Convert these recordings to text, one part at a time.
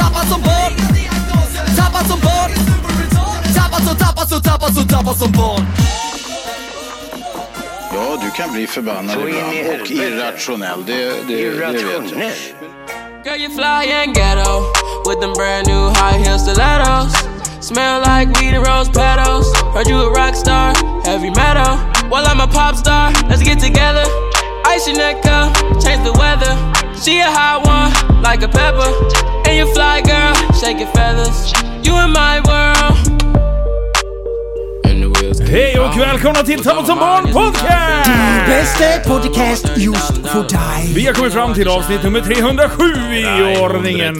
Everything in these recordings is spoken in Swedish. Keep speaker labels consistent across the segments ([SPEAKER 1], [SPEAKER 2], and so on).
[SPEAKER 1] Tappad som barn Tappad som barn Tappad som, tappad som, tappad som, tappad som barn
[SPEAKER 2] Ja, du kan bli förbannad
[SPEAKER 3] Så in i
[SPEAKER 2] ibland och
[SPEAKER 3] helvete.
[SPEAKER 2] irrationell. Det, det, det vet jag.
[SPEAKER 3] Irrationell.
[SPEAKER 4] Girl, you fly and ghetto with them brand new high heel stilettos. Smell like weed and rose petals. Heard you a rock star, heavy metal. Well, I'm a pop star, let's get together. Ice your neck up, change the weather. She a hot one, like a pepper. And you fly, girl, shake your feathers. You in my world. And the wheels keep
[SPEAKER 5] Hej och
[SPEAKER 4] on.
[SPEAKER 5] välkomna till Tappad som barn podcast!
[SPEAKER 6] Bästa podcast just för dig.
[SPEAKER 5] Vi har kommit fram till avsnitt nummer 307 i ordningen.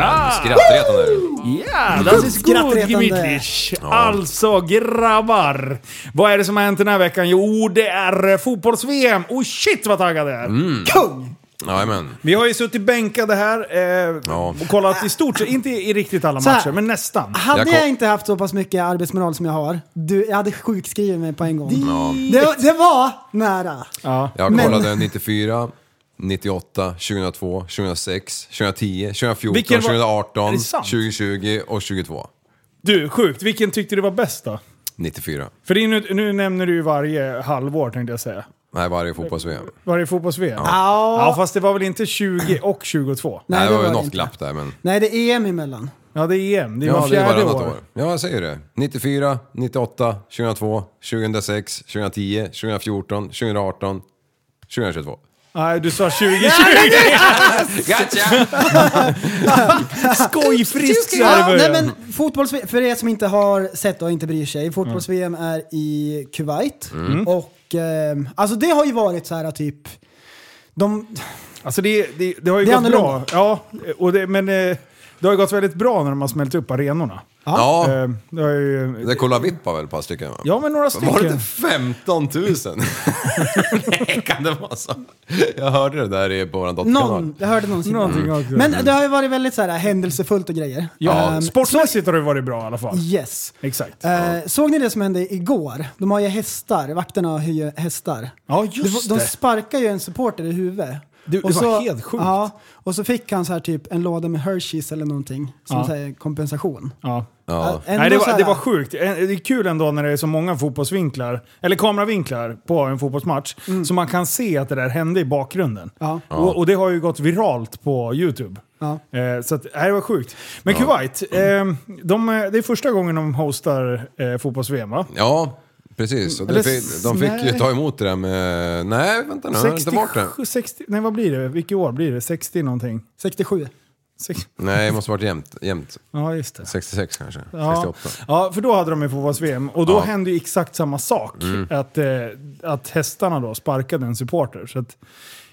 [SPEAKER 5] Ah,
[SPEAKER 7] Skrattretande.
[SPEAKER 5] Ja, das ist gut
[SPEAKER 6] Skrattretande.
[SPEAKER 5] gemütlich. Alltså grabbar, vad är det som har hänt den här veckan? Jo, det är eh, fotbolls-VM. Oh shit vad taggad jag är!
[SPEAKER 6] Kung!
[SPEAKER 7] Jajamän.
[SPEAKER 5] Vi har ju suttit bänkade här eh,
[SPEAKER 7] Ja.
[SPEAKER 5] och kollat i stort sett, inte i riktigt alla
[SPEAKER 6] Så här.
[SPEAKER 5] matcher, men nästan.
[SPEAKER 6] Hade
[SPEAKER 7] Jag
[SPEAKER 6] jag,
[SPEAKER 7] kom-
[SPEAKER 6] inte haft så pass mycket arbetsmoral som jag har, du, jag hade sjukskrivit mig på en gång. Det, det var nära.
[SPEAKER 7] Jag
[SPEAKER 6] Men-
[SPEAKER 7] kollade 94, 98, 2002, 2006, 2010, 2014,
[SPEAKER 5] Vilken var- Är
[SPEAKER 7] 2018,
[SPEAKER 5] det sant?
[SPEAKER 7] 2020 och 22.
[SPEAKER 5] Du, sjukt. Vilken tyckte du var bäst då?
[SPEAKER 7] 94.
[SPEAKER 5] För det är nu, nu nämner du ju varje halvår tänkte jag säga.
[SPEAKER 7] Nej, varje fotbolls-VM.
[SPEAKER 5] Varje fotbolls-VM.
[SPEAKER 6] Ja.
[SPEAKER 5] Ja, fast det var väl inte 20 och 22?
[SPEAKER 7] Nej, det var ju något
[SPEAKER 6] inte.
[SPEAKER 7] glapp där men...
[SPEAKER 6] Nej, det är EM emellan.
[SPEAKER 5] Ja, det är EM. Det är
[SPEAKER 7] Ja,
[SPEAKER 5] var
[SPEAKER 7] det är
[SPEAKER 5] fjärde
[SPEAKER 7] varannat
[SPEAKER 5] år.
[SPEAKER 7] år. Ja, jag säger det. 94, 98, 2002, 2006, 2010, 2014, 2018, 2022.
[SPEAKER 5] Nej, du sa 2020.
[SPEAKER 7] Gotcha!
[SPEAKER 5] Skojfrisk så
[SPEAKER 6] Ja,
[SPEAKER 5] här i
[SPEAKER 6] nej
[SPEAKER 5] början.
[SPEAKER 6] men fotbolls för er som inte har sett och inte bryr sig. Fotbolls-VM
[SPEAKER 7] Mm.
[SPEAKER 6] är i Kuwait. Och ehm, alltså det har ju varit så här typ... De,
[SPEAKER 5] Alltså det, det, det har ju
[SPEAKER 6] Det är
[SPEAKER 5] gått bra.
[SPEAKER 6] annorlunda.
[SPEAKER 5] Ja, och det, men eh, det har ju gått väldigt bra när de har smält upp arenorna.
[SPEAKER 7] Ja,
[SPEAKER 5] Eh, Det har ju,
[SPEAKER 7] det kollade Vipp på väl ett par stycken va?
[SPEAKER 5] ja, men några
[SPEAKER 7] Var det
[SPEAKER 5] stycken.
[SPEAKER 7] inte 15 000? Nej, kan det vara så? Jag hörde det där i på våran
[SPEAKER 6] någon,
[SPEAKER 7] dotterkanal.
[SPEAKER 6] jag hörde någon siffra.
[SPEAKER 5] Någonting också.
[SPEAKER 6] Men det har ju varit väldigt så här händelsefullt och grejer.
[SPEAKER 5] ja,
[SPEAKER 6] Ehm,
[SPEAKER 5] sportmässigt har det varit bra i alla fall.
[SPEAKER 6] Yes.
[SPEAKER 5] Exakt.
[SPEAKER 6] Eh, såg ni det som hände igår? De har ju hästar, vakterna har ju hästar.
[SPEAKER 5] Ja,
[SPEAKER 6] De,
[SPEAKER 5] just
[SPEAKER 6] de
[SPEAKER 5] det.
[SPEAKER 6] sparkar ju en supporter i huvudet.
[SPEAKER 5] Du, det
[SPEAKER 6] Och
[SPEAKER 5] var helt sjukt.
[SPEAKER 6] Ja, och så fick han så här typ en låda med Hershey's eller någonting som
[SPEAKER 5] Ja.
[SPEAKER 6] så här kompensation.
[SPEAKER 5] Ja.
[SPEAKER 7] Ja.
[SPEAKER 6] Ändå
[SPEAKER 5] Nej, det,
[SPEAKER 6] så
[SPEAKER 5] var,
[SPEAKER 6] här-
[SPEAKER 5] det var sjukt. Eh, Det är kul ändå när det är så många fotbollsvinklar, eller kameravinklar, på en fotbollsmatch. Så man kan se att det där hände i bakgrunden.
[SPEAKER 6] Mm. Ja.
[SPEAKER 5] Och, och det har ju gått viralt på YouTube.
[SPEAKER 6] Ja.
[SPEAKER 5] Eh, så att, nej, det var sjukt. Men Kuwait, eh, de, eh, det är första gången de hostar eh, fotbolls-VM va?
[SPEAKER 7] Ja, precis. Och
[SPEAKER 5] Eller
[SPEAKER 7] det fick, de fick ju
[SPEAKER 5] nej.
[SPEAKER 7] ta emot det där med... Nej, vänta nu. Har inte bort det?
[SPEAKER 5] 60, nej vad blir det? Vilket år blir det? 60 någonting?
[SPEAKER 6] 67.
[SPEAKER 5] Sex-
[SPEAKER 7] Nej, det måste varit jämnt. jämnt.
[SPEAKER 5] Ja, just det.
[SPEAKER 7] 66 kanske.
[SPEAKER 5] Ja.
[SPEAKER 7] 68.
[SPEAKER 5] ja, för då hade de ju fotbolls-VM och då
[SPEAKER 7] Ja. Mm.
[SPEAKER 5] hände ju exakt samma sak. Att, eh, att hästarna då sparkade en supporter. Så att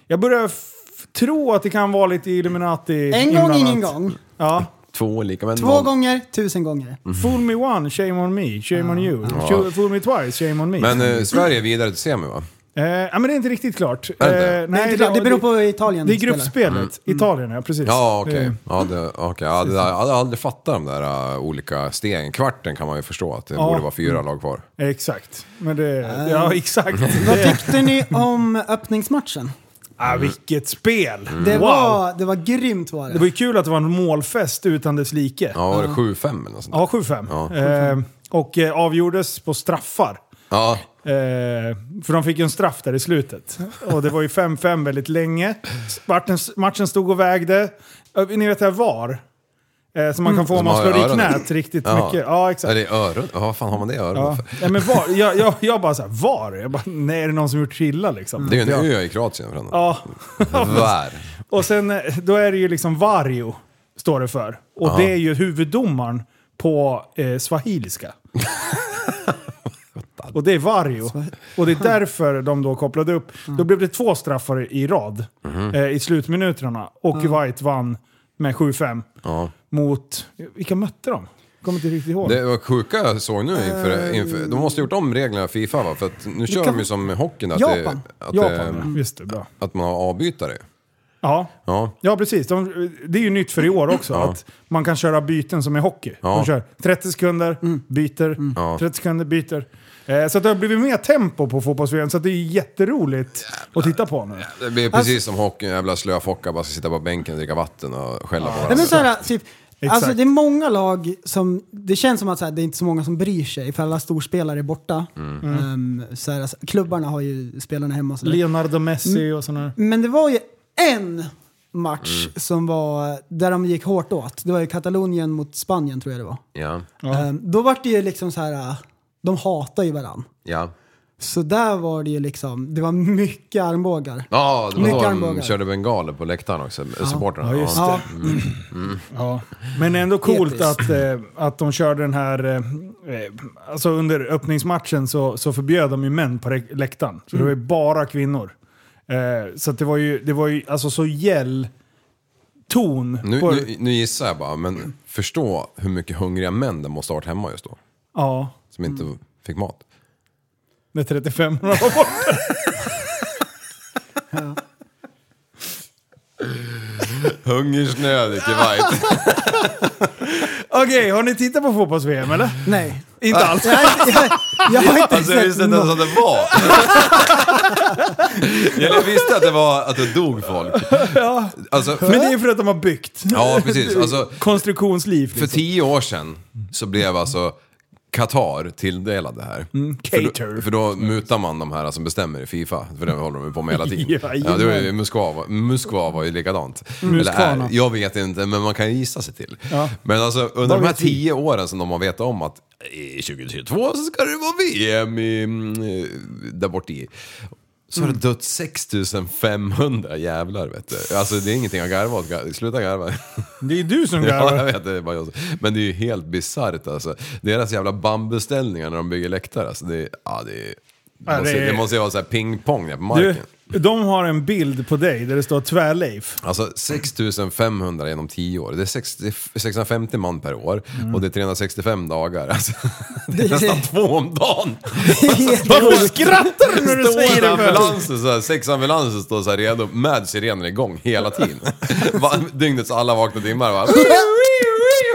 [SPEAKER 5] jag börjar f- tro att det kan vara lite Illuminati
[SPEAKER 6] En gång,
[SPEAKER 5] inblandat.
[SPEAKER 6] ingen gång.
[SPEAKER 5] Ja.
[SPEAKER 7] Två lika med
[SPEAKER 6] Två
[SPEAKER 7] noll.
[SPEAKER 6] gånger, tusen gånger.
[SPEAKER 5] Mm. Fool me one, shame on me, shame on you. Tjo- Fool me twice, shame on me.
[SPEAKER 7] Men eh, Sverige är vidare till semi va?
[SPEAKER 5] eh, ja, men det är inte riktigt klart.
[SPEAKER 7] Är det
[SPEAKER 5] Eh,
[SPEAKER 7] inte?
[SPEAKER 5] nej,
[SPEAKER 6] Nej, det, det beror på Italien.
[SPEAKER 5] Det är
[SPEAKER 6] spelar.
[SPEAKER 5] gruppspelet. Italien, ja precis.
[SPEAKER 7] Ja, okej.
[SPEAKER 5] Eh,
[SPEAKER 7] Ja, det, okay. ja, det där, jag hade aldrig fattat de där eh, olika stegen. Kvarten kan man ju förstå att det
[SPEAKER 5] Ja. Mm.
[SPEAKER 7] borde vara fyra lag kvar.
[SPEAKER 5] Eh, Exakt. Men det,
[SPEAKER 6] Ah.
[SPEAKER 5] ja, exakt.
[SPEAKER 6] Vad
[SPEAKER 5] Det,
[SPEAKER 6] tyckte ni om öppningsmatchen?
[SPEAKER 5] ah, vilket spel!
[SPEAKER 6] Det,
[SPEAKER 5] Wow!
[SPEAKER 6] var, det var grymt var det.
[SPEAKER 5] Det var ju kul att det var en målfest utan dess like.
[SPEAKER 7] Ja, var det 7-5 eller något sånt där?
[SPEAKER 5] Ja, 7-5.
[SPEAKER 7] Ja.
[SPEAKER 5] Eh, och eh, avgjordes på straffar.
[SPEAKER 7] Ja.
[SPEAKER 5] Eh, för de fick ju en straff där i slutet. Och det var ju 5-5 väldigt länge. Matchen, matchen stod och vägde. Ö, Ni vet det här VAR? Eh, som man kan få om
[SPEAKER 7] Som
[SPEAKER 5] man
[SPEAKER 7] har
[SPEAKER 5] slår i
[SPEAKER 7] öronen.
[SPEAKER 5] knät riktigt
[SPEAKER 7] Mm. Ja.
[SPEAKER 5] mycket. Ja, exakt.
[SPEAKER 7] Är det i öronen? Ja, vad fan har man det i öronen
[SPEAKER 5] Ja.
[SPEAKER 7] för?
[SPEAKER 5] Nej, men var, jag, jag, jag bara såhär, VAR? Jag bara, nej, är det någon som gjort sig illa liksom?
[SPEAKER 7] Mm. Det är ju
[SPEAKER 5] ja.
[SPEAKER 7] en ö i Kroatien för annat.
[SPEAKER 5] Ja.
[SPEAKER 7] Vär.
[SPEAKER 5] Och sen, eh, då är det ju liksom Vario, står det för. Och det är ju huvuddomaren på eh, swahiliska. och det är Vario. Och det är därför de då kopplade
[SPEAKER 7] Mhm.
[SPEAKER 5] upp. Då blev det två straffar i rad eh, i slutminuterna. Och Kuwait vann med 7-5
[SPEAKER 7] Ja.
[SPEAKER 5] mot... Vilka mötte de? Kommer inte riktigt ihåg.
[SPEAKER 7] Det var sjuka jag såg nu
[SPEAKER 5] Eh.
[SPEAKER 7] inför, inför... De måste ha gjort om reglerna i Fifa va? För att nu kör
[SPEAKER 6] Vilka-
[SPEAKER 7] de ju som i hockeyn att,
[SPEAKER 6] Japan.
[SPEAKER 7] Det, att,
[SPEAKER 5] Japan,
[SPEAKER 7] Det,
[SPEAKER 5] ja. Just det, bra.
[SPEAKER 7] att man har avbytare.
[SPEAKER 5] Ja,
[SPEAKER 7] Ja.
[SPEAKER 5] ja precis. De, det är ju nytt för i år också,
[SPEAKER 7] Ja.
[SPEAKER 5] att man kan köra byten som i hockey.
[SPEAKER 7] Ja.
[SPEAKER 5] De kör 30 sekunder, byter, 30 sekunder, byter. Eh, Så att det har blivit mer tempo på fotbolls så att det är jätteroligt att titta på nu.
[SPEAKER 7] Det blir precis som hockeyn, jävla slöfockar bara ska sitta på bänken och dricka vatten och skälla på
[SPEAKER 6] Nej, men så
[SPEAKER 7] varandra.
[SPEAKER 6] här, typ, alltså,
[SPEAKER 5] Exakt.
[SPEAKER 6] det är många lag som... Det känns som att så här, det är inte så många som bryr sig för alla storspelare är borta. Ehm, så här, alltså, klubbarna har ju spelarna hemma och så där.
[SPEAKER 5] Leonardo Messi och sådana här.
[SPEAKER 6] Men det var ju en match som var där de gick hårt åt. Det var ju Katalonien mot Spanien tror jag det var.
[SPEAKER 7] Ja,
[SPEAKER 6] Ehm, då var det ju liksom så här, äh, de hatar ju varann.
[SPEAKER 7] ja.
[SPEAKER 6] Så där var det ju liksom, det var mycket armbågar.
[SPEAKER 7] Ja, det var
[SPEAKER 6] Mycket
[SPEAKER 7] då de
[SPEAKER 6] armbågar.
[SPEAKER 7] körde bengaler på läktaren också, supportrarna.
[SPEAKER 5] Ja, just
[SPEAKER 7] Ja.
[SPEAKER 6] Ja,
[SPEAKER 5] Ja. Men ändå coolt
[SPEAKER 6] Episkt.
[SPEAKER 5] att, eh, att de körde den här... Eh, eh, alltså under öppningsmatchen så, så förbjöd de ju män på rek- läktaren. Så det var ju bara kvinnor. Eh, så att det var ju, det var ju alltså så gäll ton.
[SPEAKER 7] Nu,
[SPEAKER 5] på,
[SPEAKER 7] nu, nu gissar jag bara, men förstå hur mycket hungriga män det måste ha varit hemma just då.
[SPEAKER 5] Ja,
[SPEAKER 7] Som inte
[SPEAKER 5] Mm.
[SPEAKER 7] fick mat.
[SPEAKER 5] när 35 var borta.
[SPEAKER 7] Hungersnöd i Kuwait.
[SPEAKER 5] Okej, har ni tittat på fotbolls-VM eller?
[SPEAKER 6] nej.
[SPEAKER 5] Inte alls.
[SPEAKER 6] Jag, jag, jag har inte
[SPEAKER 7] Alltså jag visste
[SPEAKER 6] sett
[SPEAKER 7] inte ens
[SPEAKER 6] något.
[SPEAKER 7] att det var. jag visste att det var, att det dog folk. Alltså,
[SPEAKER 5] Men det är för att de har byggt.
[SPEAKER 7] ja precis. Alltså,
[SPEAKER 5] Konstruktionsliv.
[SPEAKER 7] för
[SPEAKER 5] Liksom.
[SPEAKER 7] tio år sedan så blev alltså Qatar tilldelad det här.
[SPEAKER 5] Mm,
[SPEAKER 7] För
[SPEAKER 5] Cater.
[SPEAKER 7] då, för då mutar man de här som bestämmer i Fifa, för det håller de ju på med hela tiden.
[SPEAKER 5] Ja,
[SPEAKER 7] ja, det var ju Moskva, var- Moskva var ju likadant. Eller
[SPEAKER 5] Muskvarna.
[SPEAKER 7] är, jag vet inte, men man kan ju gissa sig till.
[SPEAKER 5] Ja.
[SPEAKER 7] Men alltså under
[SPEAKER 5] Vad
[SPEAKER 7] de här
[SPEAKER 5] vet vi?
[SPEAKER 7] tio åren som de har vetat om att i 2022 så ska det vara VM i, mm, där bort i. Så har
[SPEAKER 5] Mm.
[SPEAKER 7] det dött 6500 jävlar vet du. Alltså det är ingenting jag garvar åt, Gar- sluta garva.
[SPEAKER 5] Det är du som
[SPEAKER 7] Ja, jag
[SPEAKER 5] garvar.
[SPEAKER 7] vet, det är bara jag. som- Men det är ju helt bisarrt alltså. Deras jävla bambuställningar när de bygger läktare, alltså det, är- ja, det, är, det,
[SPEAKER 5] Ja,
[SPEAKER 7] måste,
[SPEAKER 5] det är-
[SPEAKER 7] det måste ju vara så här pingpong där på marken.
[SPEAKER 5] Du, de har en bild på dig där det står tvärleif.
[SPEAKER 7] Alltså 6500 genom 10 år, det är 60, 650 man per år
[SPEAKER 5] Mm.
[SPEAKER 7] och det är 365 dagar. Alltså, det är
[SPEAKER 6] Det-
[SPEAKER 7] nästan två om dagen!
[SPEAKER 6] Helt
[SPEAKER 5] Varför
[SPEAKER 6] roligt.
[SPEAKER 5] skrattar du när du säger
[SPEAKER 7] Står
[SPEAKER 5] det? för?
[SPEAKER 7] ambulanser, så här, sex ambulanser står så här redo med sirenen igång hela tiden. Va, dygnets alla vakna timmar va?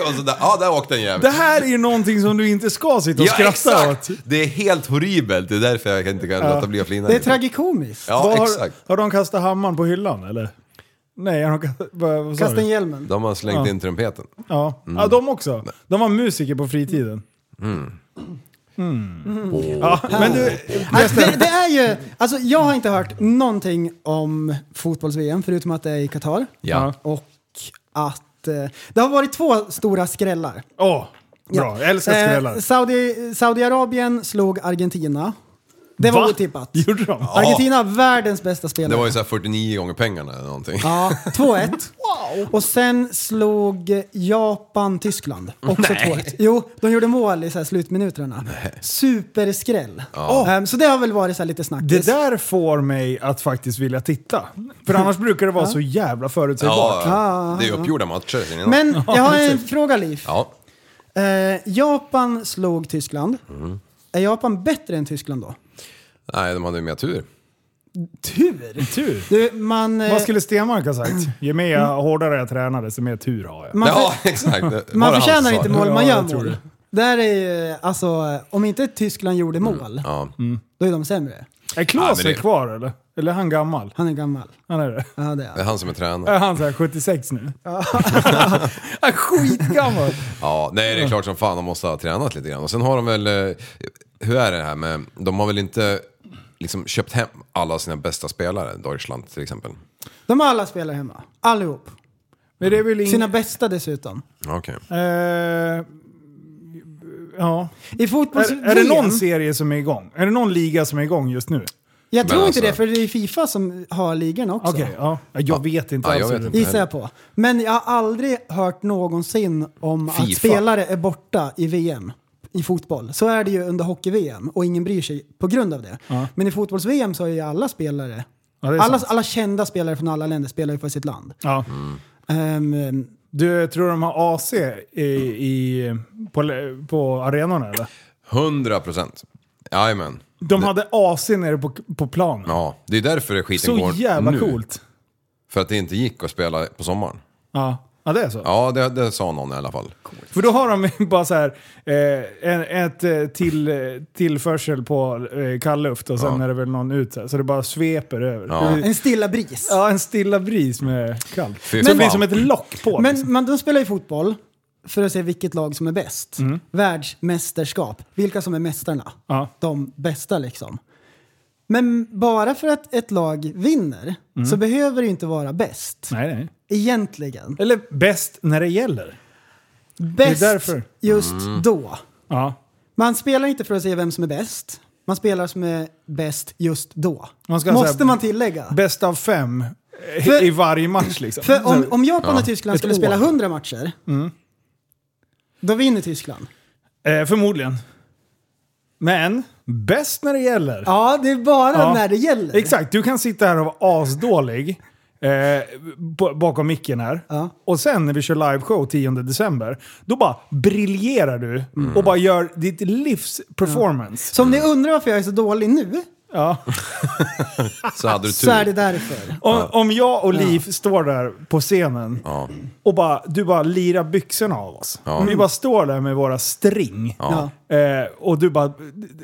[SPEAKER 7] Och så där, ja där åkte en jävel.
[SPEAKER 5] Det här är ju någonting som du inte ska sitta och skratta åt.
[SPEAKER 7] Det är helt horribelt, det är därför jag inte kan låta bli att flina.
[SPEAKER 6] Det är
[SPEAKER 7] lite.
[SPEAKER 6] tragikomiskt.
[SPEAKER 7] Ja,
[SPEAKER 5] Vad har,
[SPEAKER 7] exakt.
[SPEAKER 5] har de kastat hammaren på hyllan eller? Nej, har de kastat... Vad, vad sa
[SPEAKER 6] Kasta
[SPEAKER 5] du?
[SPEAKER 6] in hjälmen.
[SPEAKER 7] De har slängt in trumpeten.
[SPEAKER 5] Ja. ja, de också. De var musiker på fritiden. Ja, men du,
[SPEAKER 6] Alltså, det, det är ju, alltså, jag har inte hört någonting om fotbolls-VM förutom att det är i Qatar.
[SPEAKER 7] Ja.
[SPEAKER 6] Och att eh, det har varit två stora skrällar.
[SPEAKER 5] åh, bra. Jag älskar skrällar.
[SPEAKER 6] Eh, Saudi, Saudiarabien slog Argentina. Det var
[SPEAKER 5] Va?
[SPEAKER 6] otippat.
[SPEAKER 5] Gjorde de?
[SPEAKER 6] Argentina, världens bästa spelare.
[SPEAKER 7] Det var ju såhär 49 gånger pengarna eller någonting.
[SPEAKER 6] Ja, 2-1. Och sen slog Japan Tyskland. Också 2-1. Jo, de gjorde mål i så här slutminuterna. Superskräll. Ehm, så det har väl varit så här lite snackis.
[SPEAKER 5] Det där får mig att faktiskt vilja titta. För annars brukar det vara så jävla förutsägbart.
[SPEAKER 7] Ja, det är uppgjorda matcher. ser ni.
[SPEAKER 6] Ah. Men jag har en fråga Liv.
[SPEAKER 7] Ja.
[SPEAKER 6] Eh, Japan slog Tyskland.
[SPEAKER 5] Mm.
[SPEAKER 6] Är Japan bättre än Tyskland då?
[SPEAKER 7] Nej, de hade ju mer tur.
[SPEAKER 6] Tur!
[SPEAKER 5] Tur.
[SPEAKER 6] Du, man, eh,
[SPEAKER 5] Vad skulle Stenmark ha sagt? Ju mer
[SPEAKER 7] Mm.
[SPEAKER 5] jag, hårdare jag tränade, desto mer tur har jag.
[SPEAKER 6] man, för,
[SPEAKER 7] ja, exakt. Det var
[SPEAKER 6] man
[SPEAKER 7] det
[SPEAKER 6] förtjänar
[SPEAKER 7] han sa.
[SPEAKER 6] inte mål,
[SPEAKER 5] alltså.
[SPEAKER 6] man
[SPEAKER 5] Ja,
[SPEAKER 6] gör
[SPEAKER 5] jag tror
[SPEAKER 6] mål.
[SPEAKER 5] det.
[SPEAKER 6] Där är ju, alltså, om inte Tyskland gjorde
[SPEAKER 5] Mm.
[SPEAKER 6] mål,
[SPEAKER 7] Ja.
[SPEAKER 6] då är de sämre.
[SPEAKER 5] Är
[SPEAKER 7] Ja,
[SPEAKER 5] Klas
[SPEAKER 7] men det-
[SPEAKER 5] kvar eller? Eller är han gammal?
[SPEAKER 6] Han är gammal.
[SPEAKER 5] Han är det.
[SPEAKER 6] Ja, det är
[SPEAKER 7] Det är
[SPEAKER 6] han.
[SPEAKER 7] han som är
[SPEAKER 5] Är
[SPEAKER 7] tränare.
[SPEAKER 5] han såhär 76 nu? Han är skitgammal!
[SPEAKER 7] Ja, nej det är klart som fan de måste ha tränat lite grann. Och sen har de väl, eh, hur är det här med, de har väl inte liksom köpt hem alla sina bästa spelare, Deutschland till exempel.
[SPEAKER 6] De har alla spelare hemma. Allihop.
[SPEAKER 5] Men det är väl
[SPEAKER 6] Sina
[SPEAKER 5] inget...
[SPEAKER 6] bästa dessutom.
[SPEAKER 7] Okej.
[SPEAKER 5] Eh, ja.
[SPEAKER 6] I fotbolls
[SPEAKER 5] Är, är det någon serie som är igång? Är det någon liga som är igång just nu?
[SPEAKER 6] Jag tror inte
[SPEAKER 7] Men alltså-
[SPEAKER 6] det, för det är Fifa som har ligorna också.
[SPEAKER 5] Okej, ja. Jag vet inte
[SPEAKER 7] Ja, jag
[SPEAKER 5] alls.
[SPEAKER 7] vet
[SPEAKER 5] hur det-
[SPEAKER 7] inte.
[SPEAKER 6] Gissar jag på. Men jag har aldrig hört någonsin om att
[SPEAKER 7] FIFA.
[SPEAKER 6] spelare är borta i VM i fotboll. Så är det ju under hockey-VM och ingen bryr sig på grund av det. Men i fotbolls-VM så är ju alla spelare,
[SPEAKER 5] Ja, det är
[SPEAKER 6] alla,
[SPEAKER 5] sant.
[SPEAKER 6] alla kända spelare från alla länder spelar ju för sitt land.
[SPEAKER 5] Ja.
[SPEAKER 6] Ehm,
[SPEAKER 5] Du, tror de har AC i, i, på, le- på arenorna eller?
[SPEAKER 7] 100 procent. Jajamän.
[SPEAKER 5] De hade AC nere på, på planen.
[SPEAKER 7] Ja, det är därför skiten
[SPEAKER 5] Så
[SPEAKER 7] går
[SPEAKER 5] jävla
[SPEAKER 7] nu.
[SPEAKER 5] coolt.
[SPEAKER 7] För att det inte gick att spela på sommaren.
[SPEAKER 5] Ja. ja, det är så.
[SPEAKER 7] Ja, det, det sa någon i alla fall.
[SPEAKER 5] För då har de bara så här, eh, en, ett eh, till, eh, tillförsel på eh, kall luft och sen
[SPEAKER 7] Ja.
[SPEAKER 5] är det väl någon ut så, här, så det bara sveper över.
[SPEAKER 7] Ja.
[SPEAKER 5] Det-
[SPEAKER 6] En stilla bris.
[SPEAKER 5] Ja, en stilla bris med kallt.
[SPEAKER 7] Fy
[SPEAKER 5] Men det
[SPEAKER 7] fan.
[SPEAKER 5] blir som ett lock på. liksom.
[SPEAKER 6] Men man, de spelar ju fotboll för att se vilket lag som är bäst.
[SPEAKER 5] Mm.
[SPEAKER 6] Världsmästerskap. Vilka som är mästarna.
[SPEAKER 5] Ja.
[SPEAKER 6] De bästa liksom. Men bara för att ett lag vinner så behöver det ju inte vara bäst.
[SPEAKER 5] Nej, Mm. nej.
[SPEAKER 6] Egentligen.
[SPEAKER 5] Eller bäst när det gäller.
[SPEAKER 6] Bäst
[SPEAKER 5] därför. Mm.
[SPEAKER 6] just då.
[SPEAKER 5] Ja.
[SPEAKER 6] Man spelar inte för att se vem som är bäst. Man spelar som är bäst just då.
[SPEAKER 5] Man ska
[SPEAKER 6] Måste
[SPEAKER 5] säga-
[SPEAKER 6] man tillägga.
[SPEAKER 5] Bäst av fem eh,
[SPEAKER 6] För-
[SPEAKER 5] i varje match liksom.
[SPEAKER 6] För om,
[SPEAKER 5] Så-
[SPEAKER 6] om Japan och Tyskland
[SPEAKER 5] Ett
[SPEAKER 6] skulle
[SPEAKER 5] år.
[SPEAKER 6] spela 100 matcher,
[SPEAKER 5] Mm.
[SPEAKER 6] då vinner Tyskland.
[SPEAKER 5] eh, förmodligen. Men bäst när det gäller.
[SPEAKER 6] Ja, det är bara
[SPEAKER 5] Ja.
[SPEAKER 6] när det gäller.
[SPEAKER 5] Exakt, du kan sitta här och vara asdålig eh, b- bakom micken här.
[SPEAKER 6] Ja.
[SPEAKER 5] Och sen när vi kör liveshow 10 december, då bara briljerar du och bara gör ditt livs performance.
[SPEAKER 6] Så om ni undrar varför jag är så dålig nu,
[SPEAKER 5] Ja.
[SPEAKER 7] Så hade du tur.
[SPEAKER 6] så är det därför.
[SPEAKER 5] Om, om jag och Liv står där på scenen
[SPEAKER 7] Ja.
[SPEAKER 5] och bara, du bara lirar byxorna av oss. Vi bara står där med våra string.
[SPEAKER 6] Ja.
[SPEAKER 5] Eh, och du bara,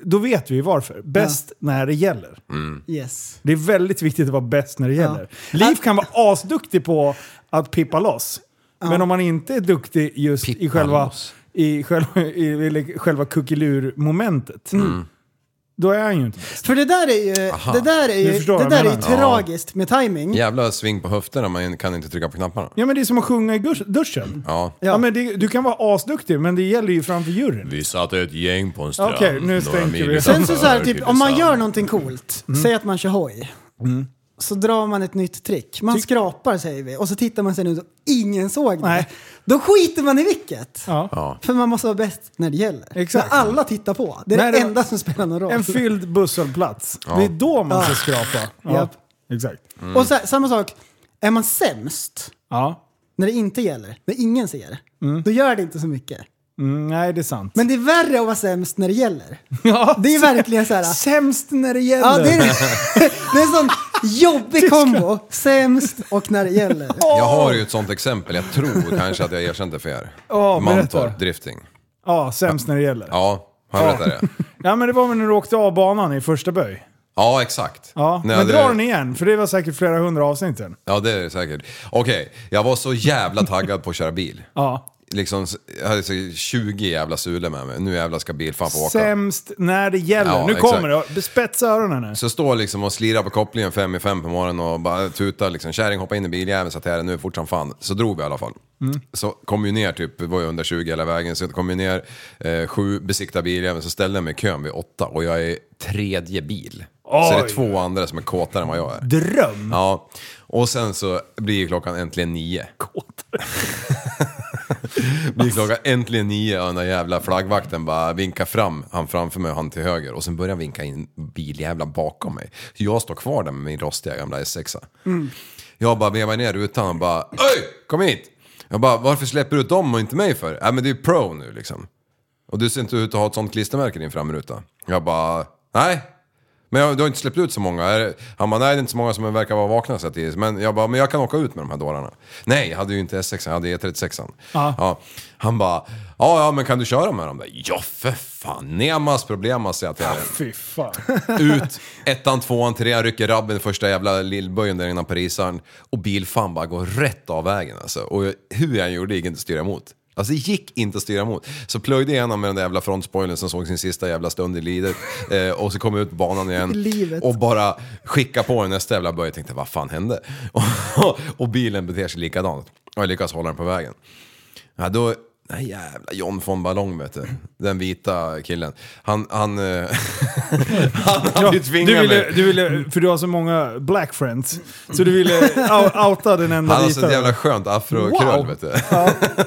[SPEAKER 5] då vet vi varför. Bäst när det gäller.
[SPEAKER 6] Yes.
[SPEAKER 5] Det är väldigt viktigt att vara bäst när det gäller. Liv kan vara asduktig på att pippa loss. Men om man inte är duktig just i
[SPEAKER 7] Pippa
[SPEAKER 5] själva,
[SPEAKER 7] loss.
[SPEAKER 5] i själva, i, eller själva kuckelur-momentet.
[SPEAKER 7] Mm.
[SPEAKER 5] Då är han ju inte bäst.
[SPEAKER 6] För det där är ju,
[SPEAKER 7] Aha.
[SPEAKER 6] det där är
[SPEAKER 5] Du
[SPEAKER 6] ju,
[SPEAKER 5] förstår
[SPEAKER 6] det
[SPEAKER 5] vad jag
[SPEAKER 6] där är ju
[SPEAKER 5] menar.
[SPEAKER 6] tragiskt med timing.
[SPEAKER 7] Jävla sving på höfterna, man kan inte trycka på knapparna.
[SPEAKER 5] Ja men det är som att sjunga i gus- duschen.
[SPEAKER 7] Ja.
[SPEAKER 5] Ja. men det, du kan vara asduktig men det gäller ju framför juryn.
[SPEAKER 7] Vi satt ett gäng på en strand.
[SPEAKER 5] Okej, nu
[SPEAKER 7] några
[SPEAKER 5] stänker
[SPEAKER 7] mil
[SPEAKER 5] vi.
[SPEAKER 7] utanför
[SPEAKER 6] Sen så, så här, typ, om man
[SPEAKER 7] Tylösand.
[SPEAKER 6] gör någonting coolt,
[SPEAKER 5] Mm.
[SPEAKER 6] säg att man kör hoj. Så drar man ett nytt trick. Man skrapar säger vi och så tittar man sen ut och ingen såg det.
[SPEAKER 5] Nej.
[SPEAKER 6] Då skiter man i vilket.
[SPEAKER 5] Ja.
[SPEAKER 6] För man måste vara bäst när det gäller.
[SPEAKER 5] Exakt.
[SPEAKER 6] När alla tittar på. Det är
[SPEAKER 5] Nej,
[SPEAKER 6] det
[SPEAKER 5] det-
[SPEAKER 6] enda som spelar någon roll.
[SPEAKER 5] En fylld busshållplats. Det är då man ska skrapa. Ja.
[SPEAKER 6] Japp.
[SPEAKER 5] Exakt.
[SPEAKER 6] Och så här, samma sak, är man sämst
[SPEAKER 5] Ja.
[SPEAKER 6] när det inte gäller, när ingen ser, då gör det inte så mycket.
[SPEAKER 5] Mm, nej, det är sant.
[SPEAKER 6] Men det är värre att vara sämst när det gäller.
[SPEAKER 5] ja,
[SPEAKER 6] Det är verkligen så här...
[SPEAKER 5] Sämst när det gäller.
[SPEAKER 6] Ja, det, är, det är en sån jobbig kombo. Sämst och när det gäller.
[SPEAKER 7] Jag har ju ett sånt exempel, jag tror kanske att jag erkänt det för er.
[SPEAKER 5] Ja, berätta.
[SPEAKER 7] Mantorp drifting.
[SPEAKER 5] Ja, sämst när det gäller. Ja.
[SPEAKER 7] Ja, har jag berättat det?
[SPEAKER 5] men det var väl när du åkte av banan i första böj.
[SPEAKER 7] Ja, exakt.
[SPEAKER 5] Ja,
[SPEAKER 7] När
[SPEAKER 5] men
[SPEAKER 7] det-
[SPEAKER 5] dra den igen, för det var säkert flera hundra avsnitt sen.
[SPEAKER 7] Ja, det är det säkert. Okej, jag var så jävla taggad på att köra bil.
[SPEAKER 5] Ja.
[SPEAKER 7] Liksom, jag hade så 20 jävla sulor med mig. Nu jävla ska bilfan få åka.
[SPEAKER 5] Sämst när det gäller.
[SPEAKER 7] Ja,
[SPEAKER 5] nu
[SPEAKER 7] exakt.
[SPEAKER 5] kommer det. Spetsa öronen nu.
[SPEAKER 7] Så jag står liksom och slirar på kopplingen fem i fem på morgonen och bara tutar liksom. Kärring hoppa in i biljäveln så att det är nu fort som fan. Så drog vi i alla fall. Så kom ju ner typ, det var ju 120 hela vägen, så jag kom ju ner eh, sju besikta biljäveln, så ställde jag mig i kön vid åtta och jag är tredje bil. Så det är
[SPEAKER 5] Oj.
[SPEAKER 7] två andra som är kåtare än vad jag är.
[SPEAKER 5] Dröm!
[SPEAKER 7] Ja, och sen så blir klockan äntligen nio. blir klockan äntligen nio och den där jävla flaggvakten bara vinkar fram, han framför mig och han till höger. Och sen börjar han vinka in biljävlar bakom mig. Så jag står kvar där med min rostiga gamla S6. Jag bara vevar ner rutan och bara Öj! Kom hit! Jag bara, varför släpper du ut dem och inte mig för? Ja men det är ju pro nu liksom. Och du ser inte ut att ha ett sånt klistermärke i din framruta. Jag bara, nej. Men jag, du har inte släppt ut så många. Är det- Han bara, nej det är inte så många som verkar vara vakna så här tidigt. Men jag bara, men jag kan åka ut med de här dårarna. Nej, jag hade ju inte S6, jag hade E36.
[SPEAKER 5] Ja.
[SPEAKER 7] Ja. Han bara, ja ja men kan du köra med dem där? Ja för fan, nemas problemas säger jag till er.
[SPEAKER 5] Fy fan.
[SPEAKER 7] Ut, ettan, tvåan, trean, rycker rabben första jävla lillböjen där innan parisaren. Och bilfan bara går rätt av vägen alltså. Och jag- hur jag än gjorde det gick inte att styra emot. Alltså det gick inte att styra emot. Så plöjde jag igenom med den där jävla frontspoilern som såg sin sista jävla stund i livet. Eh, och så kom jag ut på banan igen.
[SPEAKER 6] Livet.
[SPEAKER 7] Och bara skicka på den nästa jävla böj. Jag tänkte vad fan hände? Och, och bilen beter sig likadant. Och jag lyckas hålla den på vägen. Ja, då, nej jävla John von Ballong vet du. Den vita killen. Han, han, eh, han hade ju
[SPEAKER 5] du,
[SPEAKER 7] tvingat
[SPEAKER 5] ville,
[SPEAKER 7] mig.
[SPEAKER 5] du ville, för du har så många black friends, så du ville ou- outa den enda
[SPEAKER 7] Han har
[SPEAKER 5] vita.
[SPEAKER 7] sånt jävla skönt afrokrull
[SPEAKER 5] Wow.
[SPEAKER 7] vet du.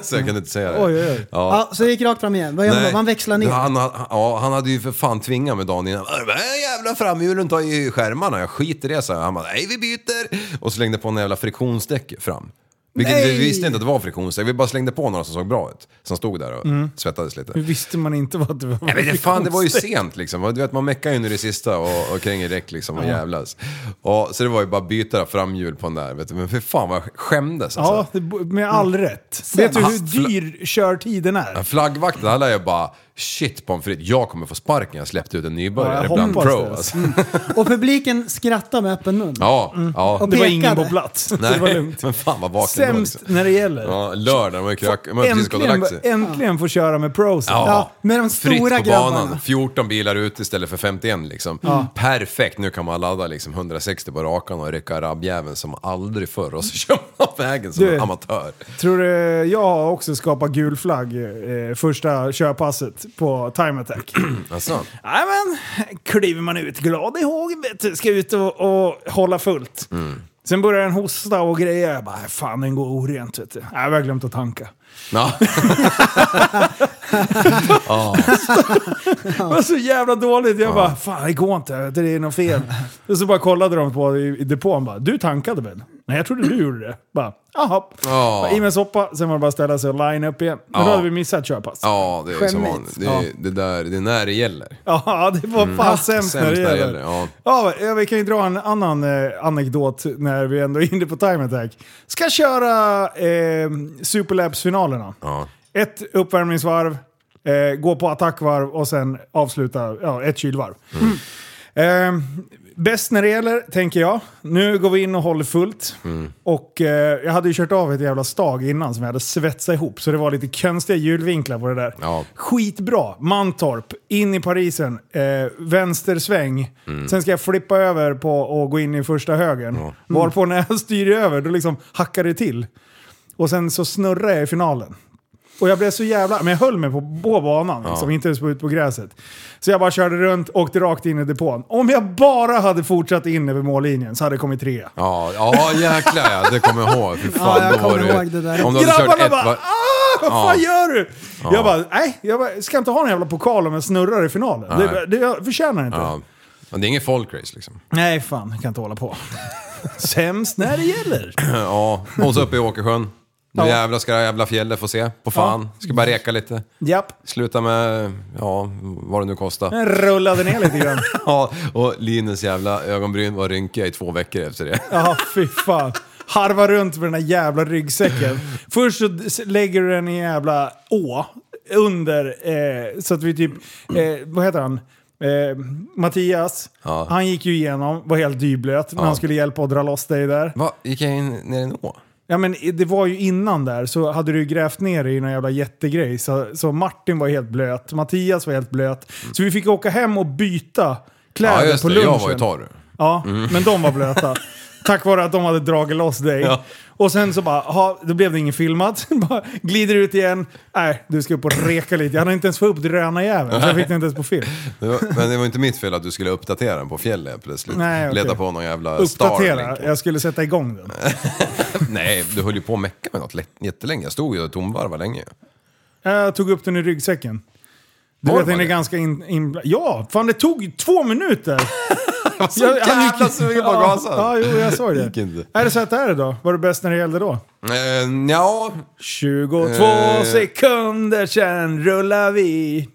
[SPEAKER 7] så jag kunde inte säga det.
[SPEAKER 5] Oj, oj, oj.
[SPEAKER 7] Ja.
[SPEAKER 6] Ja, så det gick rakt fram igen. Vad gör man då?
[SPEAKER 7] Nej.
[SPEAKER 6] Man växlar ner.
[SPEAKER 7] Han, han, ja, han hade ju för fan tvingat mig dagen innan. "Äh, Jävla framhjulen tar ju skärmarna, jag skiter i det, så Han bara, nej vi byter. Och så slängde på en jävla friktionsdäck fram. Vilket
[SPEAKER 6] Nej!
[SPEAKER 7] vi visste inte att det var friktionsdäck. Vi bara slängde på några som såg bra ut. Som stod där och
[SPEAKER 5] Mm.
[SPEAKER 7] svettades lite.
[SPEAKER 5] Hur visste man inte vad det var?
[SPEAKER 7] Nej, men det, fan, det var ju sent liksom. Du vet, man meckar ju nu det sista och, och kränger däck liksom och jävlas. Och, så det var ju bara byta framhjul på den där. Vet du. Men för fan vad jag skämdes alltså.
[SPEAKER 5] Ja, det, med all
[SPEAKER 7] Mm.
[SPEAKER 5] rätt. Vet du hur dyr körtiden är?
[SPEAKER 7] Men Flaggvakten, han lär ju bara shit pommes frites, jag kommer få sparken, jag släppte ut en
[SPEAKER 5] Ja,
[SPEAKER 7] nybörjare
[SPEAKER 5] jag
[SPEAKER 7] bland
[SPEAKER 5] hoppas
[SPEAKER 7] pro.
[SPEAKER 5] det. Mm.
[SPEAKER 7] Alltså.
[SPEAKER 6] Och publiken skrattar med öppen mun.
[SPEAKER 7] Ja, ja.
[SPEAKER 6] Och
[SPEAKER 5] Det var
[SPEAKER 6] pekade.
[SPEAKER 5] ingen på plats. Det var lugnt.
[SPEAKER 7] Men fan vad vaken jag var,
[SPEAKER 5] Sämst
[SPEAKER 7] liksom.
[SPEAKER 5] när det gäller.
[SPEAKER 7] Ja, lördag, man har ju krök- man har precis gått och
[SPEAKER 5] äntligen,
[SPEAKER 7] lagt sig.
[SPEAKER 5] äntligen få köra med pros.
[SPEAKER 7] Ja.
[SPEAKER 6] Ja, med de
[SPEAKER 7] Fritt på
[SPEAKER 6] stora
[SPEAKER 7] banan,
[SPEAKER 6] grabbarna.
[SPEAKER 7] 14 bilar ut istället för 51 liksom. Perfekt, nu kan man ladda liksom 160 på rakan och rycka rabbjäveln som aldrig förr och så kör man vägen som
[SPEAKER 5] Du.
[SPEAKER 7] en amatör.
[SPEAKER 5] Tror du jag har också skapat gul flagg eh, första körpasset på Time Attack?
[SPEAKER 7] Alltså,
[SPEAKER 5] Nej men, kliver man ut glad i hågen vet du, ska ut och, och hålla fullt.
[SPEAKER 7] Mm.
[SPEAKER 5] Sen börjar den hosta och grejer. Jag bara, fan den går orent vet du. Nej, jag har glömt att tanka.
[SPEAKER 7] ja.
[SPEAKER 5] Det var så jävla dåligt. Jag bara, fan det går inte, vet du, det är något fel. och så bara kollade de på i, i depån bara, du tankade väl? Nej jag trodde du gjorde det. Bara, jaha.
[SPEAKER 7] Ja.
[SPEAKER 5] Bara, I med soppa, sen var det bara att ställa sig och line upp igen. Men
[SPEAKER 7] Ja.
[SPEAKER 5] då hade vi missat körpass.
[SPEAKER 7] ja, det är som
[SPEAKER 5] Skämmigt.
[SPEAKER 7] vanligt. Det,
[SPEAKER 5] Ja.
[SPEAKER 7] är- det, där, det är när det gäller.
[SPEAKER 5] Ja, det var fan sämst,
[SPEAKER 7] Sämst
[SPEAKER 5] när det gäller.
[SPEAKER 7] ja.
[SPEAKER 5] Ja, eh, vi kan ju dra en annan eh, anekdot när vi ändå är inne på Time Attack. Ska köra eh, Superlabs-finalerna.
[SPEAKER 7] Ja.
[SPEAKER 5] Ett uppvärmningsvarv, eh, gå på attackvarv och sen avsluta ja, ett kylvarv. Eh, bäst när det gäller, tänker jag. Nu går vi in och håller fullt. Och eh, jag hade ju kört av ett jävla stag innan som jag hade svetsat ihop. Så det var lite konstiga hjulvinklar på det där.
[SPEAKER 7] Ja.
[SPEAKER 5] Skitbra! Mantorp, in i Parisen, eh, vänstersväng. Sen ska jag flippa över på och gå in i första högern. Varpå när jag styr över, då liksom hackar det till. Och sen så snurrar jag i finalen. Och jag blev så jävla... Men jag höll mig på, på banan, liksom, inte ens ut på gräset. Så jag bara körde runt, åkte rakt in i depån. Om jag bara hade fortsatt in över mållinjen så hade jag kommit trea.
[SPEAKER 7] Ja, ja jäklar ja, det kommer jag ihåg. Fy fan,
[SPEAKER 6] Ja, jag
[SPEAKER 7] då var
[SPEAKER 6] kommer
[SPEAKER 7] du,
[SPEAKER 6] ihåg det där.
[SPEAKER 7] Om du hade kört
[SPEAKER 5] Grabbarna
[SPEAKER 7] ett
[SPEAKER 5] bara
[SPEAKER 7] var...
[SPEAKER 5] ah, vad fan gör du? Jag bara, nej, jag bara, ska inte ha någon jävla pokal om jag snurrar i finalen. Det,
[SPEAKER 7] Nej.
[SPEAKER 5] det, jag förtjänar inte.
[SPEAKER 7] Ja. Men Det är inget folkrace liksom.
[SPEAKER 5] Nej, fan, jag kan inte hålla på. Sämst när det gäller.
[SPEAKER 7] Ja, och så uppe i Åkersjön. Nu
[SPEAKER 5] Ja.
[SPEAKER 7] jävlar ska det här jävla fjället få se. På fan. Ska bara reka lite.
[SPEAKER 5] Japp.
[SPEAKER 7] Sluta med, ja, vad det nu kostar.
[SPEAKER 5] Den rullade ner lite grann.
[SPEAKER 7] Ja, och Linus jävla ögonbryn var rynkiga i två veckor efter det.
[SPEAKER 5] Ja, fy fan. Harva runt med den här jävla ryggsäcken. Först så s- lägger du den i en jävla å under, eh, så att vi typ, eh, vad heter han? Eh, Mattias,
[SPEAKER 7] Ja.
[SPEAKER 5] han gick ju igenom, var helt dyblöt när han skulle hjälpa att dra loss dig där.
[SPEAKER 7] Va, gick jag in ner i en å?
[SPEAKER 5] Ja men i- det var ju innan där så hade du ju grävt ner i någon jävla jättegrej. Så, så Martin var helt blöt, Mattias var helt blöt. Så vi fick åka hem och byta kläder
[SPEAKER 7] Ja, just
[SPEAKER 5] på
[SPEAKER 7] det.
[SPEAKER 5] lunchen.
[SPEAKER 7] Jag var ju torr.
[SPEAKER 5] Ja,
[SPEAKER 7] Mm.
[SPEAKER 5] men de var blöta. Tack vare att de hade dragit loss dig.
[SPEAKER 7] Ja.
[SPEAKER 5] Och sen så bara, aha, då blev det ingen filmat. bara glider ut igen. Nej, du ska upp och reka lite. Jag hade inte ens fått upp drönarjäveln, så jag fick den inte ens på film.
[SPEAKER 7] Det var- Men det var inte mitt fel att du skulle uppdatera den på fjället plötsligt.
[SPEAKER 5] Nej, okej.
[SPEAKER 7] Leta på någon jävla
[SPEAKER 5] Uppdatera,
[SPEAKER 7] Starlink.
[SPEAKER 5] jag skulle sätta igång den.
[SPEAKER 7] Nej, du höll ju på att mecka med något lätt- jättelänge. Jag stod ju och tomvarvade länge.
[SPEAKER 5] Jag tog upp den i ryggsäcken. Du
[SPEAKER 7] Var
[SPEAKER 5] vet,
[SPEAKER 7] det
[SPEAKER 5] den är
[SPEAKER 7] det?
[SPEAKER 5] ganska in, in... Ja, fan det tog två minuter!
[SPEAKER 7] Så jävla sugen på att
[SPEAKER 5] ja,
[SPEAKER 7] gasa.
[SPEAKER 5] ja, jo, jag såg
[SPEAKER 7] Gick
[SPEAKER 5] det.
[SPEAKER 7] inte.
[SPEAKER 5] Är det så att det är det då? Var det bäst när det gällde då?
[SPEAKER 7] Eh, ja,
[SPEAKER 5] 22
[SPEAKER 7] Eh.
[SPEAKER 5] sekunder sen rullar vi.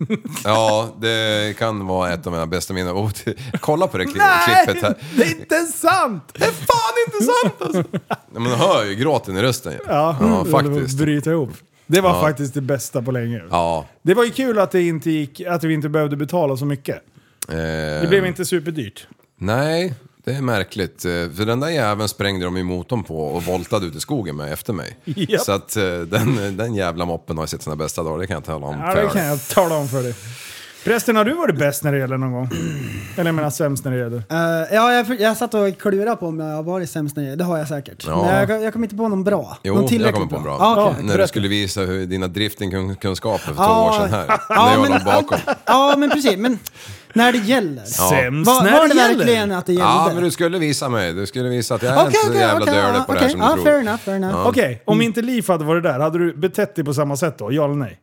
[SPEAKER 7] ja, det kan vara ett av mina bästa minnen. Och kolla på det kli- klippet här.
[SPEAKER 5] det är inte sant!
[SPEAKER 7] Det är fan inte sant alltså! Nej, Man hör ju gråten i rösten ju.
[SPEAKER 5] Ja, Mm.
[SPEAKER 6] Mm.
[SPEAKER 7] faktiskt.
[SPEAKER 5] Bryta ihop. Det var faktiskt det bästa på länge.
[SPEAKER 7] Ja.
[SPEAKER 5] Det var ju kul att, det inte gick, att vi inte behövde betala så mycket. Det blev inte superdyrt.
[SPEAKER 7] eh, Nej, det är märkligt. Eh, För den där jäveln sprängde de ju motorn på och voltade ut i skogen med efter mig.
[SPEAKER 5] Japp.
[SPEAKER 7] Så att eh, den, den jävla moppen har sett sina bästa dagar, det kan jag tala om.
[SPEAKER 5] Ja,
[SPEAKER 7] för
[SPEAKER 5] det
[SPEAKER 7] er.
[SPEAKER 5] kan jag tala om för dig. Förresten, har du varit bäst när det gäller någon gång? Eller jag menar sämst när det gäller?
[SPEAKER 6] Eh, ja, jag, jag satt och klurade på om jag har varit sämst när det Det har jag säkert.
[SPEAKER 7] Ja.
[SPEAKER 6] Men jag, jag kom inte på någon bra.
[SPEAKER 7] Jo,
[SPEAKER 6] någon
[SPEAKER 7] jag
[SPEAKER 6] tillräckligt
[SPEAKER 7] kommer på en bra.
[SPEAKER 6] Ja, okej.
[SPEAKER 7] När du skulle visa hur dina driftingkunskaper för två
[SPEAKER 6] Ja.
[SPEAKER 7] år sedan här.
[SPEAKER 6] Ja,
[SPEAKER 7] när jag
[SPEAKER 6] men-
[SPEAKER 7] låg bakom.
[SPEAKER 6] ja, men precis. Men när det gäller.
[SPEAKER 5] Sämst
[SPEAKER 6] Var,
[SPEAKER 5] när
[SPEAKER 6] var
[SPEAKER 5] det
[SPEAKER 6] det
[SPEAKER 5] gäller?
[SPEAKER 6] verkligen att det gällde?
[SPEAKER 7] Ja, men du skulle visa mig. Du skulle visa att jag är
[SPEAKER 6] Okej,
[SPEAKER 7] inte så
[SPEAKER 6] okej,
[SPEAKER 7] jävla
[SPEAKER 6] okej,
[SPEAKER 7] dörlig på det här
[SPEAKER 6] okej.
[SPEAKER 7] som
[SPEAKER 6] Ja, fair
[SPEAKER 7] du tror.
[SPEAKER 6] enough, fair enough.
[SPEAKER 5] Okej, om inte Liv hade varit där, hade du betett dig på samma sätt då? Ja eller nej?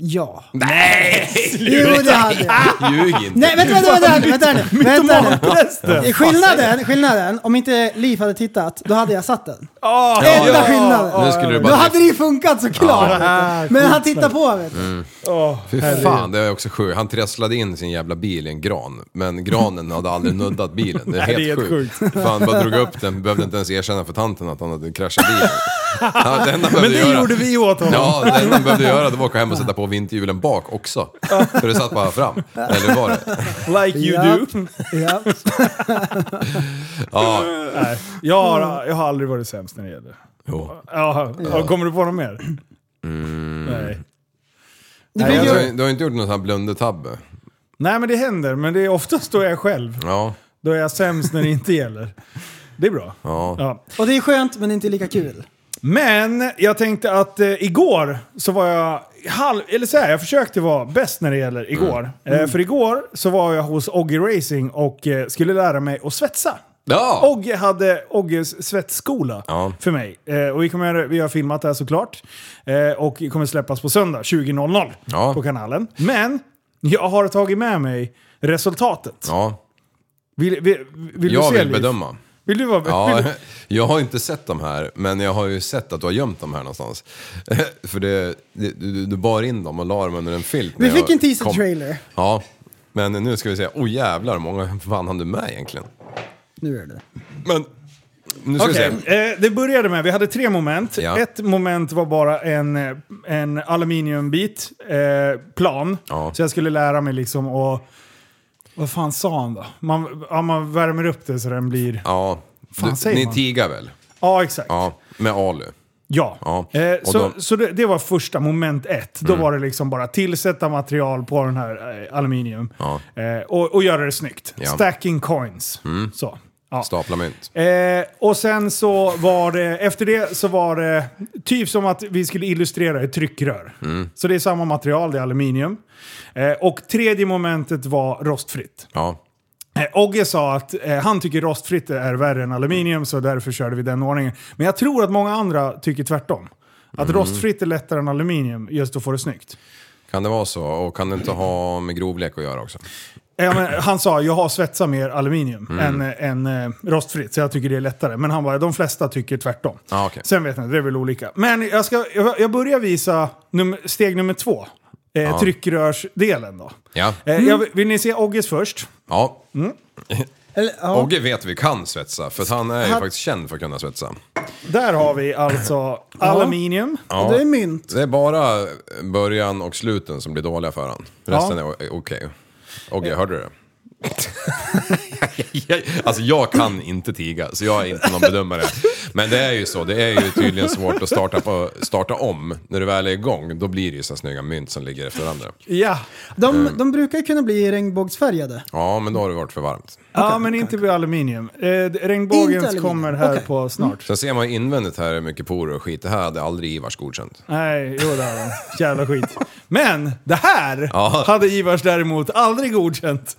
[SPEAKER 6] Ja.
[SPEAKER 7] Nej!
[SPEAKER 6] Jo, det hade jag.
[SPEAKER 7] Ljug inte.
[SPEAKER 6] Nej, vänta, vänta, vänta, vänta, vänta, nu. vänta, nu.
[SPEAKER 5] Mytomanprästen!
[SPEAKER 6] Skillnaden, skillnaden, om inte Liv hade tittat, då hade jag satt den.
[SPEAKER 5] Ja,
[SPEAKER 6] Enda
[SPEAKER 7] ja.
[SPEAKER 6] skillnaden.
[SPEAKER 7] Nu skulle du
[SPEAKER 6] Då
[SPEAKER 7] bara...
[SPEAKER 6] hade det ju funkat såklart. Men han tittar på vet
[SPEAKER 5] Mm.
[SPEAKER 6] du.
[SPEAKER 5] åh,
[SPEAKER 7] Fy
[SPEAKER 5] herregud.
[SPEAKER 7] fan, det är också sjukt. Han tresslade in sin jävla bil i en gran, men granen hade aldrig nuddat bilen. Det är
[SPEAKER 5] det är
[SPEAKER 7] helt
[SPEAKER 5] helt
[SPEAKER 7] sjukt. Fan, bara drog upp den, behövde inte ens erkänna för tanten att han hade kraschat bilen. Ja, det enda han
[SPEAKER 5] Men
[SPEAKER 7] behövde
[SPEAKER 5] det
[SPEAKER 7] göra,
[SPEAKER 5] gjorde vi åt honom.
[SPEAKER 7] Ja, det enda han behövde göra det var att åka hem och sätta på vinterhjulen bak också. För det satt bara fram, eller var det?
[SPEAKER 5] Ah, Like you
[SPEAKER 6] Ja.
[SPEAKER 5] do.
[SPEAKER 6] Ja.
[SPEAKER 7] Ja,
[SPEAKER 5] Nej, jag, har, jag har aldrig varit sämst när det gäller.
[SPEAKER 7] jo.
[SPEAKER 5] Ja, ja. Kommer du på något mer? Nej.
[SPEAKER 6] Det
[SPEAKER 7] Du
[SPEAKER 6] blir
[SPEAKER 7] har,
[SPEAKER 6] ju...
[SPEAKER 7] ju- du har inte gjort någon sån här blundertabbe?
[SPEAKER 5] Nej, men det händer. Men det är oftast då jag är själv.
[SPEAKER 7] Ja,
[SPEAKER 5] Då är jag sämst när det inte gäller. Det är bra.
[SPEAKER 7] ja.
[SPEAKER 5] Ja.
[SPEAKER 6] Och det är skönt men inte lika kul.
[SPEAKER 5] Men jag tänkte att eh, igår så var jag halv... Eller så här, jag försökte vara bäst när det gäller igår. Eh, för igår så var jag hos Oggy Racing och eh, skulle lära mig att svetsa.
[SPEAKER 7] Ja!
[SPEAKER 5] Ogge hade Ogges svetsskola
[SPEAKER 7] Ja.
[SPEAKER 5] för mig. Eh, och vi, kommer, vi har filmat det här såklart. Eh, och kommer släppas på söndag 20.00
[SPEAKER 7] Ja.
[SPEAKER 5] på kanalen. Men jag har tagit med mig resultatet.
[SPEAKER 7] Ja,
[SPEAKER 5] Vill, vill, vill
[SPEAKER 7] jag
[SPEAKER 5] du se
[SPEAKER 7] vill
[SPEAKER 5] Liv?
[SPEAKER 7] bedöma.
[SPEAKER 5] Vill du vara
[SPEAKER 7] Ja,
[SPEAKER 5] vill du-
[SPEAKER 7] jag har inte sett de här, men jag har ju sett att du har gömt dem här någonstans. För det, det, du, du bar in dem och la dem under en filt. när
[SPEAKER 6] Vi fick
[SPEAKER 7] jag
[SPEAKER 6] en teaser
[SPEAKER 7] kom.
[SPEAKER 6] trailer.
[SPEAKER 7] Ja, men nu ska vi se. Åh oh, jävlar, hur många fan hann du med egentligen?
[SPEAKER 6] Nu är det.
[SPEAKER 7] Men, nu ska
[SPEAKER 5] Okej,
[SPEAKER 7] vi se.
[SPEAKER 5] eh, det började med, vi hade tre moment.
[SPEAKER 7] Ja.
[SPEAKER 5] Ett moment var bara en, eh, en aluminiumbit, eh, plan.
[SPEAKER 7] Ja.
[SPEAKER 5] Så jag skulle lära mig liksom att... Vad fan sa han då? Man, ja, man värmer upp det så den blir... Ja,
[SPEAKER 7] Ja,
[SPEAKER 5] Fan,
[SPEAKER 7] du,
[SPEAKER 5] säger
[SPEAKER 7] ni
[SPEAKER 5] man?
[SPEAKER 7] tigar väl?
[SPEAKER 5] exakt.
[SPEAKER 7] Ja, med Alu.
[SPEAKER 5] Ja.
[SPEAKER 7] Ja.
[SPEAKER 5] Eh,
[SPEAKER 7] Och Mm.
[SPEAKER 5] så
[SPEAKER 7] då-
[SPEAKER 5] så det, det var första moment ett. Då var det liksom bara tillsätta material på den här eh, aluminium.
[SPEAKER 7] Ja.
[SPEAKER 5] Eh, och, och göra det snyggt.
[SPEAKER 7] Ja. Mm.
[SPEAKER 5] Stacking coins. Så. Ja.
[SPEAKER 7] Stapla mynt.
[SPEAKER 5] Eh, och sen så var det, efter det så var det typ som att vi skulle illustrera ett tryckrör.
[SPEAKER 7] Mm.
[SPEAKER 5] Så det är samma material, det är aluminium. Eh, och tredje momentet var rostfritt.
[SPEAKER 7] Ja,
[SPEAKER 5] Eh, Ogge sa att eh, han tycker rostfritt är värre än aluminium så därför körde vi den ordningen. Men jag tror att många andra tycker tvärtom. Att
[SPEAKER 7] Mm.
[SPEAKER 5] rostfritt är lättare än aluminium just att få det snyggt.
[SPEAKER 7] kan det vara så? Och kan det inte ha med grovlek att göra också?
[SPEAKER 5] Eh, Ja, men han sa jag har svetsat mer aluminium
[SPEAKER 7] Mm.
[SPEAKER 5] än, eh, än eh, rostfritt, så jag tycker det är lättare. Men han bara, de flesta tycker tvärtom.
[SPEAKER 7] Ja, Ah, okej.
[SPEAKER 5] Sen vet jag inte, det är väl olika. Men jag, ska, jag, jag börjar visa nummer, steg nummer två. Eh, Tryckrörsdelen då.
[SPEAKER 7] Ja.
[SPEAKER 5] Eh, jag, vill ni se Ogges först?
[SPEAKER 7] Ja,
[SPEAKER 6] mm. Eller, ja.
[SPEAKER 7] Ogge vet vi kan svetsa, för att han är ju
[SPEAKER 6] Han-
[SPEAKER 7] faktiskt känd för att kunna svetsa.
[SPEAKER 5] Där har vi alltså aluminium.
[SPEAKER 6] Och det är mynt.
[SPEAKER 7] Det är bara början och sluten som blir dåliga för han. Resten är o- är okej. Ogge, hörde du det? alltså jag kan inte tiga, så jag är inte någon bedömare. Men det är ju så, det är ju tydligen svårt att starta, på, starta om. När du väl är igång, då blir det ju så här snygga mynt som ligger efter varandra.
[SPEAKER 5] Ja.
[SPEAKER 6] De, de brukar ju kunna bli regnbågsfärgade.
[SPEAKER 7] Ja, men då har det varit för varmt.
[SPEAKER 5] ja, men inte med aluminium. Eh,
[SPEAKER 6] Inte
[SPEAKER 5] regnbågen
[SPEAKER 6] aluminium.
[SPEAKER 5] kommer här
[SPEAKER 6] Okej.
[SPEAKER 5] på snart.
[SPEAKER 7] Sen ser man ju invändigt här är mycket porer och skit. Det här hade aldrig Ivars godkänt.
[SPEAKER 6] Mm.
[SPEAKER 5] Nej, jo det har den. Jävla skit. Men det här
[SPEAKER 7] Ja.
[SPEAKER 5] hade Ivars däremot aldrig godkänt.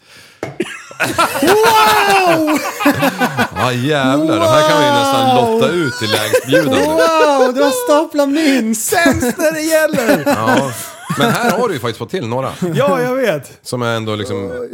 [SPEAKER 7] Ja ah, jävlar, det här kan vi ju nästan
[SPEAKER 6] Wow!
[SPEAKER 7] lotta ut till lägstbjudande.
[SPEAKER 6] Wow, Ah, du har staplat mynt!
[SPEAKER 5] Sämst när det gäller!
[SPEAKER 7] Ja. Men här har du ju faktiskt fått till några.
[SPEAKER 5] Ja, jag vet.
[SPEAKER 7] Som är ändå liksom...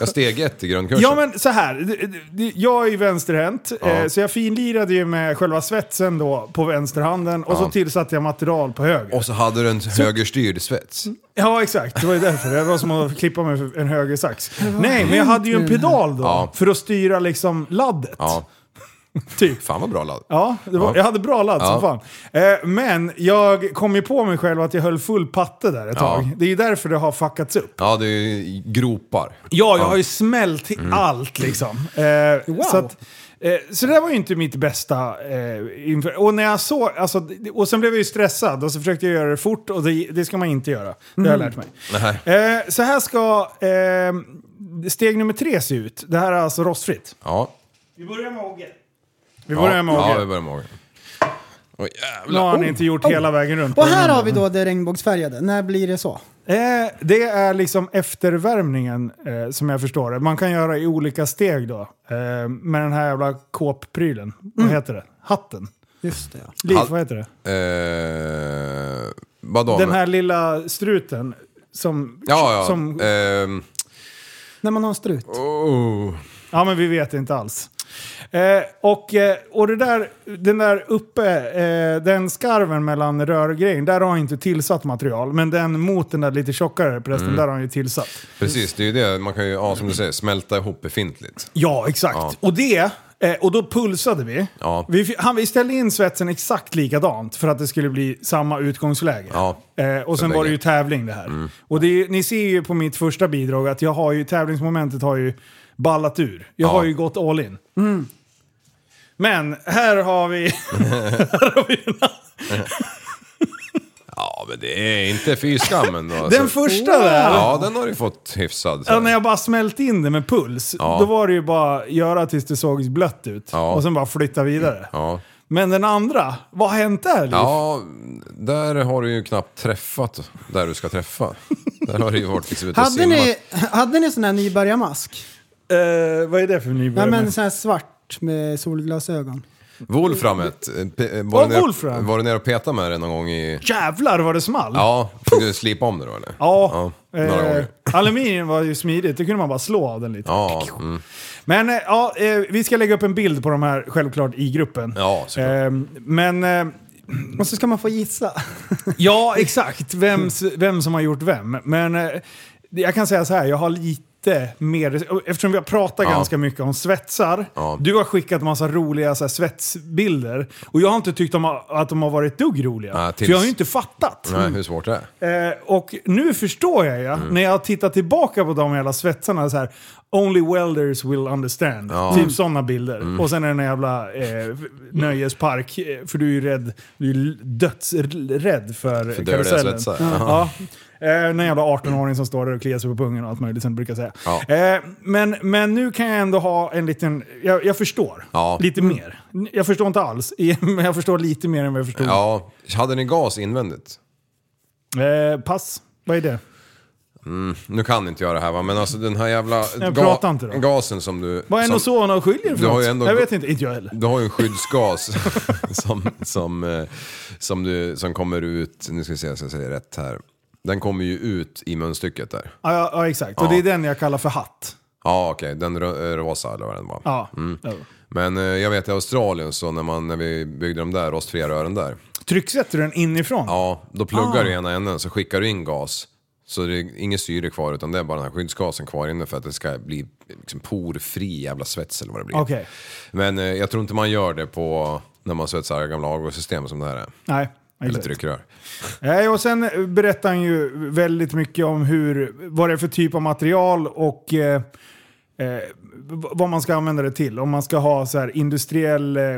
[SPEAKER 7] Ja, steg ett i grundkursen.
[SPEAKER 5] Ja, men så här. Det- det- det- Jag är ju vänsterhänt, eh, så jag finlirade ju med själva svetsen då på vänsterhanden och så tillsatte jag material på höger.
[SPEAKER 7] Och så hade du en högerstyrd svets.
[SPEAKER 5] Ja, exakt. Det var ju därför. Det var som att klippa med en höger sax. Nej, men jag hade ju en pedal då
[SPEAKER 7] Ja.
[SPEAKER 5] för att styra liksom laddet.
[SPEAKER 7] Ja,
[SPEAKER 5] Typ.
[SPEAKER 7] fan vad bra ladd.
[SPEAKER 5] Ja, det var,
[SPEAKER 7] Ja.
[SPEAKER 5] jag hade bra ladd som
[SPEAKER 7] Ja.
[SPEAKER 5] fan. Eh, men jag kom ju på mig själv att jag höll full patte där ett
[SPEAKER 7] Ja.
[SPEAKER 5] tag. Det är ju därför det har fuckats upp.
[SPEAKER 7] Ja, det är ju gropar.
[SPEAKER 5] Ja, jag har ju smält
[SPEAKER 7] Mm.
[SPEAKER 5] i allt liksom. Eh,
[SPEAKER 6] Wow.
[SPEAKER 5] så, att, eh, så det där var ju inte mitt bästa. Eh, inför, och, när jag såg, alltså, det- och sen blev jag ju stressad och så försökte jag göra det fort och det, det ska man inte göra. Det har jag
[SPEAKER 6] Mm.
[SPEAKER 5] lärt mig. Eh, så här ska eh, steg nummer tre se ut. Det här är alltså rostfritt.
[SPEAKER 7] Ja.
[SPEAKER 5] Vi börjar med Åge. Vi
[SPEAKER 7] Ja.
[SPEAKER 5] börjar med Åge.
[SPEAKER 7] Ja, vi börjar med Åge. Åh
[SPEAKER 5] Nu har
[SPEAKER 7] jävlar.
[SPEAKER 5] han inte gjort hela vägen runt.
[SPEAKER 6] Oh, Och här har vi då det regnbågsfärgade. När blir det så?
[SPEAKER 5] Eh, det är liksom eftervärmningen eh, som jag förstår det. Man kan göra i olika steg då. Eh, med den här jävla kåpprylen.
[SPEAKER 7] Mm.
[SPEAKER 5] Vad heter det? Hatten?
[SPEAKER 6] Just det ja.
[SPEAKER 5] Liv,
[SPEAKER 7] Hall-
[SPEAKER 5] vad heter det?
[SPEAKER 7] Eh, Vadå?
[SPEAKER 5] Den här lilla struten som...
[SPEAKER 7] ja, ja.
[SPEAKER 5] som
[SPEAKER 7] Ehm,
[SPEAKER 6] När man har en strut.
[SPEAKER 7] oh.
[SPEAKER 5] ja, men vi vet inte alls. Eh, och eh, och det där, den där uppe, eh, den skarven mellan rörgrejen, där har han inte tillsatt material. Men den mot den där lite tjockare prästen,
[SPEAKER 7] Mm.
[SPEAKER 5] där har han ju tillsatt.
[SPEAKER 7] Precis, det är ju det. Man kan ju, ja, som du säger, smälta ihop befintligt.
[SPEAKER 5] Ja, exakt.
[SPEAKER 7] Ja.
[SPEAKER 5] Och det... eh, Och då pulsade vi.
[SPEAKER 7] Ja.
[SPEAKER 5] Vi, fi- han, vi ställde in svetsen exakt likadant för att det skulle bli samma utgångsläge.
[SPEAKER 7] Ja. Mm.
[SPEAKER 5] Eh, och sen
[SPEAKER 7] bägge.
[SPEAKER 5] var det ju tävling det här. Och det är, ju- ni ser ju på mitt första bidrag att jag har ju, tävlingsmomentet har ju ballat ur. Jag
[SPEAKER 7] Ja.
[SPEAKER 5] har ju gått all in. Mm. Men här har vi...
[SPEAKER 7] Ja, men det är inte fy skam ändå. alltså.
[SPEAKER 5] Den första där!
[SPEAKER 7] Ja, den har du fått hyfsad.
[SPEAKER 5] Ja, när jag bara smälte in det med puls,
[SPEAKER 7] Ja.
[SPEAKER 5] då var det ju bara göra tills det såg blött ut.
[SPEAKER 7] Ja.
[SPEAKER 5] Och sen bara flytta vidare.
[SPEAKER 7] Ja.
[SPEAKER 5] Men den andra, vad har hänt där? Liv?
[SPEAKER 7] Ja, där har du ju knappt träffat där du ska träffa. Där har du ju varit liksom ute och
[SPEAKER 6] Hade
[SPEAKER 7] simmat.
[SPEAKER 6] ni, hade ni sån här nybörjarmask?
[SPEAKER 5] Eh, vad är det för
[SPEAKER 6] Nej
[SPEAKER 5] nybörjare?
[SPEAKER 6] men sån här svart med solglasögon.
[SPEAKER 7] Wolframet, eh, pe- eh,
[SPEAKER 5] Ja,
[SPEAKER 7] var, du nere,
[SPEAKER 5] Wolfram.
[SPEAKER 7] var du nere och petade med det någon gång i...
[SPEAKER 5] Jävlar vad det small!
[SPEAKER 7] Ja, fick du slipa om det då eller?
[SPEAKER 5] Ja.
[SPEAKER 7] några
[SPEAKER 5] eh,
[SPEAKER 7] gånger.
[SPEAKER 5] aluminium var ju smidigt, det kunde man bara slå av den lite.
[SPEAKER 7] Ja, mm.
[SPEAKER 5] Men eh, ja, eh, vi ska lägga upp en bild på de här självklart i gruppen.
[SPEAKER 7] Ja, såklart.
[SPEAKER 5] Eh, men eh,
[SPEAKER 6] Och så ska man få gissa.
[SPEAKER 5] ja, exakt. Vem, vem som har gjort vem. Men eh, jag kan säga så här, jag har lite mer... Eftersom vi har pratat
[SPEAKER 7] Ja.
[SPEAKER 5] ganska mycket om svetsar.
[SPEAKER 7] Ja.
[SPEAKER 5] Du har skickat massa roliga så här, svetsbilder. Och jag har inte tyckt de har, att de har varit ett dugg roliga.
[SPEAKER 7] Nej, tills-
[SPEAKER 5] För jag har ju inte fattat.
[SPEAKER 7] Nej, hur svårt är det?
[SPEAKER 5] Eh, och nu förstår jag ju, när jag tittar tillbaka på de jävla svetsarna så här. Only welders will understand. Typ sådana bilder. Och sen är det en jävla eh, nöjespark, eh, för du är ju rädd, du är ju dödsrädd för,
[SPEAKER 7] För döda
[SPEAKER 5] karusellen.
[SPEAKER 7] svetsar.
[SPEAKER 5] Ja. Eh, någon jävla 18-åring som står där och kliar sig på pungen och allt möjligt som du brukar säga.
[SPEAKER 7] Ja.
[SPEAKER 5] Eh, men, men nu kan jag ändå ha en liten... Jag, jag förstår.
[SPEAKER 7] Ja.
[SPEAKER 5] Lite mer. Jag förstår inte alls, men jag förstår lite mer än vad jag förstod.
[SPEAKER 7] Ja, hade ni gas invändigt?
[SPEAKER 5] Eh, pass. Vad är det?
[SPEAKER 7] Nu kan inte jag det här va, men alltså den här jävla
[SPEAKER 5] Jag pratar inte då.
[SPEAKER 7] gasen som du...
[SPEAKER 5] Vad är
[SPEAKER 7] som,
[SPEAKER 5] ozon och skiljer för
[SPEAKER 7] Du har
[SPEAKER 5] något?
[SPEAKER 7] ju ändå-
[SPEAKER 5] Jag vet inte, inte jag heller.
[SPEAKER 7] Du har ju en skyddsgas som, som, eh, som, du, som kommer ut, nu ska vi se så jag säger rätt här. Den kommer ju ut i munstycket där.
[SPEAKER 5] Ja, ja, ja exakt. Och
[SPEAKER 7] Ja.
[SPEAKER 5] det är den jag kallar för hatt.
[SPEAKER 7] Ja okej, den rö- eh, rosa eller vad den var.
[SPEAKER 5] Ja. Ja.
[SPEAKER 7] Men eh, jag vet i Australien så när, man, när vi byggde de där rostfria rören där.
[SPEAKER 5] Trycksätter du den inifrån?
[SPEAKER 7] Ja, då pluggar
[SPEAKER 5] Ah.
[SPEAKER 7] du ena änden så skickar du in gas. Så det är ingen syre kvar utan det är bara den här skyddsgasen kvar inne för att det ska bli liksom porfri jävla svets eller vad det blir.
[SPEAKER 5] Okej.
[SPEAKER 7] Men eh, jag tror inte man gör det på när man svetsar gamla agosystem som det här är.
[SPEAKER 5] Nej.
[SPEAKER 7] Eller
[SPEAKER 5] exakt.
[SPEAKER 7] tryckrör.
[SPEAKER 5] Nej, och sen berättar han ju väldigt mycket om hur, vad det är för typ av material och eh, eh, v- vad man ska använda det till. Om man ska ha så här industriell, eh, eh,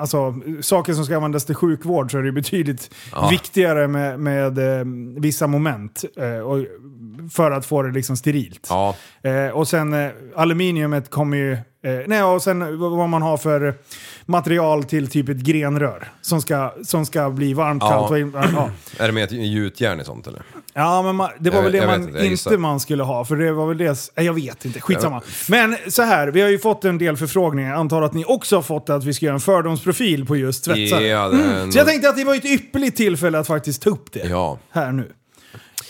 [SPEAKER 5] alltså saker som ska användas till sjukvård så är det betydligt viktigare med, med eh, vissa moment eh, och, för att få det liksom sterilt.
[SPEAKER 7] Ja,
[SPEAKER 5] Eh, och sen eh, aluminiumet kommer ju... Eh, nej, och sen vad vad man har för material till typ ett grenrör som ska, som ska bli varmt,
[SPEAKER 7] Ja.
[SPEAKER 5] kallt... varmt, varmt, Ja.
[SPEAKER 7] är det med ett gjutjärn i sånt eller?
[SPEAKER 5] ja, men man, det var
[SPEAKER 7] Jag
[SPEAKER 5] väl
[SPEAKER 7] vet-
[SPEAKER 5] det
[SPEAKER 7] jag
[SPEAKER 5] man
[SPEAKER 7] vet inte, jag
[SPEAKER 5] inte
[SPEAKER 7] gissar.
[SPEAKER 5] man skulle ha, för det var väl det... Nej, jag vet inte, skitsamma. Men så här, vi har ju fått en del förfrågningar. Jag antar att ni också har fått att vi ska göra en fördomsprofil på just svetsare. Mm.
[SPEAKER 7] Ja, det är en...
[SPEAKER 5] Så jag tänkte att det var ett ypperligt tillfälle att faktiskt ta upp det
[SPEAKER 7] Ja.
[SPEAKER 5] här nu.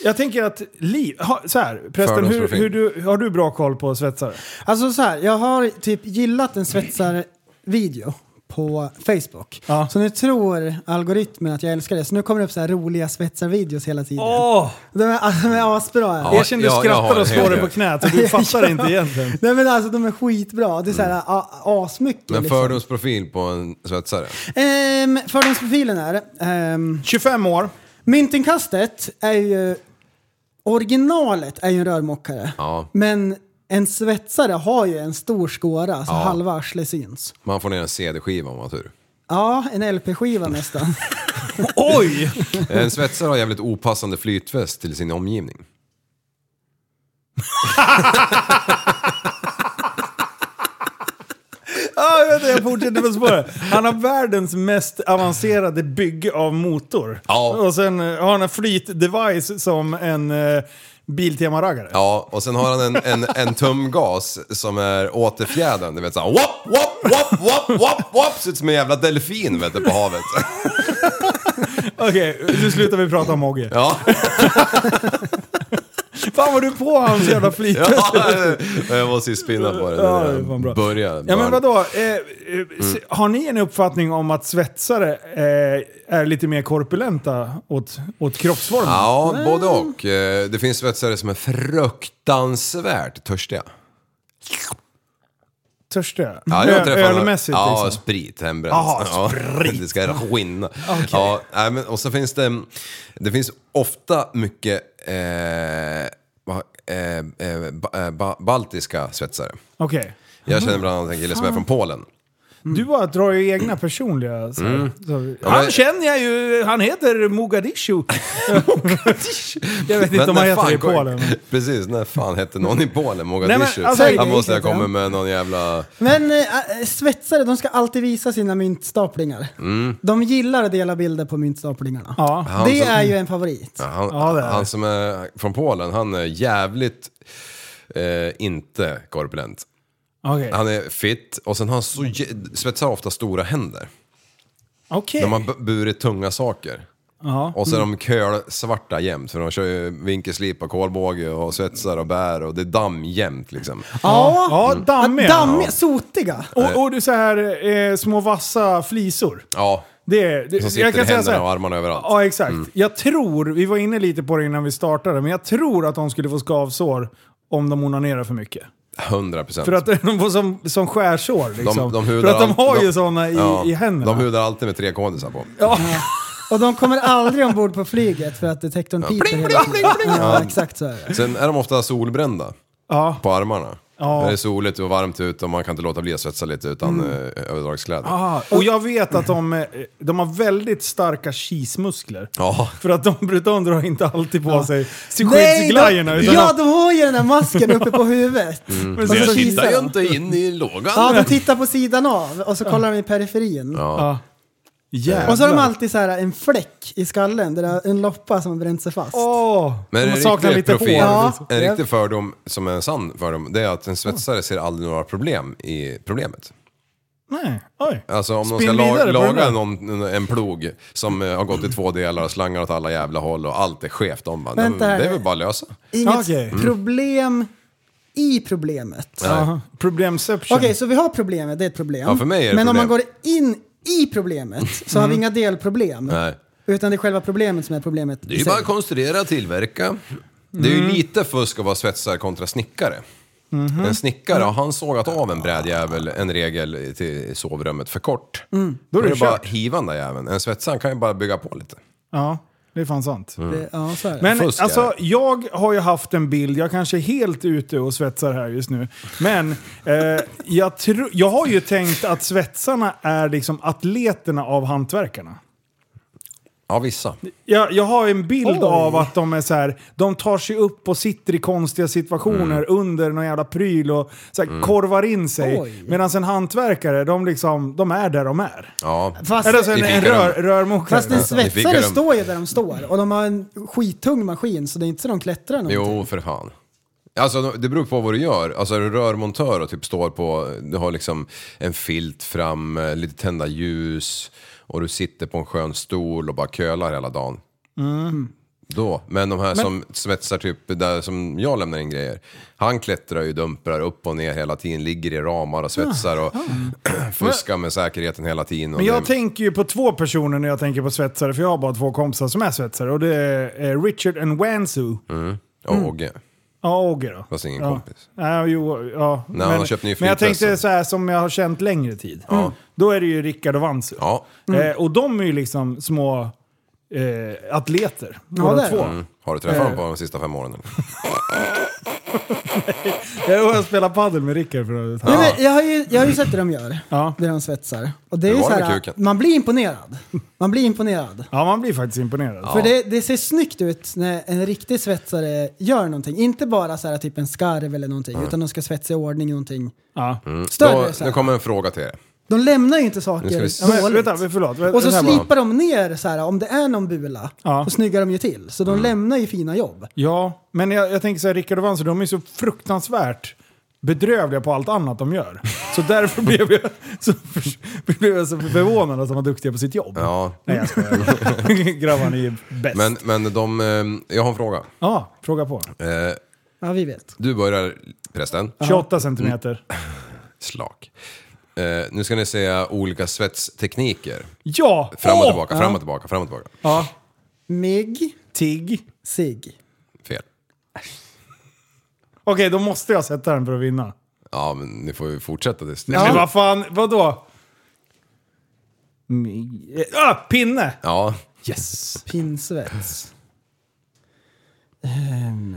[SPEAKER 5] Jag tänker att Liv... Ha, så här, prästen, hur,
[SPEAKER 7] Fördomsprofil.
[SPEAKER 5] hur du, har du bra koll på svetsare?
[SPEAKER 6] Alltså så här, jag har typ gillat en svetsarvideo på Facebook.
[SPEAKER 5] Ja.
[SPEAKER 6] Så nu tror algoritmen att jag älskar det. Så nu kommer det upp så här roliga svetsarvideos hela tiden.
[SPEAKER 5] Åh!
[SPEAKER 6] De är, alltså, de är asbra. är de.
[SPEAKER 7] Ja,
[SPEAKER 5] Erkänn du
[SPEAKER 7] jag har
[SPEAKER 5] skrattar
[SPEAKER 7] en
[SPEAKER 5] och slår
[SPEAKER 7] hel
[SPEAKER 5] dig på
[SPEAKER 7] del.
[SPEAKER 5] knät och du fattar inte egentligen.
[SPEAKER 6] Nej men alltså de är skitbra. Det är så här a- asmycket.
[SPEAKER 7] Men
[SPEAKER 6] liksom.
[SPEAKER 7] fördomsprofil på en svetsare?
[SPEAKER 6] Ehm, fördomsprofilen är... ehm,
[SPEAKER 5] 25 år.
[SPEAKER 6] myntinkastet är ju... Originalet är ju en rörmokare.
[SPEAKER 7] Ja.
[SPEAKER 6] Men en svetsare har ju en stor skåra så halva arslet syns.
[SPEAKER 7] Man får ner en CD-skiva om man har tur.
[SPEAKER 6] Ja, en LP-skiva nästan.
[SPEAKER 5] Oj!
[SPEAKER 7] En svetsare har jävligt opassande flytväst till sin omgivning.
[SPEAKER 5] Ah, jag, vet inte, jag fortsätter på spåret. Han har världens mest avancerade bygge av motor.
[SPEAKER 7] Ja.
[SPEAKER 5] Och sen eh, har han en flytdevice som en eh, Biltema-raggare.
[SPEAKER 7] Ja, och sen har han en, en, en tumgas som är återfjädrad. Du vet såhär wop, wop, wop, wop, wop, wop. Ser ut som en jävla delfin vet du, på havet.
[SPEAKER 5] Okej, nu slutar vi prata om Mogge.
[SPEAKER 7] Ja,
[SPEAKER 5] Fan vad du är på hans jävla flit. Ja,
[SPEAKER 7] ja jag måste ju spinna på det.
[SPEAKER 5] Ja,
[SPEAKER 7] när
[SPEAKER 5] det är fan bra.
[SPEAKER 7] Börja.
[SPEAKER 5] men vadå? Eh, eh,
[SPEAKER 7] Mm.
[SPEAKER 5] se- Har ni en uppfattning om att svetsare eh, är lite mer korpulenta åt, åt kroppsformen?
[SPEAKER 7] Ja, både och. Eh, Det finns svetsare som är fruktansvärt törstiga.
[SPEAKER 5] Törstiga?
[SPEAKER 7] Ja, jag har
[SPEAKER 5] Ö-
[SPEAKER 7] träffat några-
[SPEAKER 5] Ölmässigt
[SPEAKER 7] ja,
[SPEAKER 5] liksom?
[SPEAKER 7] sprit hembränt.
[SPEAKER 5] Jaha,
[SPEAKER 7] Ja, det ska skinna. Ja, nej, men, och så finns det, det finns ofta mycket eh, va- eh, eh, ba, eh, ba, baltiska svetsare.
[SPEAKER 5] Okej.
[SPEAKER 7] Jag känner bland annat en kille som är från Polen.
[SPEAKER 5] Du bara drar ju egna personliga... Så, så,
[SPEAKER 7] Mm. Ja,
[SPEAKER 5] han
[SPEAKER 7] men-
[SPEAKER 5] känner jag ju, han heter Mogadishu. jag vet inte om
[SPEAKER 7] när
[SPEAKER 5] han heter
[SPEAKER 7] fan
[SPEAKER 5] det i
[SPEAKER 7] kom-
[SPEAKER 5] Polen.
[SPEAKER 7] Precis, när fan hette någon i Polen?
[SPEAKER 5] men,
[SPEAKER 7] Mogadishu?
[SPEAKER 5] alltså,
[SPEAKER 7] Här
[SPEAKER 5] det är
[SPEAKER 7] måste jag
[SPEAKER 5] riktigt,
[SPEAKER 7] komma
[SPEAKER 5] ja.
[SPEAKER 7] med någon jävla...
[SPEAKER 6] Men eh, eh, svetsare, de ska alltid visa sina myntstaplingar. De gillar att dela bilder på myntstaplingarna.
[SPEAKER 5] Mm. Ja.
[SPEAKER 7] Han
[SPEAKER 6] Det
[SPEAKER 7] som-
[SPEAKER 6] är ju en favorit.
[SPEAKER 7] Han,
[SPEAKER 5] Ja, det är det.
[SPEAKER 7] han som är från Polen, han är jävligt eh, inte korpulent.
[SPEAKER 5] Okej.
[SPEAKER 7] Han är fit och sen har han så, jä- svetsar ofta stora händer.
[SPEAKER 5] Okej.
[SPEAKER 7] De har bu- burit tunga saker.
[SPEAKER 5] Ja.
[SPEAKER 7] Och så är de kölsvarta jämt för de kör ju vinkelslip och kolbåge och svetsar och bär och det är damm jämt liksom.
[SPEAKER 6] Ja,
[SPEAKER 5] Ja, dammiga.
[SPEAKER 6] dammiga, sotiga.
[SPEAKER 5] Och, och du så här eh, små vassa flisor.
[SPEAKER 7] Ja,
[SPEAKER 5] Det, är- det,
[SPEAKER 7] som sitter
[SPEAKER 5] säga
[SPEAKER 7] i
[SPEAKER 5] så
[SPEAKER 7] händerna
[SPEAKER 5] här-
[SPEAKER 7] och armarna överallt. Mm.
[SPEAKER 5] Ja, exakt. Jag tror, vi var inne lite på det innan vi startade, men jag tror att de skulle få skavsår om de onanerar för mycket.
[SPEAKER 7] 100 procent.
[SPEAKER 5] För att de får som, som skärsår liksom. för
[SPEAKER 7] hudar
[SPEAKER 5] att de
[SPEAKER 7] allt-
[SPEAKER 5] har ju
[SPEAKER 7] de-
[SPEAKER 5] sådana i,
[SPEAKER 7] ja,
[SPEAKER 5] i händerna.
[SPEAKER 7] De hudar alltid med tre kodisar på.
[SPEAKER 6] Och de kommer aldrig ombord på flyget för att detektorn piper hela tiden. Ja, exakt så är det.
[SPEAKER 7] Sen är de ofta solbrända
[SPEAKER 5] ja.
[SPEAKER 7] på armarna.
[SPEAKER 5] Ja.
[SPEAKER 7] När det är soligt och varmt ute och man kan inte låta bli att svetsa lite utan
[SPEAKER 6] Mm.
[SPEAKER 7] eh, överdragskläder.
[SPEAKER 5] Ah, och jag vet att de, eh, de har väldigt starka kismuskler.
[SPEAKER 7] Ja.
[SPEAKER 5] För att de brutonder har inte alltid på sig
[SPEAKER 6] Nej,
[SPEAKER 5] skyddsglajjorna.
[SPEAKER 6] de,
[SPEAKER 5] utan
[SPEAKER 6] ja,
[SPEAKER 5] de-
[SPEAKER 6] de har ju den där masken uppe på huvudet.
[SPEAKER 7] Mm.
[SPEAKER 6] Och så
[SPEAKER 5] jag
[SPEAKER 6] kisar de.
[SPEAKER 7] in i lågan.
[SPEAKER 6] Ja, de tittar på sidan av och så kollar de i periferin.
[SPEAKER 5] ja. Jävlar.
[SPEAKER 6] Och så har de alltid så här en fläck i skallen, där det är en loppa som har bränt sig fast.
[SPEAKER 5] Åh!
[SPEAKER 7] Men
[SPEAKER 5] de
[SPEAKER 7] en
[SPEAKER 5] saknar
[SPEAKER 7] riktig, profil,
[SPEAKER 6] Ja.
[SPEAKER 7] en riktig fördom, som är en sann fördom, det är att en svetsare ser aldrig några problem i problemet.
[SPEAKER 5] Nej, oj.
[SPEAKER 7] Alltså om de
[SPEAKER 5] Spinn
[SPEAKER 7] ska la
[SPEAKER 5] vidare på den
[SPEAKER 7] laga
[SPEAKER 5] där.
[SPEAKER 7] någon, en plog som eh, har gått i två delar och slangar åt alla jävla håll och allt är skevt. De bara, "Nej, men
[SPEAKER 6] Vänta här
[SPEAKER 7] det är
[SPEAKER 6] nu."
[SPEAKER 7] väl bara att lösa.
[SPEAKER 6] Inget
[SPEAKER 5] Okej.
[SPEAKER 6] problem i problemet.
[SPEAKER 5] Aha. Problemception.
[SPEAKER 6] Okej, så vi har problemet, det är ett problem.
[SPEAKER 7] Ja, för mig är det
[SPEAKER 6] Men om man
[SPEAKER 7] problem. Mm.
[SPEAKER 6] går in i problemet så har vi inga delproblem.
[SPEAKER 7] Nej.
[SPEAKER 6] Utan det är själva problemet som är problemet
[SPEAKER 7] Det är
[SPEAKER 6] i
[SPEAKER 7] ju
[SPEAKER 6] sig.
[SPEAKER 7] bara att konstruera och tillverka. Det är ju lite fusk att vara svetsare kontra snickare. En snickare, har han sågat av en brädjävel, en regel till sovrummet för kort. Mm. Då är det,
[SPEAKER 5] det
[SPEAKER 7] bara att
[SPEAKER 5] kört.
[SPEAKER 7] hiva den där jäveln. En svetsare kan ju bara bygga på lite.
[SPEAKER 5] Ja, det är fan sant.
[SPEAKER 6] Det- Ja, så Mm. är det.
[SPEAKER 5] Men
[SPEAKER 7] Fuskare.
[SPEAKER 5] alltså, jag har ju haft en bild, jag kanske är helt ute och svetsar här just nu. Men eh, jag, tro, jag har ju tänkt att svetsarna är liksom atleterna av hantverkarna.
[SPEAKER 7] Ja, vissa.
[SPEAKER 5] Jag, jag har en bild
[SPEAKER 6] Oj.
[SPEAKER 5] av att de är så här, de tar sig upp och sitter i konstiga situationer
[SPEAKER 6] Mm.
[SPEAKER 5] under någon jävla pryl och så här, korvar in sig.
[SPEAKER 6] Oj.
[SPEAKER 5] Medan en hantverkare, de, liksom, de är där de är.
[SPEAKER 7] Ja.
[SPEAKER 6] Fast,
[SPEAKER 5] Eller så en,
[SPEAKER 7] I
[SPEAKER 5] en
[SPEAKER 7] fikarum.
[SPEAKER 5] rör, rörmokare.
[SPEAKER 6] fast en
[SPEAKER 7] fick
[SPEAKER 6] svetsare
[SPEAKER 7] de.
[SPEAKER 6] står ju där de står och de har en skittung maskin så det är inte så de klättrar någonting.
[SPEAKER 7] Jo, för fan. Alltså det beror på vad du gör. Alltså är du rörmontör och typ står på, du har liksom en filt fram, eh, lite tända ljus och du sitter på en skön stol och bara kölar hela dagen.
[SPEAKER 6] Mm.
[SPEAKER 7] Då. Men de här som svetsar typ där som jag lämnar in grejer. Han klättrar ju, dumprar upp och ner hela tiden, ligger i ramar och svetsar
[SPEAKER 6] Ah,
[SPEAKER 7] och fuskar med säkerheten hela tiden. Och
[SPEAKER 5] Men jag
[SPEAKER 7] det-
[SPEAKER 5] tänker ju på två personer när jag tänker på svetsare, för jag har bara två kompisar som är svetsare. Och det är eh, Richard and Wansu.
[SPEAKER 7] Mm.
[SPEAKER 6] Mm.
[SPEAKER 7] och Åge.
[SPEAKER 5] Ja, Åge då.
[SPEAKER 7] Fast ingen
[SPEAKER 5] ja.
[SPEAKER 7] kompis.
[SPEAKER 5] Nej, jo, ja.
[SPEAKER 7] Nej, han har köpt ny
[SPEAKER 5] men jag
[SPEAKER 7] flytväst.
[SPEAKER 5] tänkte så här som jag har känt längre tid. Mm. Då är det ju Rickard och Wansu.
[SPEAKER 7] Ja.
[SPEAKER 5] Eh,
[SPEAKER 6] Mm.
[SPEAKER 5] och de är ju liksom små eh, atleter,
[SPEAKER 6] det
[SPEAKER 5] båda
[SPEAKER 6] är
[SPEAKER 5] två.
[SPEAKER 7] Mm. Har du
[SPEAKER 6] Eh.
[SPEAKER 7] träffat honom på de sista fem åren? eller?
[SPEAKER 5] Jag har spelat padel med Rickard för övrigt.
[SPEAKER 6] Nej, men jag, har ju, jag har ju sett det de gör,
[SPEAKER 5] Ja.
[SPEAKER 6] det de svetsar. Och det är
[SPEAKER 7] Hur
[SPEAKER 6] ju
[SPEAKER 7] var
[SPEAKER 6] så
[SPEAKER 7] det med
[SPEAKER 6] här,
[SPEAKER 7] kuken?
[SPEAKER 6] man blir imponerad. Man blir imponerad.
[SPEAKER 5] Ja, man blir faktiskt imponerad.
[SPEAKER 6] För det, det ser snyggt ut när en riktig svetsare gör någonting. Inte bara så här typ en skarv eller någonting, utan de ska svetsa i ordning någonting
[SPEAKER 5] Ja.
[SPEAKER 6] större. så
[SPEAKER 7] Mm. Då,
[SPEAKER 6] här.
[SPEAKER 7] nu kommer en fråga till er.
[SPEAKER 6] De lämnar ju inte saker
[SPEAKER 7] Nu ska vi
[SPEAKER 6] dåligt.
[SPEAKER 7] se.
[SPEAKER 5] Ja, men, vänta, förlåt. Vä-
[SPEAKER 6] och så
[SPEAKER 5] vänta bara.
[SPEAKER 6] slipar de ner så här, om det är någon bula,
[SPEAKER 5] Ja.
[SPEAKER 6] så snyggar de ju till.
[SPEAKER 7] Mm.
[SPEAKER 6] Så de lämnar ju fina jobb.
[SPEAKER 5] Ja, men jag, jag tänker så här, Rickard och Wansu, de är så fruktansvärt bedrövliga på allt annat de gör. Så därför blev jag så, för, blev jag så förvånad att de var duktiga på sitt jobb.
[SPEAKER 7] Ja.
[SPEAKER 5] Nej jag skojar. Grabbarna är bäst.
[SPEAKER 7] Men, men de, eh, jag har en fråga.
[SPEAKER 5] Ja, fråga på.
[SPEAKER 7] Eh,
[SPEAKER 6] Ja, vi vet.
[SPEAKER 7] Du börjar, prästen.
[SPEAKER 5] 28 centimeter.
[SPEAKER 7] Slak. Eh, nu ska ni säga olika svetstekniker.
[SPEAKER 5] Ja!
[SPEAKER 7] Fram och
[SPEAKER 5] Åh!
[SPEAKER 7] tillbaka, fram och tillbaka, fram och tillbaka.
[SPEAKER 5] Ja.
[SPEAKER 6] Mig,
[SPEAKER 5] Tigg.
[SPEAKER 6] sig.
[SPEAKER 7] Fel.
[SPEAKER 5] Okej, då måste jag sätta den för att vinna.
[SPEAKER 7] Ja, men ni får ju fortsätta det.
[SPEAKER 5] Nej, men vad fan, vadå? Mi- eh, Ah, pinne!
[SPEAKER 7] Ja,
[SPEAKER 5] Yes!
[SPEAKER 6] Pinsvets. Ehm,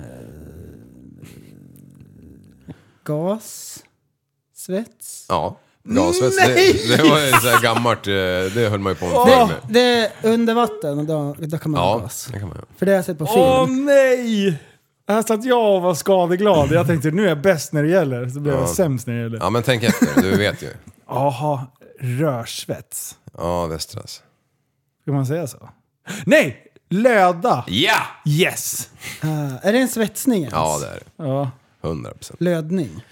[SPEAKER 6] gas. Svets.
[SPEAKER 7] ja. Gasvets, det, det var ju så här gammalt, eh, det höll man ju på med förr
[SPEAKER 6] Det,
[SPEAKER 7] med.
[SPEAKER 6] det är under vatten och då, då kan man ha
[SPEAKER 7] Ja,
[SPEAKER 6] gas.
[SPEAKER 7] det kan man göra.
[SPEAKER 6] För det har jag sett på film.
[SPEAKER 5] Åh nej! Här satt jag och var skadeglad. Jag tänkte nu är jag bäst när det gäller, så blev jag
[SPEAKER 7] Ja.
[SPEAKER 5] sämst när det gäller.
[SPEAKER 7] Ja, men tänk efter, du vet ju.
[SPEAKER 5] Jaha, rörsvets.
[SPEAKER 7] Ja, västras.
[SPEAKER 5] Ska man säga så? Nej! Löda!
[SPEAKER 7] Ja!
[SPEAKER 5] Yes!
[SPEAKER 6] Ah, är det en svetsning ens?
[SPEAKER 7] Ja, det är det.
[SPEAKER 5] Ja,
[SPEAKER 7] 100 procent.
[SPEAKER 6] Lödning.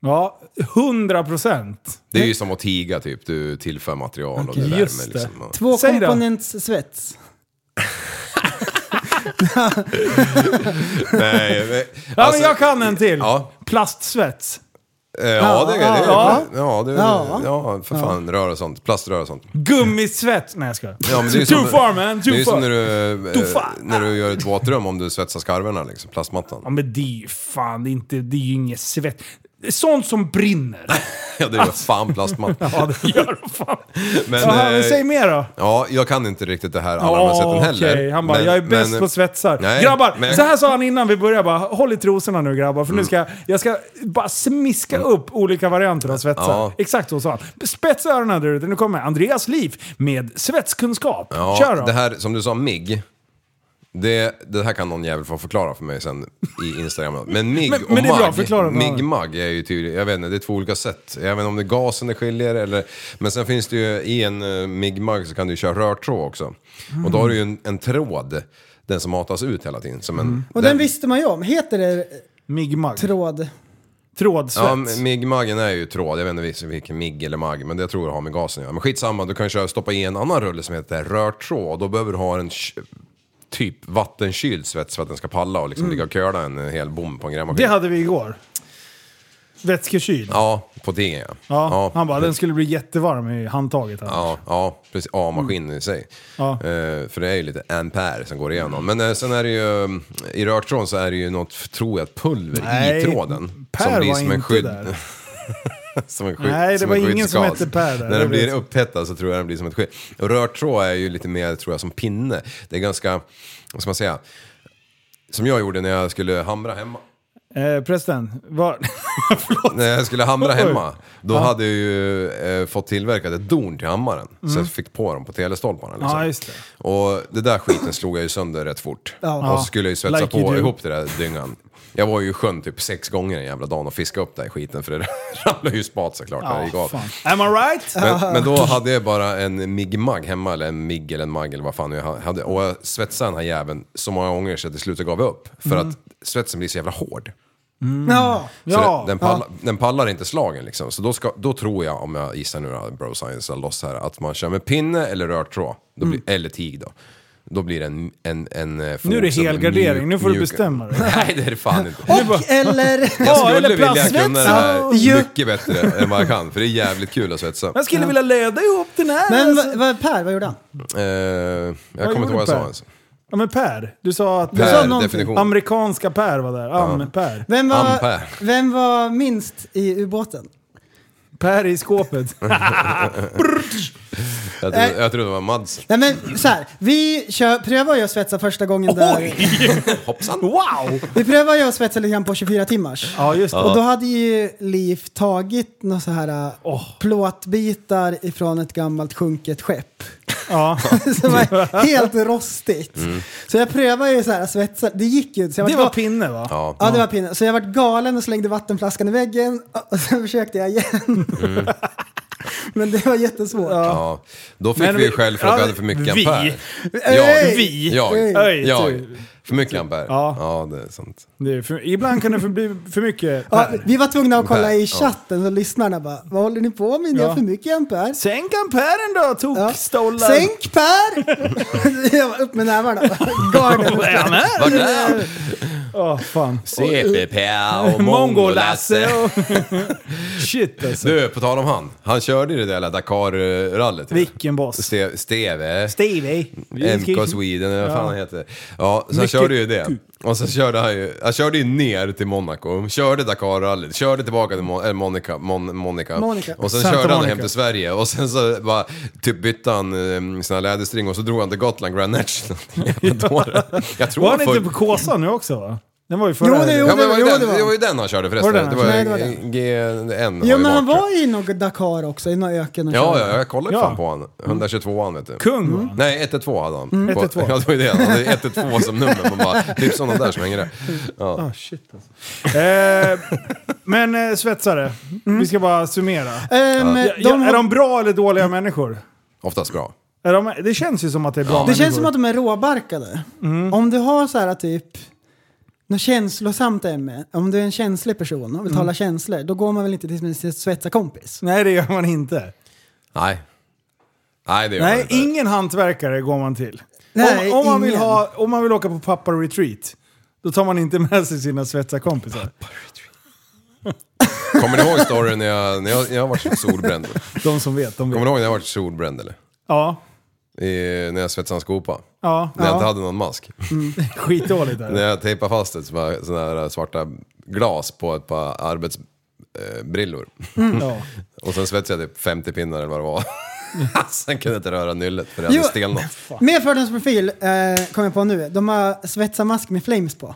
[SPEAKER 5] ja 100 procent.
[SPEAKER 7] Det är ju som att tiga typ, du tillför material och
[SPEAKER 6] Okej.
[SPEAKER 7] du
[SPEAKER 5] Just
[SPEAKER 7] värmer
[SPEAKER 5] det.
[SPEAKER 7] liksom. Och-
[SPEAKER 5] Säg då.
[SPEAKER 6] Tvåkomponentssvets.
[SPEAKER 7] Nej, men,
[SPEAKER 5] Ja,
[SPEAKER 7] alltså,
[SPEAKER 5] men jag kan en till.
[SPEAKER 7] Ja.
[SPEAKER 5] Plastsvets.
[SPEAKER 7] eh, Ja, det är det.
[SPEAKER 5] Ja.
[SPEAKER 7] Ja, ja, det,
[SPEAKER 6] Ja.
[SPEAKER 7] ja. ja för fan. Rör och sånt. Plaströr och sånt.
[SPEAKER 5] Gummisvets. Nej jag skojar.
[SPEAKER 7] Ja, men det är ju
[SPEAKER 5] Too
[SPEAKER 7] som,
[SPEAKER 5] far, man, too
[SPEAKER 7] det är ju
[SPEAKER 5] far.
[SPEAKER 7] som när du,
[SPEAKER 5] Too
[SPEAKER 7] eh,
[SPEAKER 5] far.
[SPEAKER 7] när du gör ett våtrum om du svetsar skarvarna, liksom,
[SPEAKER 5] Ja
[SPEAKER 7] plastmattan.
[SPEAKER 5] men det är ju fan det är inte, det är ju inget svett. Det är Sånt som brinner.
[SPEAKER 7] Ja, det är ju fan plastmatta.
[SPEAKER 5] Ja det gör det fan.
[SPEAKER 7] Men,
[SPEAKER 5] Jaha, men
[SPEAKER 7] eh,
[SPEAKER 5] säg mer då.
[SPEAKER 7] Ja, jag kan inte riktigt det här alla de här sätten heller.
[SPEAKER 5] okej. Han bara,
[SPEAKER 7] Men-
[SPEAKER 5] jag är bäst
[SPEAKER 7] men-
[SPEAKER 5] på svetsar.
[SPEAKER 7] Nej,
[SPEAKER 5] grabbar,
[SPEAKER 7] men- Mm.
[SPEAKER 5] så här sa han innan vi började bara, håll i trosorna nu grabbar, för nu ska jag, jag ska bara smiska upp olika varianter av svetsar.
[SPEAKER 7] Ja.
[SPEAKER 5] Exakt så sa han. Spetsa öronen där ute, nu kommer Andreas Liv med svetskunskap.
[SPEAKER 7] Ja,
[SPEAKER 5] Kör då!
[SPEAKER 7] Det här som du sa, MIG. Det, det här kan någon jävel få förklara för mig sen i Instagram. Men MIG
[SPEAKER 5] Men-
[SPEAKER 7] och
[SPEAKER 5] men det är bra, förklara
[SPEAKER 7] MAG,
[SPEAKER 5] det.
[SPEAKER 7] MIG-MAG är ju tydligt, jag vet inte, det är två olika sätt. Jag vet inte om det är gasen det skiljer eller... Men sen finns det ju, i en eh, MIG-MAG så kan du ju köra rörtråd också. Och då har du ju en, en tråd, den som matas ut hela tiden. Som en,
[SPEAKER 6] Och den visste man ju om. Heter det eh,
[SPEAKER 5] Migmag.
[SPEAKER 6] tråd?
[SPEAKER 5] Trådsvets.
[SPEAKER 7] Ja, MIG-magen är ju tråd, jag vet inte vis- vilken MIG eller MAG, men det jag tror det har med gasen att göra. Men skitsamma, du kan ju köra, stoppa i en annan rulle som heter rörtråd, och då behöver du ha en ky- typ vattenkyld svets för att den ska palla och liksom ligga och köla en eh, hel bom på en grävmaskin.
[SPEAKER 5] det hade vi igår. Vätskekyld. Ja,
[SPEAKER 7] Ja, på det ja.
[SPEAKER 5] Han bara, den skulle bli jättevarm i handtaget. Här.
[SPEAKER 7] Ja, ja, precis. A-maskin i sig.
[SPEAKER 5] Ja.
[SPEAKER 7] Eh, för det är ju lite ampere som går igenom. Men eh, sen är det ju, eh, i rörtråden så är det ju något, tror jag, pulver
[SPEAKER 5] Nej,
[SPEAKER 7] i tråden.
[SPEAKER 5] Per var inte där.
[SPEAKER 7] som en skydd,
[SPEAKER 5] Nej, det
[SPEAKER 7] som
[SPEAKER 5] var
[SPEAKER 7] en
[SPEAKER 5] ingen som
[SPEAKER 7] skyddsgas.
[SPEAKER 5] hette Per där,
[SPEAKER 7] När
[SPEAKER 5] jag
[SPEAKER 7] den blir
[SPEAKER 5] vet.
[SPEAKER 7] upphettad så tror jag den blir som ett skydd. Och rörtråd är ju lite mer, tror jag, som pinne. Det är ganska, vad ska man säga, som jag gjorde när jag skulle hamra hemma.
[SPEAKER 5] Eh, prästen, var...
[SPEAKER 7] När jag skulle hamra
[SPEAKER 5] Oj.
[SPEAKER 7] hemma, då hade jag ju eh, fått tillverkat ett dorn till hammaren. Så jag fick på dem på telestolparna. Liksom.
[SPEAKER 5] Mm. Ja, just det.
[SPEAKER 7] Och det där skiten slog jag ju sönder rätt fort.
[SPEAKER 6] Ja.
[SPEAKER 7] Och så skulle jag ju svetsa
[SPEAKER 5] Like you
[SPEAKER 7] på
[SPEAKER 5] do.
[SPEAKER 7] ihop det där dyngan. Jag var ju i sjön typ sex gånger den jävla dagen och fiskade upp den här skiten för det ramlade ju spat såklart när det gick
[SPEAKER 5] Ja,
[SPEAKER 7] av.
[SPEAKER 5] fan. Am I right?
[SPEAKER 7] Men, men då hade jag bara en MIG-mag hemma, eller en MIG eller en MAG eller vad fan jag hade. Och jag svetsade den här jäveln så många gånger så till slut gav jag upp. För
[SPEAKER 5] Mm.
[SPEAKER 7] att svetsen blir så jävla hård.
[SPEAKER 6] Ja.
[SPEAKER 7] Så
[SPEAKER 5] Ja,
[SPEAKER 7] den, den, pallar, den pallar inte slagen liksom. Så då, ska, då tror jag, om jag gissar nu då, bro science eller loss här, att man kör med pinne eller rörtråd. Då blir, Eller tig då. Då blir det en, en, en eh, fot
[SPEAKER 5] Mm. Nu är det
[SPEAKER 7] som
[SPEAKER 5] helgardering,
[SPEAKER 7] mjuk-
[SPEAKER 5] nu får du
[SPEAKER 7] mjuk-
[SPEAKER 5] bestämma dig.
[SPEAKER 7] Nej det är det fan inte.
[SPEAKER 6] Och eller...
[SPEAKER 7] Jag skulle
[SPEAKER 5] eller
[SPEAKER 7] vilja kunna det här
[SPEAKER 6] plastsvets. Ja.
[SPEAKER 7] mycket bättre än vad jag kan, för det är jävligt kul att svetsa.
[SPEAKER 5] Jag skulle vilja löda ihop den här.
[SPEAKER 6] Men vad, vad, Per, vad gjorde han?
[SPEAKER 7] Eh, jag kommer
[SPEAKER 5] gjorde
[SPEAKER 7] inte ihåg vad jag sa
[SPEAKER 5] Per?
[SPEAKER 7] ens.
[SPEAKER 5] Ja men Per, du sa att...
[SPEAKER 6] sa
[SPEAKER 7] Per
[SPEAKER 6] någonting.
[SPEAKER 7] definition.
[SPEAKER 5] Amerikanska Per var där. Am, Per.
[SPEAKER 6] Vem var,
[SPEAKER 7] Ampere.
[SPEAKER 6] vem var minst i ubåten?
[SPEAKER 5] Per i skåpet.
[SPEAKER 7] Jag trodde, jag trodde det var Mads.
[SPEAKER 6] Nej men så här, vi kör, prövar ju att svetsa första gången där.
[SPEAKER 7] Hoppsan.
[SPEAKER 5] Wow!
[SPEAKER 6] Vi prövar ju att svetsa lite grann på 24 timmars.
[SPEAKER 5] Ja just det.
[SPEAKER 6] Och då hade ju Liv tagit några så här äh,
[SPEAKER 5] Åh.
[SPEAKER 6] plåtbitar ifrån ett gammalt sjunket skepp.
[SPEAKER 5] Ja.
[SPEAKER 6] som var helt rostigt. Så jag prövade ju så här svetsa. Det gick ju inte. så jag
[SPEAKER 5] Mm. Det
[SPEAKER 6] vart
[SPEAKER 5] var
[SPEAKER 6] ga-
[SPEAKER 5] pinne va?
[SPEAKER 7] Ja.
[SPEAKER 6] Ja, det var pinne. Så jag vart galen och slängde vattenflaskan i väggen och- och sen försökte jag igen.
[SPEAKER 5] Mm.
[SPEAKER 6] Men det var jättesvårt.
[SPEAKER 7] Ja. Då fick
[SPEAKER 5] Men
[SPEAKER 7] vi
[SPEAKER 5] vi-
[SPEAKER 7] ju skäll för att
[SPEAKER 5] ja,
[SPEAKER 7] vi hade för mycket
[SPEAKER 5] vi-
[SPEAKER 7] ampere.
[SPEAKER 5] Öj!
[SPEAKER 7] Jag.
[SPEAKER 5] Öj,
[SPEAKER 7] Jag.
[SPEAKER 5] tur.
[SPEAKER 7] För mycket ampere?
[SPEAKER 5] Ja.
[SPEAKER 7] ja, det är sant.
[SPEAKER 5] typ. Det är för, ibland kan det för bli för mycket
[SPEAKER 6] Ja,
[SPEAKER 5] per.
[SPEAKER 6] vi var tvungna att kolla
[SPEAKER 7] Per,
[SPEAKER 6] i
[SPEAKER 7] ja.
[SPEAKER 6] chatten så lyssnarna bara Vad håller ni på med? Ni
[SPEAKER 5] Ja.
[SPEAKER 6] har för mycket ampere.
[SPEAKER 5] Sänk amperen då,
[SPEAKER 6] Ja.
[SPEAKER 5] tokstollar!
[SPEAKER 6] Sänk Per! Jag bara, Upp med nävarna. Garden.
[SPEAKER 5] Vad är han här?
[SPEAKER 7] Vart är
[SPEAKER 5] Åh, fan.
[SPEAKER 7] CPP och
[SPEAKER 5] Mongolasse
[SPEAKER 7] Mongolasse.
[SPEAKER 5] och... Shit alltså.
[SPEAKER 7] Du, på tal om han. Han körde ju det där jävla Dakar-rallet.
[SPEAKER 5] Vilken boss.
[SPEAKER 7] Ste- Steve.
[SPEAKER 5] Stevie.
[SPEAKER 7] MK Sweden eller vad fan
[SPEAKER 5] Ja.
[SPEAKER 7] han heter. Ja, så han
[SPEAKER 5] Mycket
[SPEAKER 7] körde ju det.
[SPEAKER 5] kul.
[SPEAKER 7] Och så körde han ju, han körde ju ner till Monaco, körde Dakar-rallyt, körde tillbaka till Mon- eller Monica, Mon- Monica.
[SPEAKER 6] Monica.
[SPEAKER 7] Och sen
[SPEAKER 5] Santa
[SPEAKER 7] körde han hem
[SPEAKER 5] Monica.
[SPEAKER 7] till Sverige och sen så bara, typ bytte han eh, sina läderstringor och så drog han till Gotland Grand National. Jävla dåre. Jag tror
[SPEAKER 5] Var
[SPEAKER 7] han
[SPEAKER 5] han
[SPEAKER 7] får...
[SPEAKER 5] inte på Kåsan nu också va? Den var ju förra
[SPEAKER 6] Jo, det
[SPEAKER 5] helgen.
[SPEAKER 6] gjorde
[SPEAKER 7] Ja, men det var ju
[SPEAKER 6] Jo,
[SPEAKER 7] den,
[SPEAKER 6] det var-
[SPEAKER 7] det var ju den han körde förresten.
[SPEAKER 5] Var det
[SPEAKER 7] Det
[SPEAKER 5] den?
[SPEAKER 7] var,
[SPEAKER 6] Nej, det var den.
[SPEAKER 7] GN
[SPEAKER 6] Jo men han
[SPEAKER 7] varit-
[SPEAKER 6] var i något Dakar också, i någon öken och
[SPEAKER 7] Ja,
[SPEAKER 6] körde.
[SPEAKER 7] ja, jag kollade ju
[SPEAKER 5] Ja.
[SPEAKER 7] fan på han. 122an vet du.
[SPEAKER 5] Kung
[SPEAKER 6] Mm.
[SPEAKER 5] va?
[SPEAKER 7] Nej, 112 hade han. På,
[SPEAKER 5] 112.
[SPEAKER 7] Ja, det var ju det. Han hade 112 som nummer. Man bara, typ sådana där som hänger där. Ja.
[SPEAKER 5] Ah, shit alltså. eh, men eh, svetsare, vi ska bara summera.
[SPEAKER 6] Ehm,
[SPEAKER 5] Ja,
[SPEAKER 6] Mm. de,
[SPEAKER 5] är de bra eller dåliga människor?
[SPEAKER 7] Oftast bra.
[SPEAKER 5] Är de, det känns ju som att det är bra
[SPEAKER 6] det Mm.
[SPEAKER 5] människor.
[SPEAKER 6] känns som att de är råbarkade. Om du har så här typ något känslosamt ämne, om du är en känslig person och vill tala känslor, då går man väl inte till sin svetsarkompis?
[SPEAKER 5] Nej, det gör man inte.
[SPEAKER 7] Nej. Nej, det gör man
[SPEAKER 5] Nej,
[SPEAKER 7] inte.
[SPEAKER 5] ingen hantverkare går man till.
[SPEAKER 6] Nej,
[SPEAKER 5] om, om, man vill
[SPEAKER 6] ingen.
[SPEAKER 5] ha, om man vill åka på pappa-retreat, då tar man inte med sig sina svetsarkompisar.
[SPEAKER 7] Kommer ni ihåg storyn när jag, när jag, jag varit solbränd?
[SPEAKER 5] De som vet, de
[SPEAKER 7] Kommer
[SPEAKER 5] vet.
[SPEAKER 7] ni ihåg när jag varit solbränd eller?
[SPEAKER 5] Ja,
[SPEAKER 7] I, när jag svetsade en skopa.
[SPEAKER 5] ja.
[SPEAKER 7] När jag inte hade någon mask.
[SPEAKER 5] Skitdåligt där.
[SPEAKER 7] När jag tejpade fast ett sådana här eh, svarta glas på ett par arbetsbrillor.
[SPEAKER 5] Ja.
[SPEAKER 7] Och sen svetsade jag typ 50 pinnar eller vad det var. sen kunde jag inte röra nyllet för det hade
[SPEAKER 6] Jo.
[SPEAKER 7] stelnat.
[SPEAKER 6] Mer fördomsprofil eh, kom jag på nu. De har svetsarmask med flames på.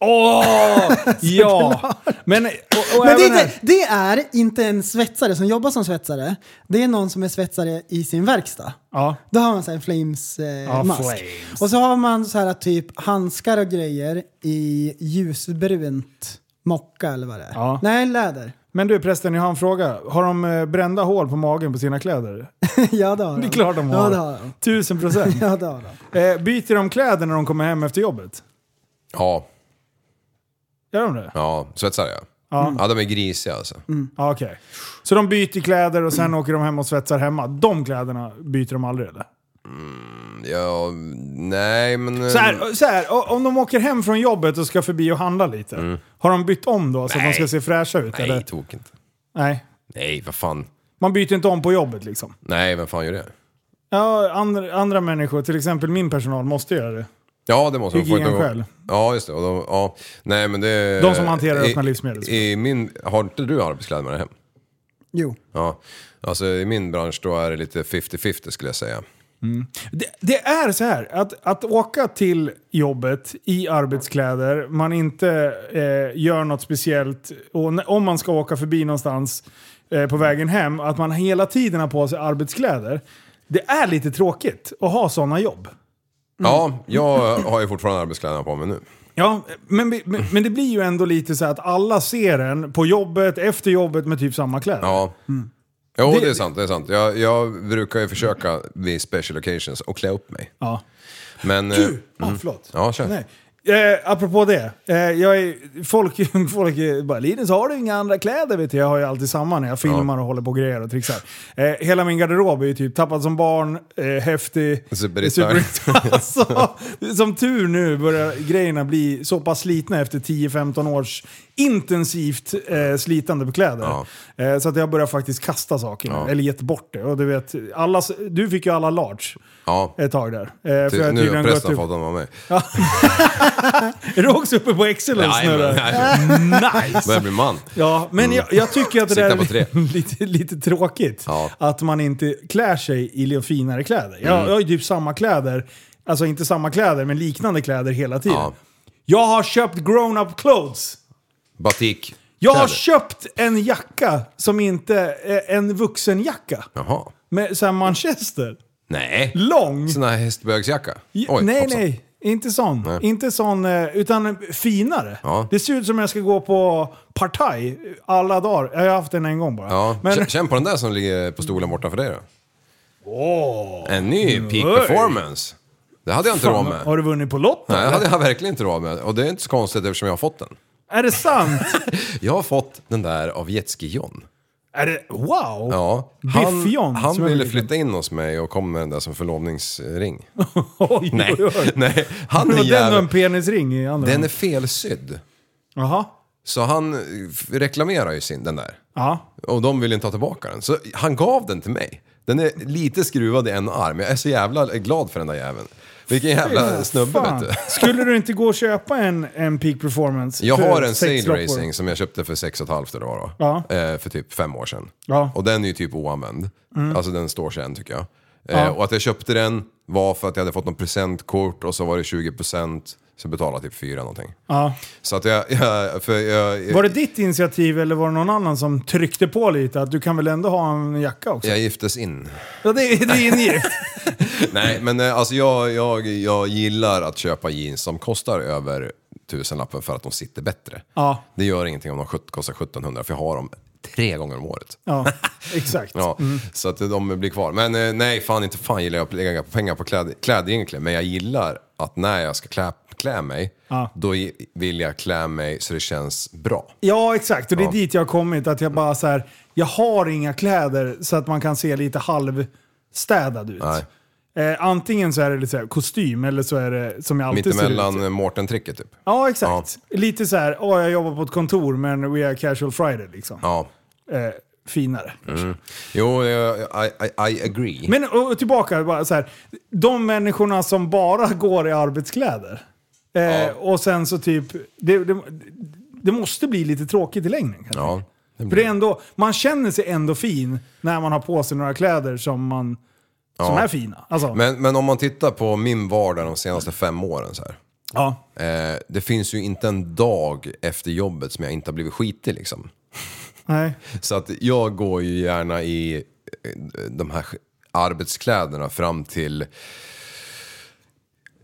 [SPEAKER 5] Åh! ja! Men, och, och
[SPEAKER 6] Men det är,
[SPEAKER 5] även
[SPEAKER 6] inte,
[SPEAKER 5] här-
[SPEAKER 6] det är inte en svetsare som jobbar som svetsare. Det är någon som är svetsare i sin verkstad.
[SPEAKER 5] Ja.
[SPEAKER 6] Då har man så här en flames-mask.
[SPEAKER 5] Ja,
[SPEAKER 6] Eh, mask.
[SPEAKER 5] flames.
[SPEAKER 6] och så har man så här typ handskar och grejer i ljusbrunt mocka eller vad det är.
[SPEAKER 5] Ja.
[SPEAKER 6] Nej, läder.
[SPEAKER 5] Men du prästen, jag har en fråga. Har de eh, brända hål på magen på sina kläder?
[SPEAKER 6] ja, det har de.
[SPEAKER 5] Det är klart de har.
[SPEAKER 6] Ja, det har de.
[SPEAKER 5] Tusen procent.
[SPEAKER 6] Ja, det har de.
[SPEAKER 5] Eh, byter de kläder när de kommer hem efter jobbet?
[SPEAKER 7] Ja,
[SPEAKER 5] Gör de det?
[SPEAKER 7] ja, svetsade jag.
[SPEAKER 5] Ja. Mm.
[SPEAKER 7] Ja, de är grisiga alltså.
[SPEAKER 5] Ja, Okej. Så de byter kläder och sen
[SPEAKER 6] Mm.
[SPEAKER 5] åker de hem och svetsar hemma. De kläderna byter de aldrig eller?
[SPEAKER 7] Ja, nej men...
[SPEAKER 5] Så här, så här, o- om de åker hem från jobbet och ska förbi och handla lite.
[SPEAKER 6] Mm.
[SPEAKER 5] Har de bytt om då så att de
[SPEAKER 7] Nej.
[SPEAKER 5] ska se fräscha ut?
[SPEAKER 7] nej,
[SPEAKER 5] eller?
[SPEAKER 7] tok inte.
[SPEAKER 5] Nej.
[SPEAKER 7] Nej, vad fan.
[SPEAKER 5] Man byter inte om på jobbet liksom.
[SPEAKER 7] Nej, vem fan gör det?
[SPEAKER 5] Ja, andra, andra människor, till exempel min personal, måste göra det.
[SPEAKER 7] Ja, det måste man.
[SPEAKER 5] Hygien
[SPEAKER 7] Får inte-
[SPEAKER 5] själv.
[SPEAKER 7] Ja, just det. Och de, ja. Nej, men det...
[SPEAKER 5] De som hanterar
[SPEAKER 7] i-
[SPEAKER 5] öppna livsmedel.
[SPEAKER 7] I min... Har inte du arbetskläder med dig hem?
[SPEAKER 6] Jo.
[SPEAKER 7] Ja. Alltså i min bransch då är det lite 50-50 skulle jag säga.
[SPEAKER 5] Mm. Det, det är så här, att, att åka till jobbet i arbetskläder, man inte eh, gör något speciellt, och n- om man ska åka förbi någonstans eh, på vägen hem, att man hela tiden har på sig arbetskläder. Det är lite tråkigt att ha sådana jobb.
[SPEAKER 7] Ja, jag har ju fortfarande arbetskläderna på mig nu.
[SPEAKER 5] Ja, men, men, men det blir ju ändå lite så här att alla ser en på jobbet, efter jobbet med typ samma kläder.
[SPEAKER 7] Ja. Jo, det,
[SPEAKER 5] Mm. Det-
[SPEAKER 7] är sant. Det är sant. Jag, jag brukar ju försöka vid special occasions och klä upp mig.
[SPEAKER 5] Ja.
[SPEAKER 7] Men... eh,
[SPEAKER 5] Du! Ah, förlåt.
[SPEAKER 7] Ja, kör.
[SPEAKER 5] Nej. Eh, apropå det. Eh, jag är, folk, folk är bara “Linus, har du inga andra kläder?” vet du? Jag har ju alltid samma när jag filmar och håller på och grejer och trixar. Eh, hela min garderob är ju typ tappad som barn, eh, häftig.
[SPEAKER 7] Superhittar.
[SPEAKER 5] superhittar. alltså, som tur nu börjar grejerna bli så pass slitna efter 10-15 års intensivt eh, slitande på kläder. Eh, så att jag börjar faktiskt kasta saker, nu, eller gett bort det. Och du, vet, alla, du fick ju alla large
[SPEAKER 7] Ja.
[SPEAKER 5] ett tag där. Eh, för
[SPEAKER 7] Ty,
[SPEAKER 5] jag
[SPEAKER 7] nu har
[SPEAKER 5] tydligen gått
[SPEAKER 7] prästen
[SPEAKER 5] upp.
[SPEAKER 7] fått dem av mig.
[SPEAKER 5] Är du också uppe på excellence
[SPEAKER 7] Nej,
[SPEAKER 5] nu
[SPEAKER 7] men,
[SPEAKER 5] då?
[SPEAKER 7] nej.
[SPEAKER 5] Nice!
[SPEAKER 7] Börjar bli man.
[SPEAKER 5] Ja, men jag, jag tycker att det
[SPEAKER 7] Sikta
[SPEAKER 5] där
[SPEAKER 7] på tre.
[SPEAKER 5] är lite, lite tråkigt.
[SPEAKER 7] Ja. Mm.
[SPEAKER 5] Att man inte klär sig i lite finare kläder. Jag, jag har ju typ samma kläder, alltså inte samma kläder, men liknande kläder hela tiden.
[SPEAKER 7] Ja.
[SPEAKER 5] Jag har köpt grown-up clothes.
[SPEAKER 7] Batik.
[SPEAKER 5] Jag har
[SPEAKER 7] Kläder.
[SPEAKER 5] köpt en jacka som inte är en vuxenjacka.
[SPEAKER 7] Jaha.
[SPEAKER 5] Med såhär manchester.
[SPEAKER 7] Nej.
[SPEAKER 5] Lång.
[SPEAKER 7] Sån här hästbögsjacka?
[SPEAKER 5] Ja, nej,
[SPEAKER 7] hoppsan.
[SPEAKER 5] nej. Inte sån.
[SPEAKER 7] Nej.
[SPEAKER 5] Inte sån, eh, utan finare.
[SPEAKER 7] Ja.
[SPEAKER 5] Det ser ut som jag ska gå på partaj alla dagar. Jag har haft den en gång bara.
[SPEAKER 7] Ja,
[SPEAKER 5] Men,
[SPEAKER 7] k- Känn på den där som ligger på stolen borta för dig då. En ny peak performance. Det hade jag inte råd med.
[SPEAKER 5] Har du vunnit på Lotto?
[SPEAKER 7] Nej, det hade jag verkligen inte råd med. Och det är inte så konstigt eftersom jag har fått den.
[SPEAKER 5] Är det sant?
[SPEAKER 7] Jag har fått den där av Jetski John.
[SPEAKER 5] är det, wow!
[SPEAKER 7] Ja,
[SPEAKER 5] Biff John,
[SPEAKER 7] han, han
[SPEAKER 5] som jag
[SPEAKER 7] ville
[SPEAKER 5] brukar-
[SPEAKER 7] flytta in hos mig och kom med den där som förlovningsring.
[SPEAKER 5] Oj,
[SPEAKER 7] Nej,
[SPEAKER 5] oj, oj.
[SPEAKER 7] nej. Han är
[SPEAKER 5] Och den och en
[SPEAKER 7] jävla...
[SPEAKER 5] penisring i andra
[SPEAKER 7] Den är
[SPEAKER 5] handen.
[SPEAKER 7] felsydd.
[SPEAKER 5] Jaha.
[SPEAKER 7] Så han eh, f- reklamerar ju sin, den där.
[SPEAKER 5] Ja.
[SPEAKER 7] Och de vill inte ta tillbaka den. Så han gav den till mig. Den är lite skruvad i en arm. Jag är så jävla glad för den där jäveln. Vilken jävla snubbe
[SPEAKER 5] Fan.
[SPEAKER 7] vet du.
[SPEAKER 5] Skulle du inte gå och köpa en, en Peak Performance?
[SPEAKER 7] Jag
[SPEAKER 5] för
[SPEAKER 7] har en
[SPEAKER 5] sex
[SPEAKER 7] Sail
[SPEAKER 5] loppor?
[SPEAKER 7] Racing som jag köpte för 6,5 då, då,
[SPEAKER 5] Ja.
[SPEAKER 7] eh, För typ fem år sedan.
[SPEAKER 5] Ja. Mm.
[SPEAKER 7] Och den är ju typ oanvänd. Alltså den står sig än tycker jag. Eh, Och att jag köpte den var för att jag hade fått någon presentkort och så var det 20% så betalade jag typ 4 någonting.
[SPEAKER 5] Ja.
[SPEAKER 7] Så att jag... jag, för jag
[SPEAKER 5] Var det ditt initiativ eller var det någon annan som tryckte på lite? Att du kan väl ändå ha en jacka också?
[SPEAKER 7] jag giftes in.
[SPEAKER 5] Ja, det, är- det är ingift.
[SPEAKER 7] Nej, men eh, alltså jag, jag, jag gillar att köpa jeans som kostar över tusenlappen för att de sitter bättre.
[SPEAKER 5] Ja.
[SPEAKER 7] Det gör ingenting om de sjut- kostar 1700 för jag har dem tre gånger om året.
[SPEAKER 5] ja, exakt.
[SPEAKER 7] Ja, Så att de blir kvar. Men eh, nej, fan inte fan gillar jag att lägga pengar på kläd, kläder egentligen. Men jag gillar att när jag ska klä, klä mig,
[SPEAKER 5] Ja.
[SPEAKER 7] då i- vill jag klä mig så det känns bra.
[SPEAKER 5] Ja, exakt. Och det är
[SPEAKER 7] Ja.
[SPEAKER 5] dit jag har kommit. Att jag bara så här, jag har inga kläder så att man kan se lite halvstädad ut.
[SPEAKER 7] Nej.
[SPEAKER 5] Eh, antingen så är det lite så här, kostym eller så är det som jag alltid ser ut.
[SPEAKER 7] Mittemellan Mårten-tricket typ.
[SPEAKER 5] Ja, exakt. Lite så här, åh jag jobbar på ett kontor men we are casual friday liksom.
[SPEAKER 7] Ja. Mm.
[SPEAKER 5] Eh, finare.
[SPEAKER 7] Jo, jag- I, I, I agree.
[SPEAKER 5] Men och, och tillbaka, bara så här, de människorna som bara går i arbetskläder. Eh,
[SPEAKER 7] Ja.
[SPEAKER 5] Och sen så typ, det, det, det måste bli lite tråkigt i längden. kanske.
[SPEAKER 7] ja.
[SPEAKER 5] För det är
[SPEAKER 7] Mm.
[SPEAKER 5] ändå, man känner sig ändå fin när man har på sig några kläder som, man, som
[SPEAKER 7] Ja.
[SPEAKER 5] är fina. Alltså,
[SPEAKER 7] Men, men om man tittar på min vardag de senaste fem åren så här.
[SPEAKER 5] ja.
[SPEAKER 7] Eh, det finns ju inte en dag efter jobbet som jag inte har blivit skitig liksom.
[SPEAKER 5] Nej.
[SPEAKER 7] Så att jag går ju gärna i eh, de här sk- arbetskläderna fram till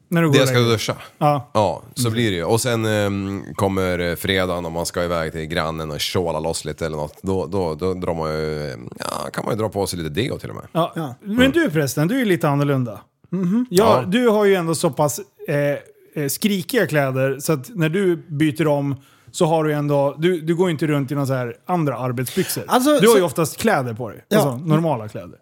[SPEAKER 5] När du går
[SPEAKER 7] det jag ska
[SPEAKER 5] och lägger-
[SPEAKER 7] duscha.
[SPEAKER 5] Ja.
[SPEAKER 7] Ja, så blir det ju. Och sen ehm, kommer eh, fredagen om man ska iväg till grannen och tjåla loss lite eller något. Då, då, då drar man ju, eh, ja, kan man ju dra på sig lite deo till och med.
[SPEAKER 5] Ja. Men du förresten, du är lite annorlunda. Mhm. Ja,
[SPEAKER 7] Ja.
[SPEAKER 5] Du har ju ändå så pass eh, eh, skrikiga kläder så att när du byter om så har du ändå, du, du går ju inte runt i några så här andra arbetsbyxor.
[SPEAKER 6] Alltså,
[SPEAKER 5] du har ju
[SPEAKER 6] så-
[SPEAKER 5] oftast kläder på dig.
[SPEAKER 6] Ja.
[SPEAKER 5] Alltså normala kläder.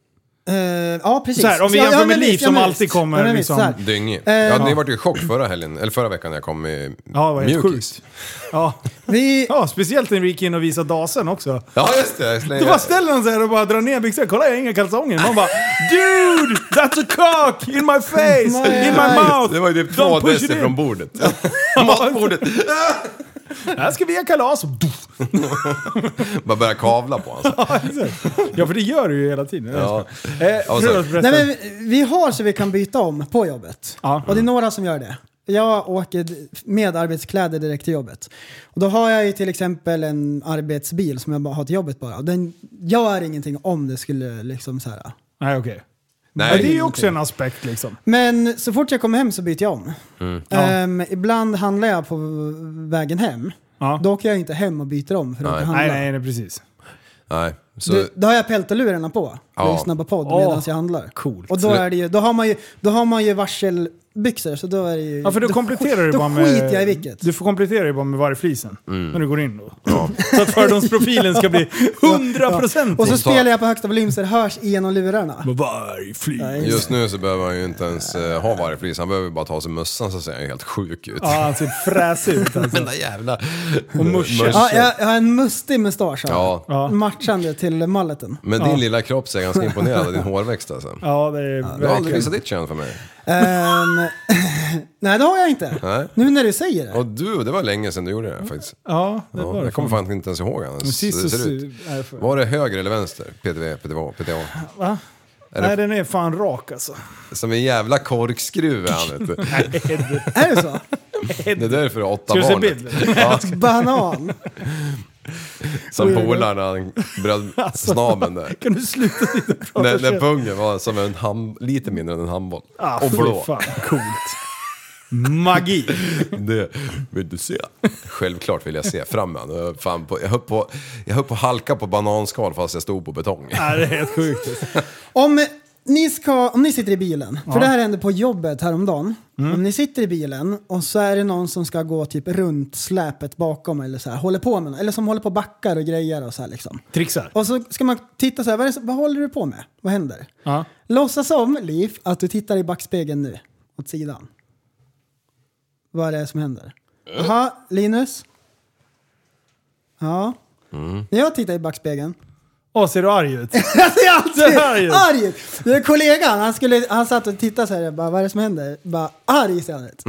[SPEAKER 6] Eh, ja, precis.
[SPEAKER 5] Så här, om vi
[SPEAKER 6] Ja,
[SPEAKER 5] jämför
[SPEAKER 6] ja,
[SPEAKER 5] med
[SPEAKER 6] men
[SPEAKER 5] Liv
[SPEAKER 6] visst,
[SPEAKER 5] som
[SPEAKER 6] ja, men
[SPEAKER 5] alltid
[SPEAKER 6] visst.
[SPEAKER 5] kommer
[SPEAKER 6] Ja, men
[SPEAKER 5] liksom-
[SPEAKER 6] visg, så här.
[SPEAKER 7] Dyngig.
[SPEAKER 6] Eh,
[SPEAKER 7] ja, ni
[SPEAKER 5] ja.
[SPEAKER 7] vart ju i chock förra helgen, eller förra veckan när jag kom i
[SPEAKER 5] Ja, det var helt
[SPEAKER 7] mjukis.
[SPEAKER 5] sjukt. Ja.
[SPEAKER 6] Vi,
[SPEAKER 5] ja, speciellt när vi gick in och visade dasen också.
[SPEAKER 7] Ja, just det. Jag slänger-
[SPEAKER 5] Du bara ställer den så här och bara drar ner byxorna. Kolla, jag har inga kalsonger. Man bara “Dude! That's a cock! In my face! In my mouth!”
[SPEAKER 7] Det var ju typ
[SPEAKER 5] Don't
[SPEAKER 7] två
[SPEAKER 5] push it
[SPEAKER 7] decimeter
[SPEAKER 5] in.
[SPEAKER 7] från bordet. Matbordet.
[SPEAKER 5] Här ska vi ha kalas!
[SPEAKER 7] Bara börja kavla på alltså. honom.
[SPEAKER 5] Ja, exakt. ja, för det gör du ju hela tiden.
[SPEAKER 7] Ja.
[SPEAKER 5] Eh,
[SPEAKER 7] så-
[SPEAKER 5] förlåt förresten.
[SPEAKER 6] nej, men vi- vi har så vi kan byta om på jobbet.
[SPEAKER 5] Ja.
[SPEAKER 6] Och det är några som gör det. Jag åker d- med arbetskläder direkt till jobbet. Och då har jag ju till exempel en arbetsbil som jag bara har till jobbet bara. Och Den gör ingenting om det skulle liksom så här.
[SPEAKER 5] Nej, okej.
[SPEAKER 7] Nej.
[SPEAKER 5] Ja, det är ju också en aspekt liksom.
[SPEAKER 6] Men så fort jag kommer hem så byter jag om. Ehm, ibland handlar jag på vägen hem.
[SPEAKER 5] Ja.
[SPEAKER 6] Då åker jag inte hem och byter om för att
[SPEAKER 7] Nej.
[SPEAKER 6] åka och handla.
[SPEAKER 5] Nej, nej, nej, precis.
[SPEAKER 7] Nej, så...
[SPEAKER 6] Du, då har jag peltalurarna på
[SPEAKER 7] Ja.
[SPEAKER 6] och lyssnar på podd
[SPEAKER 5] Åh,
[SPEAKER 6] medan jag handlar.
[SPEAKER 5] coolt.
[SPEAKER 6] Och då, är det ju, då, har man ju, då har man ju varselbyxor så då är det ju...
[SPEAKER 5] Ja, för då kompletterar du
[SPEAKER 6] då
[SPEAKER 5] bara med...
[SPEAKER 6] skiter jag i vilket. Mm.
[SPEAKER 5] Du får komplettera ju bara med vargflisen när du går in då. Så att fördomsprofilen ska bli 100%!
[SPEAKER 6] Och så
[SPEAKER 7] Och så-
[SPEAKER 6] spelar jag på högsta volym så det hörs genom lurarna.
[SPEAKER 5] Vargflis!
[SPEAKER 6] Nej.
[SPEAKER 7] Just nu så behöver han ju inte ens eh, ha vargflis, han behöver bara ta av sig mössan så ser han ju helt sjuk ut.
[SPEAKER 5] Ja, han ser fräsig ut alltså.
[SPEAKER 7] Den där jävla...
[SPEAKER 5] Och musche.
[SPEAKER 7] Mörs-
[SPEAKER 6] Ja, jag, jag har en mustig mustasch.
[SPEAKER 7] Ja.
[SPEAKER 5] Ja.
[SPEAKER 6] Matchande till malleten.
[SPEAKER 7] Men din lilla kropp så är jag ganska imponerad av din hårväxt alltså.
[SPEAKER 5] Ja, det är
[SPEAKER 7] Du har aldrig
[SPEAKER 5] verkligen...
[SPEAKER 7] visat ditt kön för mig.
[SPEAKER 6] Ehm, nej, det har jag inte.
[SPEAKER 7] Nej.
[SPEAKER 6] Nu när du säger det.
[SPEAKER 7] Och du, det var länge sedan du gjorde det faktiskt.
[SPEAKER 5] Ja, det
[SPEAKER 7] Ja,
[SPEAKER 5] var det.
[SPEAKER 7] jag kommer fan inte ens ihåg ens
[SPEAKER 5] Sist
[SPEAKER 7] hur det
[SPEAKER 5] så...
[SPEAKER 7] ser ut.
[SPEAKER 5] Nej, för-
[SPEAKER 7] Var det höger eller vänster? PTV, PTV, PTV.
[SPEAKER 5] Va?
[SPEAKER 7] det-
[SPEAKER 5] Nej, den är fan rak alltså.
[SPEAKER 7] Som en jävla korkskruv är han vet du.
[SPEAKER 6] Är det så?
[SPEAKER 7] Det är därför du har åtta
[SPEAKER 5] Ska du se
[SPEAKER 7] barn.
[SPEAKER 5] bild?
[SPEAKER 7] Ja,
[SPEAKER 6] Banan.
[SPEAKER 7] som polar när han bröt
[SPEAKER 5] Alltså.
[SPEAKER 7] snabeln där.
[SPEAKER 5] Kan du sluta titta på
[SPEAKER 7] När, när pungen var som en hand, lite mindre än en handboll.
[SPEAKER 5] Ah,
[SPEAKER 7] och
[SPEAKER 5] fy
[SPEAKER 7] blå.
[SPEAKER 5] Fan, coolt. Magi.
[SPEAKER 7] Det vill du se? Självklart vill jag se fram med honom. Jag fan på- Jag höll på,
[SPEAKER 5] Ah,
[SPEAKER 7] jag höll på att halka på bananskal fast jag stod på betong.
[SPEAKER 5] Ja, det är helt sjukt.
[SPEAKER 6] Om ni ska, om ni sitter i bilen, för det här hände på jobbet häromdagen. Om ni sitter i bilen och så är det någon som ska gå typ runt släpet bakom eller så här, håller på med något, eller som håller på och backar och grejer och så här liksom.
[SPEAKER 5] Trixar.
[SPEAKER 6] Och så ska man titta så här, vad, är det, som- vad håller du på med? Vad händer?
[SPEAKER 5] Ja.
[SPEAKER 6] Låtsas om, Liv, att du tittar i backspegeln nu, åt sidan. Vad är det som händer? Jaha, Linus? Ja? När jag tittar i backspegeln,
[SPEAKER 5] Åh, ser du arg ut?
[SPEAKER 6] Alltså jag är alltid
[SPEAKER 5] Det här är ju-
[SPEAKER 6] arg! Det är kollegan, han, skulle, han satt och tittade så här, jag bara, vad är det som händer? Bara, arg ser han ut.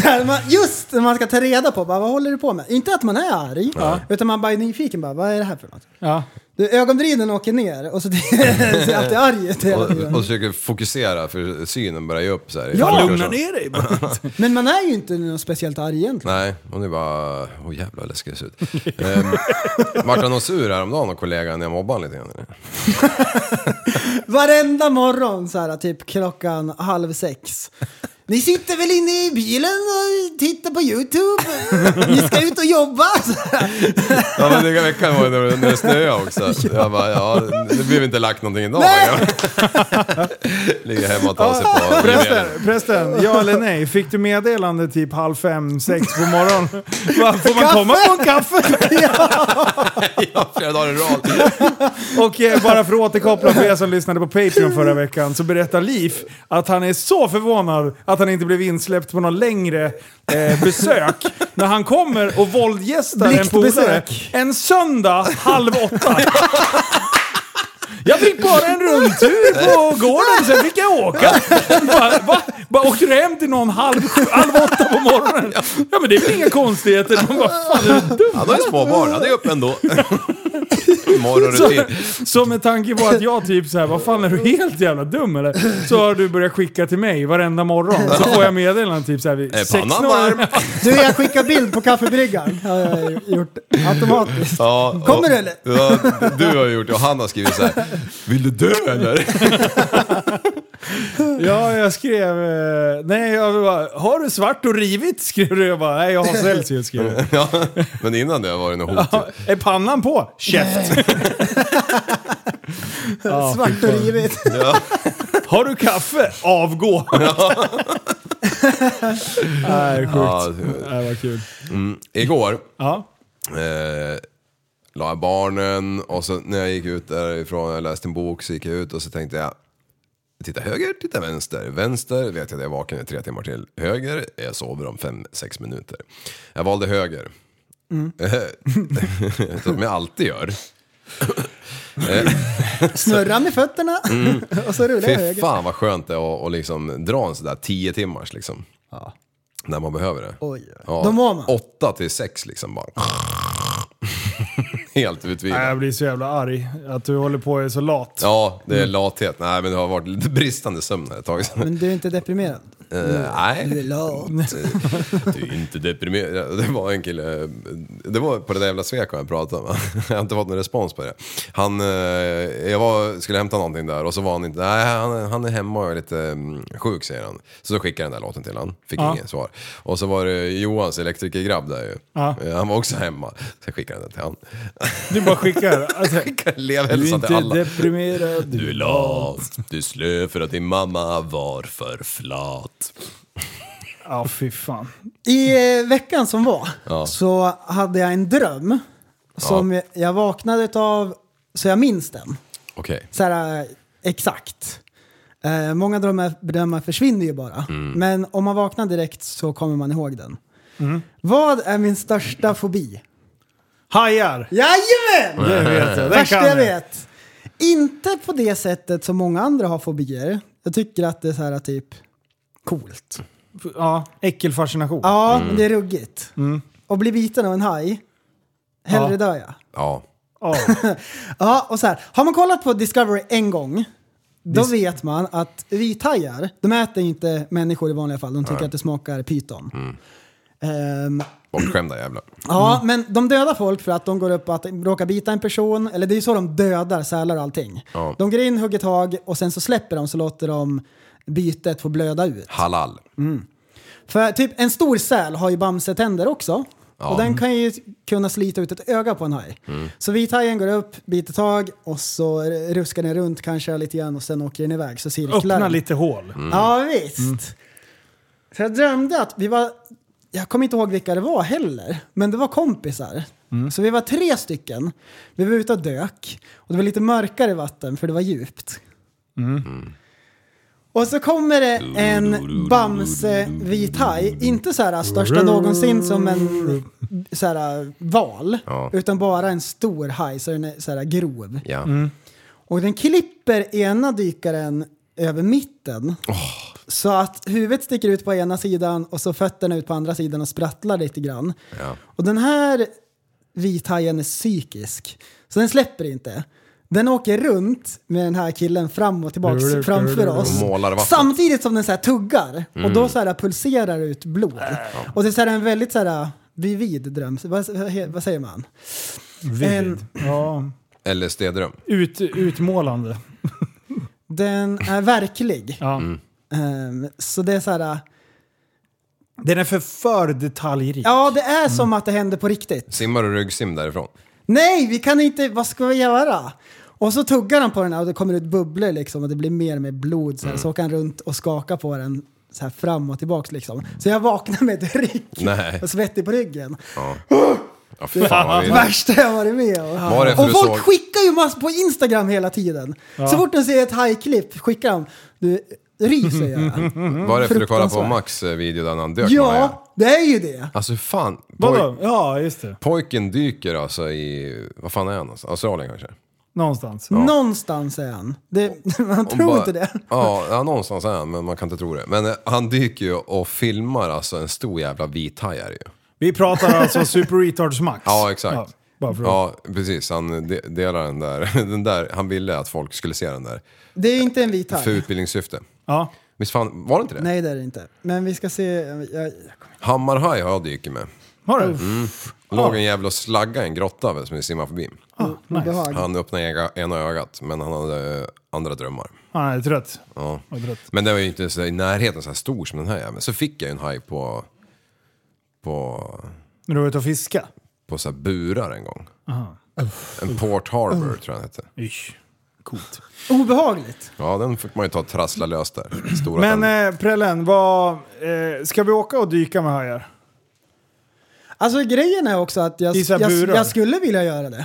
[SPEAKER 6] Så här, man- Just när man ska ta reda på, bara, vad håller du på med? Inte att man är arg, utan man bara är nyfiken, bara, vad är det här för något?
[SPEAKER 5] Ja.
[SPEAKER 6] Du, ögonbrynen åker ner och så ser alltid arg ut hela
[SPEAKER 7] Och, och
[SPEAKER 6] tiden.
[SPEAKER 7] försöker fokusera för synen börjar ju upp så här.
[SPEAKER 6] Ja.
[SPEAKER 7] Först-
[SPEAKER 5] Lugna ner dig bara.
[SPEAKER 6] Men man är ju inte någon speciellt arg egentligen.
[SPEAKER 7] Nej, hon är bara, åh jävlar vad läskig jag ser ut. Ehm, Vart han någon sur häromdagen och kollegan när jag mobbade honom lite grann eller?
[SPEAKER 6] Varenda morgon så här, typ klockan halv sex. Ni sitter väl inne i bilen och tittar på YouTube? Ni ska ut och jobba! Så här.
[SPEAKER 7] Ja men den veckan var det när det- när det snöade också. Jag bara, ja det blev inte lagt någonting idag.
[SPEAKER 6] Nej!
[SPEAKER 7] Ligger hemma och tar sig på
[SPEAKER 5] Prästen, prästen, ja eller nej? Fick du meddelande typ halv fem, sex på morgonen? Va, Får man komma på en kaffe?
[SPEAKER 7] Ja, flera dagar i rad.
[SPEAKER 5] Och eh, bara för att återkoppla för er som lyssnade på Patreon förra veckan så berättar Liv att han är så förvånad att han inte blev insläppt på någon längre eh, besök. När han kommer och våldgästar en polare
[SPEAKER 6] Blixtbesök.
[SPEAKER 5] en söndag halv åtta. Jag fick bara en rundtur på gården, sen fick jag åka. Bara, va? bara åkte du hem till någon halv, sju- halv åtta på morgonen? Ja men det är väl inga konstigheter. Man bara, fan, är du dum?
[SPEAKER 7] Han har ju småbarn, han är uppe ändå. Morgonrutin.
[SPEAKER 5] Så med tanke på att jag typ så här, vad fan är du helt jävla dum eller? Så har du börjat skicka till mig varenda morgon. Så får jag meddelanden typ så här vid
[SPEAKER 7] Är Eh, pannan
[SPEAKER 5] 16
[SPEAKER 7] varm?
[SPEAKER 6] Du, jag skickar bild på kaffebryggaren. har jag gjort automatiskt.
[SPEAKER 7] Ja, och-
[SPEAKER 6] Kommer du eller?
[SPEAKER 7] Ja, du har ju gjort det och han har skrivit så här. Vill du dö eller?
[SPEAKER 5] Ja, jag skrev... eh, Nej, jag bara, har du svart och rivit? Skrev du. Jag bara, nej jag har Celsius skrev jag.
[SPEAKER 7] Ja, men innan det var det nog hot.
[SPEAKER 5] Ja, Är pannan på? Käft! Ja,
[SPEAKER 6] Svart och rivigt.
[SPEAKER 5] Har du kaffe? Avgå! Nej, sjukt.
[SPEAKER 7] Ja,
[SPEAKER 5] Nej, vad kul.
[SPEAKER 7] igår
[SPEAKER 5] Ja.
[SPEAKER 7] eh, la jag barnen och så när jag gick ut därifrån, jag läste en bok, så gick jag ut och så tänkte jag Titta höger, titta vänster. Vänster vet jag att jag är vaken i tre timmar till. Höger, jag sover om fem, sex minuter. Jag valde höger.
[SPEAKER 6] Mm.
[SPEAKER 7] Som jag alltid gör.
[SPEAKER 6] Snurra med fötterna och så rullar jag
[SPEAKER 7] Mm. Fy
[SPEAKER 6] höger.
[SPEAKER 7] fan vad skönt det är att, att liksom dra en sån där tio timmars liksom. När man behöver det.
[SPEAKER 6] Oj, oj.
[SPEAKER 7] Ja,
[SPEAKER 6] Då mår man.
[SPEAKER 7] Åtta till sex liksom bara. Helt
[SPEAKER 5] Nej,
[SPEAKER 7] utvilad.
[SPEAKER 5] Jag blir så jävla arg att du håller på och är så lat.
[SPEAKER 7] Ja, det är
[SPEAKER 5] Mm.
[SPEAKER 7] lathet. Nej, men det har varit lite bristande sömn här ett tag sedan.
[SPEAKER 6] Men du är inte deprimerad?
[SPEAKER 7] Eh,
[SPEAKER 6] Du är
[SPEAKER 7] nej,
[SPEAKER 6] lat.
[SPEAKER 7] du är inte deprimerad. Det var en kille, eh, det var på det där jävla Sweco jag pratade om. Jag har inte fått någon respons på det. Han, eh, jag var, skulle hämta någonting där och så var han inte, nej han, är- han är hemma och är lite mm, sjuk säger han. Så då skickade jag den där låten till han, fick
[SPEAKER 5] Ja.
[SPEAKER 7] inget svar. Och så var det Johans elektrikergrabb där ju.
[SPEAKER 5] Ja.
[SPEAKER 7] Eh, Han var också hemma. Så jag skickade den till han.
[SPEAKER 5] Du bara skickar. Alltså, du är
[SPEAKER 7] Elevhälsan till
[SPEAKER 5] inte
[SPEAKER 7] alla.
[SPEAKER 5] deprimerad.
[SPEAKER 7] Du är lat, du är slö för att din mamma var för flat.
[SPEAKER 5] Ja, fy fan.
[SPEAKER 6] I eh, veckan som var så hade jag en dröm som jag vaknade utav så jag minns den.
[SPEAKER 7] Okej.
[SPEAKER 6] Så här, eh, exakt. Eh, många drömmar, drömmar försvinner ju bara. Men om man vaknar direkt så kommer man ihåg den. Vad är min största fobi?
[SPEAKER 5] Hajar!
[SPEAKER 6] Jajamän!
[SPEAKER 5] Det vet jag. Det
[SPEAKER 6] Värsta
[SPEAKER 5] kan
[SPEAKER 6] jag vet. Inte på det sättet som många andra har fobier. Jag tycker att det är så här typ coolt.
[SPEAKER 5] Ja, äckelfascination.
[SPEAKER 6] Ja, men det är ruggigt. Och bli biten av en haj, hellre
[SPEAKER 5] Ja.
[SPEAKER 6] dör jag.
[SPEAKER 7] Ja.
[SPEAKER 5] Ja.
[SPEAKER 6] Ja, och så här. Har man kollat på Discovery en gång, då vet man att vithajar, de äter inte människor i vanliga fall. De tycker att det smakar pyton. Ehm,
[SPEAKER 7] Bortskämda jävlar.
[SPEAKER 6] Ja, men de dödar folk för att de går upp och att råkar bita en person. Eller det är ju så de dödar sälar och allting.
[SPEAKER 7] Ja.
[SPEAKER 6] De går in, hugger tag och sen så släpper de så låter de bytet få blöda ut.
[SPEAKER 7] Halal.
[SPEAKER 6] För typ en stor säl har ju bamsetänder också. Och den kan ju kunna slita ut ett öga på en haj. Så vithajen går upp, biter tag och så ruskar den runt kanske lite grann och sen åker den iväg. Så cirklar
[SPEAKER 5] Öppna
[SPEAKER 6] den.
[SPEAKER 5] lite hål.
[SPEAKER 6] Ja visst. Så jag drömde att vi var, jag kommer inte ihåg vilka det var heller, men det var kompisar. Så vi var tre stycken. Vi var ute och dök och det var lite mörkare vatten för det var djupt. Mm. Och så kommer det en Bamse-vit haj, inte så här största någonsin som en så här, val,
[SPEAKER 7] Ja.
[SPEAKER 6] utan bara en stor haj så den är så här grov.
[SPEAKER 7] Ja.
[SPEAKER 6] Och den klipper ena dykaren över mitten. Så att huvudet sticker ut på ena sidan och så fötterna ut på andra sidan och sprattlar lite grann.
[SPEAKER 7] Ja.
[SPEAKER 6] Och den här vithajen är psykisk. Så den släpper inte. Den åker runt med den här killen fram och tillbaka
[SPEAKER 5] Du, du, du,
[SPEAKER 6] framför
[SPEAKER 5] du.
[SPEAKER 6] oss.
[SPEAKER 7] Och målar vattnet. Mm.
[SPEAKER 6] Samtidigt som den så här tuggar. Och då så här pulserar ut blod.
[SPEAKER 7] Äh,
[SPEAKER 6] Och det är så här en väldigt så här vivid dröm. Vad, vad säger man? En-
[SPEAKER 5] Vid. Ja.
[SPEAKER 7] Eller stedrum.
[SPEAKER 5] Ut, utmålande.
[SPEAKER 6] Den är verklig.
[SPEAKER 5] Ja.
[SPEAKER 7] Mm.
[SPEAKER 6] Ehm, så det är så här...
[SPEAKER 5] Den är för för detaljrik.
[SPEAKER 6] Ja, det
[SPEAKER 7] Mm.
[SPEAKER 6] är som att det händer på riktigt.
[SPEAKER 7] Simmar och ryggsim därifrån.
[SPEAKER 6] Nej, vi kan inte... Vad ska vi göra? Och så tuggar han på den här och det kommer ut bubblor liksom och det blir mer och mer blod. Så,
[SPEAKER 7] Mm.
[SPEAKER 6] här. så åker han runt och skakar på den så här fram och tillbaks liksom. Så jag vaknar med ett ryck
[SPEAKER 7] Nej.
[SPEAKER 6] och svettig på ryggen.
[SPEAKER 7] Ja, fan vad
[SPEAKER 6] Det
[SPEAKER 7] vidrigt.
[SPEAKER 6] värsta jag varit med om.
[SPEAKER 7] Var det för
[SPEAKER 6] Och
[SPEAKER 7] du
[SPEAKER 6] folk
[SPEAKER 7] såg-
[SPEAKER 6] skickar ju massor på Instagram hela tiden. Så fort de ser ett hajklipp skickar de... Du, ryser jag.
[SPEAKER 7] Var det för att du kollade på
[SPEAKER 6] Fruktansvärt.
[SPEAKER 7] Max eh, video där han dök? med hajen?
[SPEAKER 6] Ja, det är ju det.
[SPEAKER 7] Alltså hur fan. Poj,
[SPEAKER 5] Vadå? Ja, just det.
[SPEAKER 7] pojken dyker alltså i, vad fan är han någonstans? Australien kanske?
[SPEAKER 5] Någonstans.
[SPEAKER 6] Någonstans är han. Det, man
[SPEAKER 7] Hon
[SPEAKER 6] tror
[SPEAKER 7] bara-
[SPEAKER 6] inte det.
[SPEAKER 7] Ja, ja, någonstans är han men man kan inte tro det. Men eh, han dyker ju och filmar alltså en stor jävla vithaj är det ju.
[SPEAKER 5] Vi pratar alltså Super Retards Max.
[SPEAKER 7] Ja, exakt.
[SPEAKER 5] bara för att...
[SPEAKER 7] Ja, precis. Han de- delar den där. den där. Han ville att folk skulle se den där.
[SPEAKER 6] Det är inte en vit haj.
[SPEAKER 7] För utbildningssyfte.
[SPEAKER 5] Ja.
[SPEAKER 7] Visst fan, var det inte det?
[SPEAKER 6] Nej, det är det inte. Men vi ska se. eh, Jag, jag,
[SPEAKER 7] Hammarhaj har jag dyker med.
[SPEAKER 5] Har du? Mm.
[SPEAKER 7] Låg en jävla slagga i en grotta som vi simmade förbi.
[SPEAKER 5] Ah, Mm.
[SPEAKER 6] obehag.
[SPEAKER 7] Han öppnade ega- ena ögat, men han hade eh, andra drömmar.
[SPEAKER 5] Han Ah, är trött.
[SPEAKER 7] Ja.
[SPEAKER 5] Han är trött.
[SPEAKER 7] Men den var ju inte så i närheten så här stor som den här jäveln. Så fick jag ju en haj på, på,
[SPEAKER 5] När du var ute och fiska?
[SPEAKER 7] på så här burar en gång. En Port Harbour tror jag den hette.
[SPEAKER 5] Ish. Coolt.
[SPEAKER 6] Obehagligt.
[SPEAKER 7] Ja, den fick man ju ta och trassla lös där. Stora
[SPEAKER 5] Men
[SPEAKER 7] tänder.
[SPEAKER 5] eh, Prellen, vad, eh, ska vi åka och dyka med hajar?
[SPEAKER 6] Alltså grejen är också att jag,
[SPEAKER 5] I så här
[SPEAKER 6] jag,
[SPEAKER 5] burar.
[SPEAKER 6] jag skulle vilja göra det.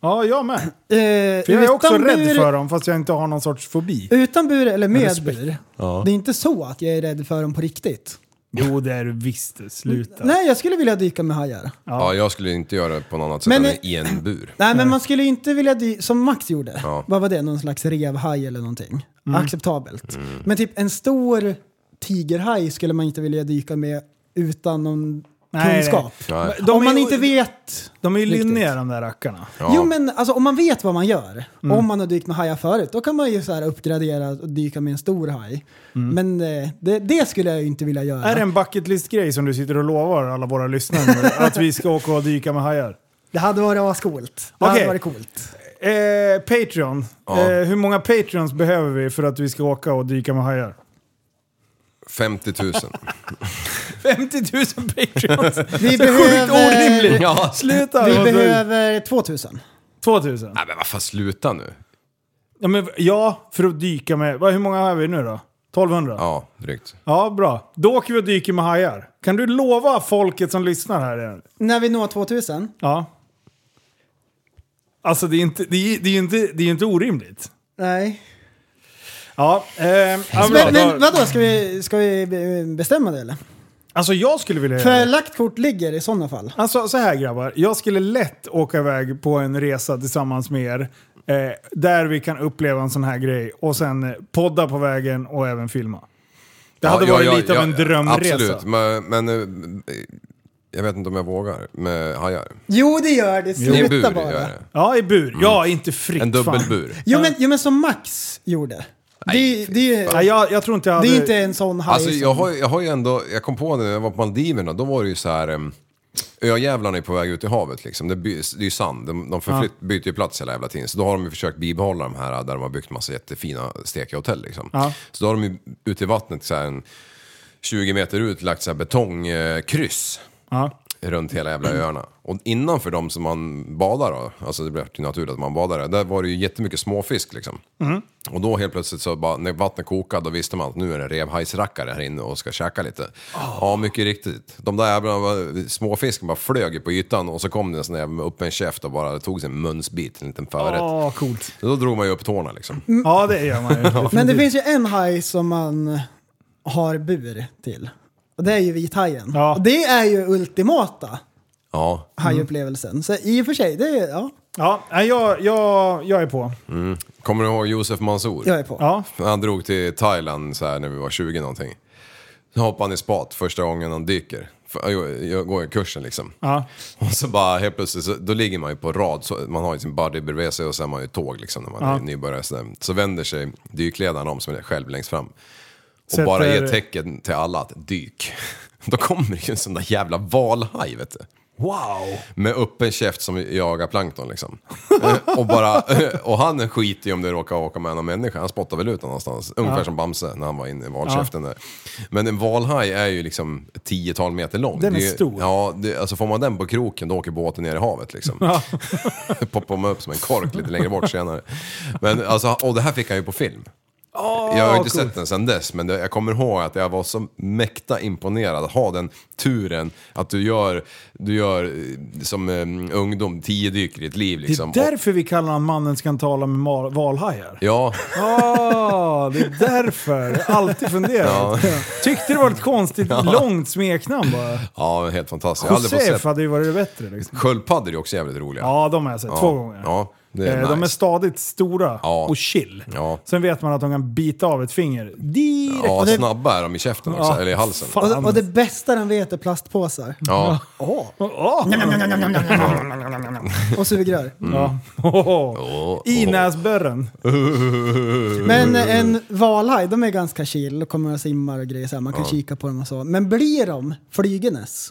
[SPEAKER 5] Ja, jag med.
[SPEAKER 6] Eh,
[SPEAKER 5] För jag är också
[SPEAKER 6] utan
[SPEAKER 5] rädd
[SPEAKER 6] bur-
[SPEAKER 5] för dem, fast jag inte har någon sorts fobi.
[SPEAKER 6] Utan bur eller med
[SPEAKER 5] respekt.
[SPEAKER 6] bur. Det är inte så att jag är rädd för dem på riktigt.
[SPEAKER 5] Jo, det är du visst. Sluta.
[SPEAKER 6] Nej, jag skulle vilja dyka med hajar.
[SPEAKER 7] Ja, jag skulle inte göra det på något annat sätt
[SPEAKER 6] Men-
[SPEAKER 5] eh,
[SPEAKER 7] än i en bur.
[SPEAKER 6] Nej, men man skulle ju inte vilja dy- som Max gjorde.
[SPEAKER 7] Ja.
[SPEAKER 6] Vad var det? Någon slags revhaj eller någonting.
[SPEAKER 5] Mm.
[SPEAKER 6] Acceptabelt.
[SPEAKER 7] Mm.
[SPEAKER 6] Men typ en stor tigerhaj skulle man inte vilja dyka med utan någon
[SPEAKER 5] Nej,
[SPEAKER 6] kunskap.
[SPEAKER 7] Nej.
[SPEAKER 5] De
[SPEAKER 6] om
[SPEAKER 5] är
[SPEAKER 6] man
[SPEAKER 5] ju-
[SPEAKER 6] inte vet.
[SPEAKER 5] De är ju
[SPEAKER 6] Riktigt.
[SPEAKER 5] linnéa de där rackarna.
[SPEAKER 7] Ja.
[SPEAKER 6] Jo men alltså om man vet vad man gör. Om man har dykt med hajar förut. Då kan man ju så här uppgradera och dyka med en stor haj. Men eh, det, det skulle jag ju inte vilja göra.
[SPEAKER 5] Är det en bucket list-grej som du sitter och lovar alla våra lyssnare nu? Att vi ska åka och dyka med hajar?
[SPEAKER 6] Det hade varit ascoolt. Det
[SPEAKER 5] Okej.
[SPEAKER 6] hade varit coolt.
[SPEAKER 5] Eh, Patreon.
[SPEAKER 7] Ja.
[SPEAKER 5] Eh, hur många Patreons behöver vi för att vi ska åka och dyka med hajar?
[SPEAKER 7] 50 000.
[SPEAKER 5] 50 000 Patreons!
[SPEAKER 6] Vi
[SPEAKER 5] Sjukt orimligt!
[SPEAKER 6] behöver,
[SPEAKER 7] ja,
[SPEAKER 5] Sluta!
[SPEAKER 6] vi behöver 2000.
[SPEAKER 5] 2000?
[SPEAKER 7] Nej men vad fan, sluta nu.
[SPEAKER 5] Ja, men, ja, för att dyka med... vad- Hur många har vi nu då? 1200?
[SPEAKER 7] Ja, drygt.
[SPEAKER 5] Ja, bra. Då åker vi och dyker med hajar. Kan du lova folket som lyssnar här? igen?
[SPEAKER 6] När vi når 2000.
[SPEAKER 5] Ja. Alltså det är ju inte, det är, det är inte, det är inte orimligt.
[SPEAKER 6] Nej.
[SPEAKER 5] Ja, eh, ja, bra.
[SPEAKER 6] Men, men vadå, ska vi, ska vi be- bestämma det eller?
[SPEAKER 5] alltså jag skulle vilja göra
[SPEAKER 6] För
[SPEAKER 5] det.
[SPEAKER 6] lagt kort ligger i sådana fall.
[SPEAKER 5] Alltså så här grabbar, jag skulle lätt åka iväg på en resa tillsammans med er. Eh, där vi kan uppleva en sån här grej och sen eh, podda på vägen och även filma. Det hade
[SPEAKER 7] Ja,
[SPEAKER 5] varit
[SPEAKER 7] ja, ja,
[SPEAKER 5] lite av en
[SPEAKER 7] ja,
[SPEAKER 5] drömresa.
[SPEAKER 7] Absolut, men, men eh, jag vet inte om jag vågar med hajar.
[SPEAKER 6] Jo det gör det,
[SPEAKER 7] I en bur
[SPEAKER 6] sluta
[SPEAKER 7] gör jag
[SPEAKER 6] bara.
[SPEAKER 7] det.
[SPEAKER 5] Ja, i bur. Ja, inte fritt.
[SPEAKER 7] Mm. En
[SPEAKER 5] fan.
[SPEAKER 7] dubbelbur.
[SPEAKER 6] Jo men, jo men som Max gjorde. Det, det,
[SPEAKER 5] Ja,
[SPEAKER 6] det,
[SPEAKER 5] jag, jag tror inte jag hade...
[SPEAKER 6] är inte en sån haj.
[SPEAKER 7] Alltså
[SPEAKER 6] som-
[SPEAKER 7] jag har, jag har ju ändå, jag kom på det när jag var på Maldiverna, då var det ju så här... em, Öjävlarna är på väg ut i havet liksom. Det, by, det är ju sand, de, de förflytt, byter ju plats hela jävla tiden. Så då har de ju försökt bibehålla de här där de har byggt massa jättefina stekiga hotell liksom.
[SPEAKER 5] Ja.
[SPEAKER 7] Så då har de ju ute i vattnet så här en 20 meter ut lagt så här betongkryss.
[SPEAKER 5] Ja.
[SPEAKER 7] Eh, runt hela jävla öarna. Och innanför dem som man badar då, alltså det blir ju naturligt att man badar där, där var det ju jättemycket småfisk liksom. Och då helt plötsligt så bara, när vattnet kokade, då visste man att nu är det revhajsrackare här inne och ska käka lite. Ja, mycket riktigt. De där jävla småfisken bara flög ju på ytan och så kom det en sån där jävla med öppen käft och bara tog sig en munsbit, en liten förrätt.
[SPEAKER 5] Ja, coolt.
[SPEAKER 7] Då drog man ju upp tårna liksom.
[SPEAKER 5] Ja, det gör man ju.
[SPEAKER 6] Men det
[SPEAKER 5] definitivt.
[SPEAKER 6] finns ju en haj som man har bur till. Och det är ju vithajen.
[SPEAKER 5] Ja. Mm.
[SPEAKER 6] Och det är ju ultimata
[SPEAKER 7] Ja.
[SPEAKER 6] hajupplevelsen. Så i och för sig, det är, ja,
[SPEAKER 5] Ja, nej, jag, jag, jag är på.
[SPEAKER 7] Kommer du ihåg Josef Mansour?
[SPEAKER 6] jag är på.
[SPEAKER 5] Ja.
[SPEAKER 7] Han drog till Thailand så här när vi var 20 någonting. Så hoppade han i spat första gången han dyker. För- Jag jag går ju kursen liksom.
[SPEAKER 5] Ja.
[SPEAKER 7] Och så bara helt plötsligt, så, då ligger man ju på rad. Så man har ju sin buddy bredvid sig och sen har man ju tåg liksom när man är nybörjare. Så, där. så vänder sig dykledaren om som är själv längst fram. Och
[SPEAKER 5] Sätter-
[SPEAKER 7] bara ger tecken till alla att dyk. Då kommer ju en sån där jävla valhaj vet du.
[SPEAKER 5] Wow!
[SPEAKER 7] Med öppen käft som jagar plankton liksom. Eh, och, bara, och han skiter ju om det råkar åka med någon människa. Han spottar väl ut den någonstans. Ungefär som Bamse när han var inne i valkäften där. Men en valhaj är ju liksom ett tiotal meter lång.
[SPEAKER 5] Den är
[SPEAKER 7] Det ju-
[SPEAKER 5] stor.
[SPEAKER 7] Ja, det, alltså får man den på kroken då åker båten ner i havet liksom. Poppar man upp som en kork lite längre bort senare. Men alltså, och det här fick han ju på film. Jag
[SPEAKER 5] Ah,
[SPEAKER 7] har ju inte sett den sedan dess, men det, jag kommer ihåg att jag var så mäkta imponerad att ha den turen att du gör, du gör eh, som um, ungdom tio dyk i ditt liv
[SPEAKER 5] Det
[SPEAKER 7] liksom.
[SPEAKER 5] är därför vi kallar honom mannen som kan tala med mal- valhajar.
[SPEAKER 7] Och, ja,
[SPEAKER 5] Ja, det är därför. Jag har alltid funderat. Tyckte det var ett konstigt långt smeknamn bara.
[SPEAKER 7] ja, helt fantastiskt. Jag har aldrig fått
[SPEAKER 5] Josef
[SPEAKER 7] sett.
[SPEAKER 5] hade ju varit bättre liksom.
[SPEAKER 7] Sköldpaddor är ju också jävligt roliga.
[SPEAKER 5] Ja, de har jag sett två gånger.
[SPEAKER 7] Ja, det är
[SPEAKER 5] Eh,
[SPEAKER 7] nice.
[SPEAKER 5] De är stadigt stora
[SPEAKER 7] Ja.
[SPEAKER 5] och chill.
[SPEAKER 7] Ja.
[SPEAKER 5] Sen vet man att de kan bita av ett finger direkt.
[SPEAKER 7] ja
[SPEAKER 6] och det-
[SPEAKER 7] snabba är de i käften också,
[SPEAKER 5] Ja,
[SPEAKER 7] eller i halsen.
[SPEAKER 5] fan.
[SPEAKER 6] Och, det- och det bästa den vet är plastpåsar.
[SPEAKER 7] Ja,
[SPEAKER 5] Åh!
[SPEAKER 6] Och sugrör.
[SPEAKER 7] Mm.
[SPEAKER 5] Ja. Åh. I näsborren.
[SPEAKER 6] Men en valhaj, de är ganska chill och kommer och simmar och grejer. Så här. Man kan kika på dem och så. Men blir de flygendes,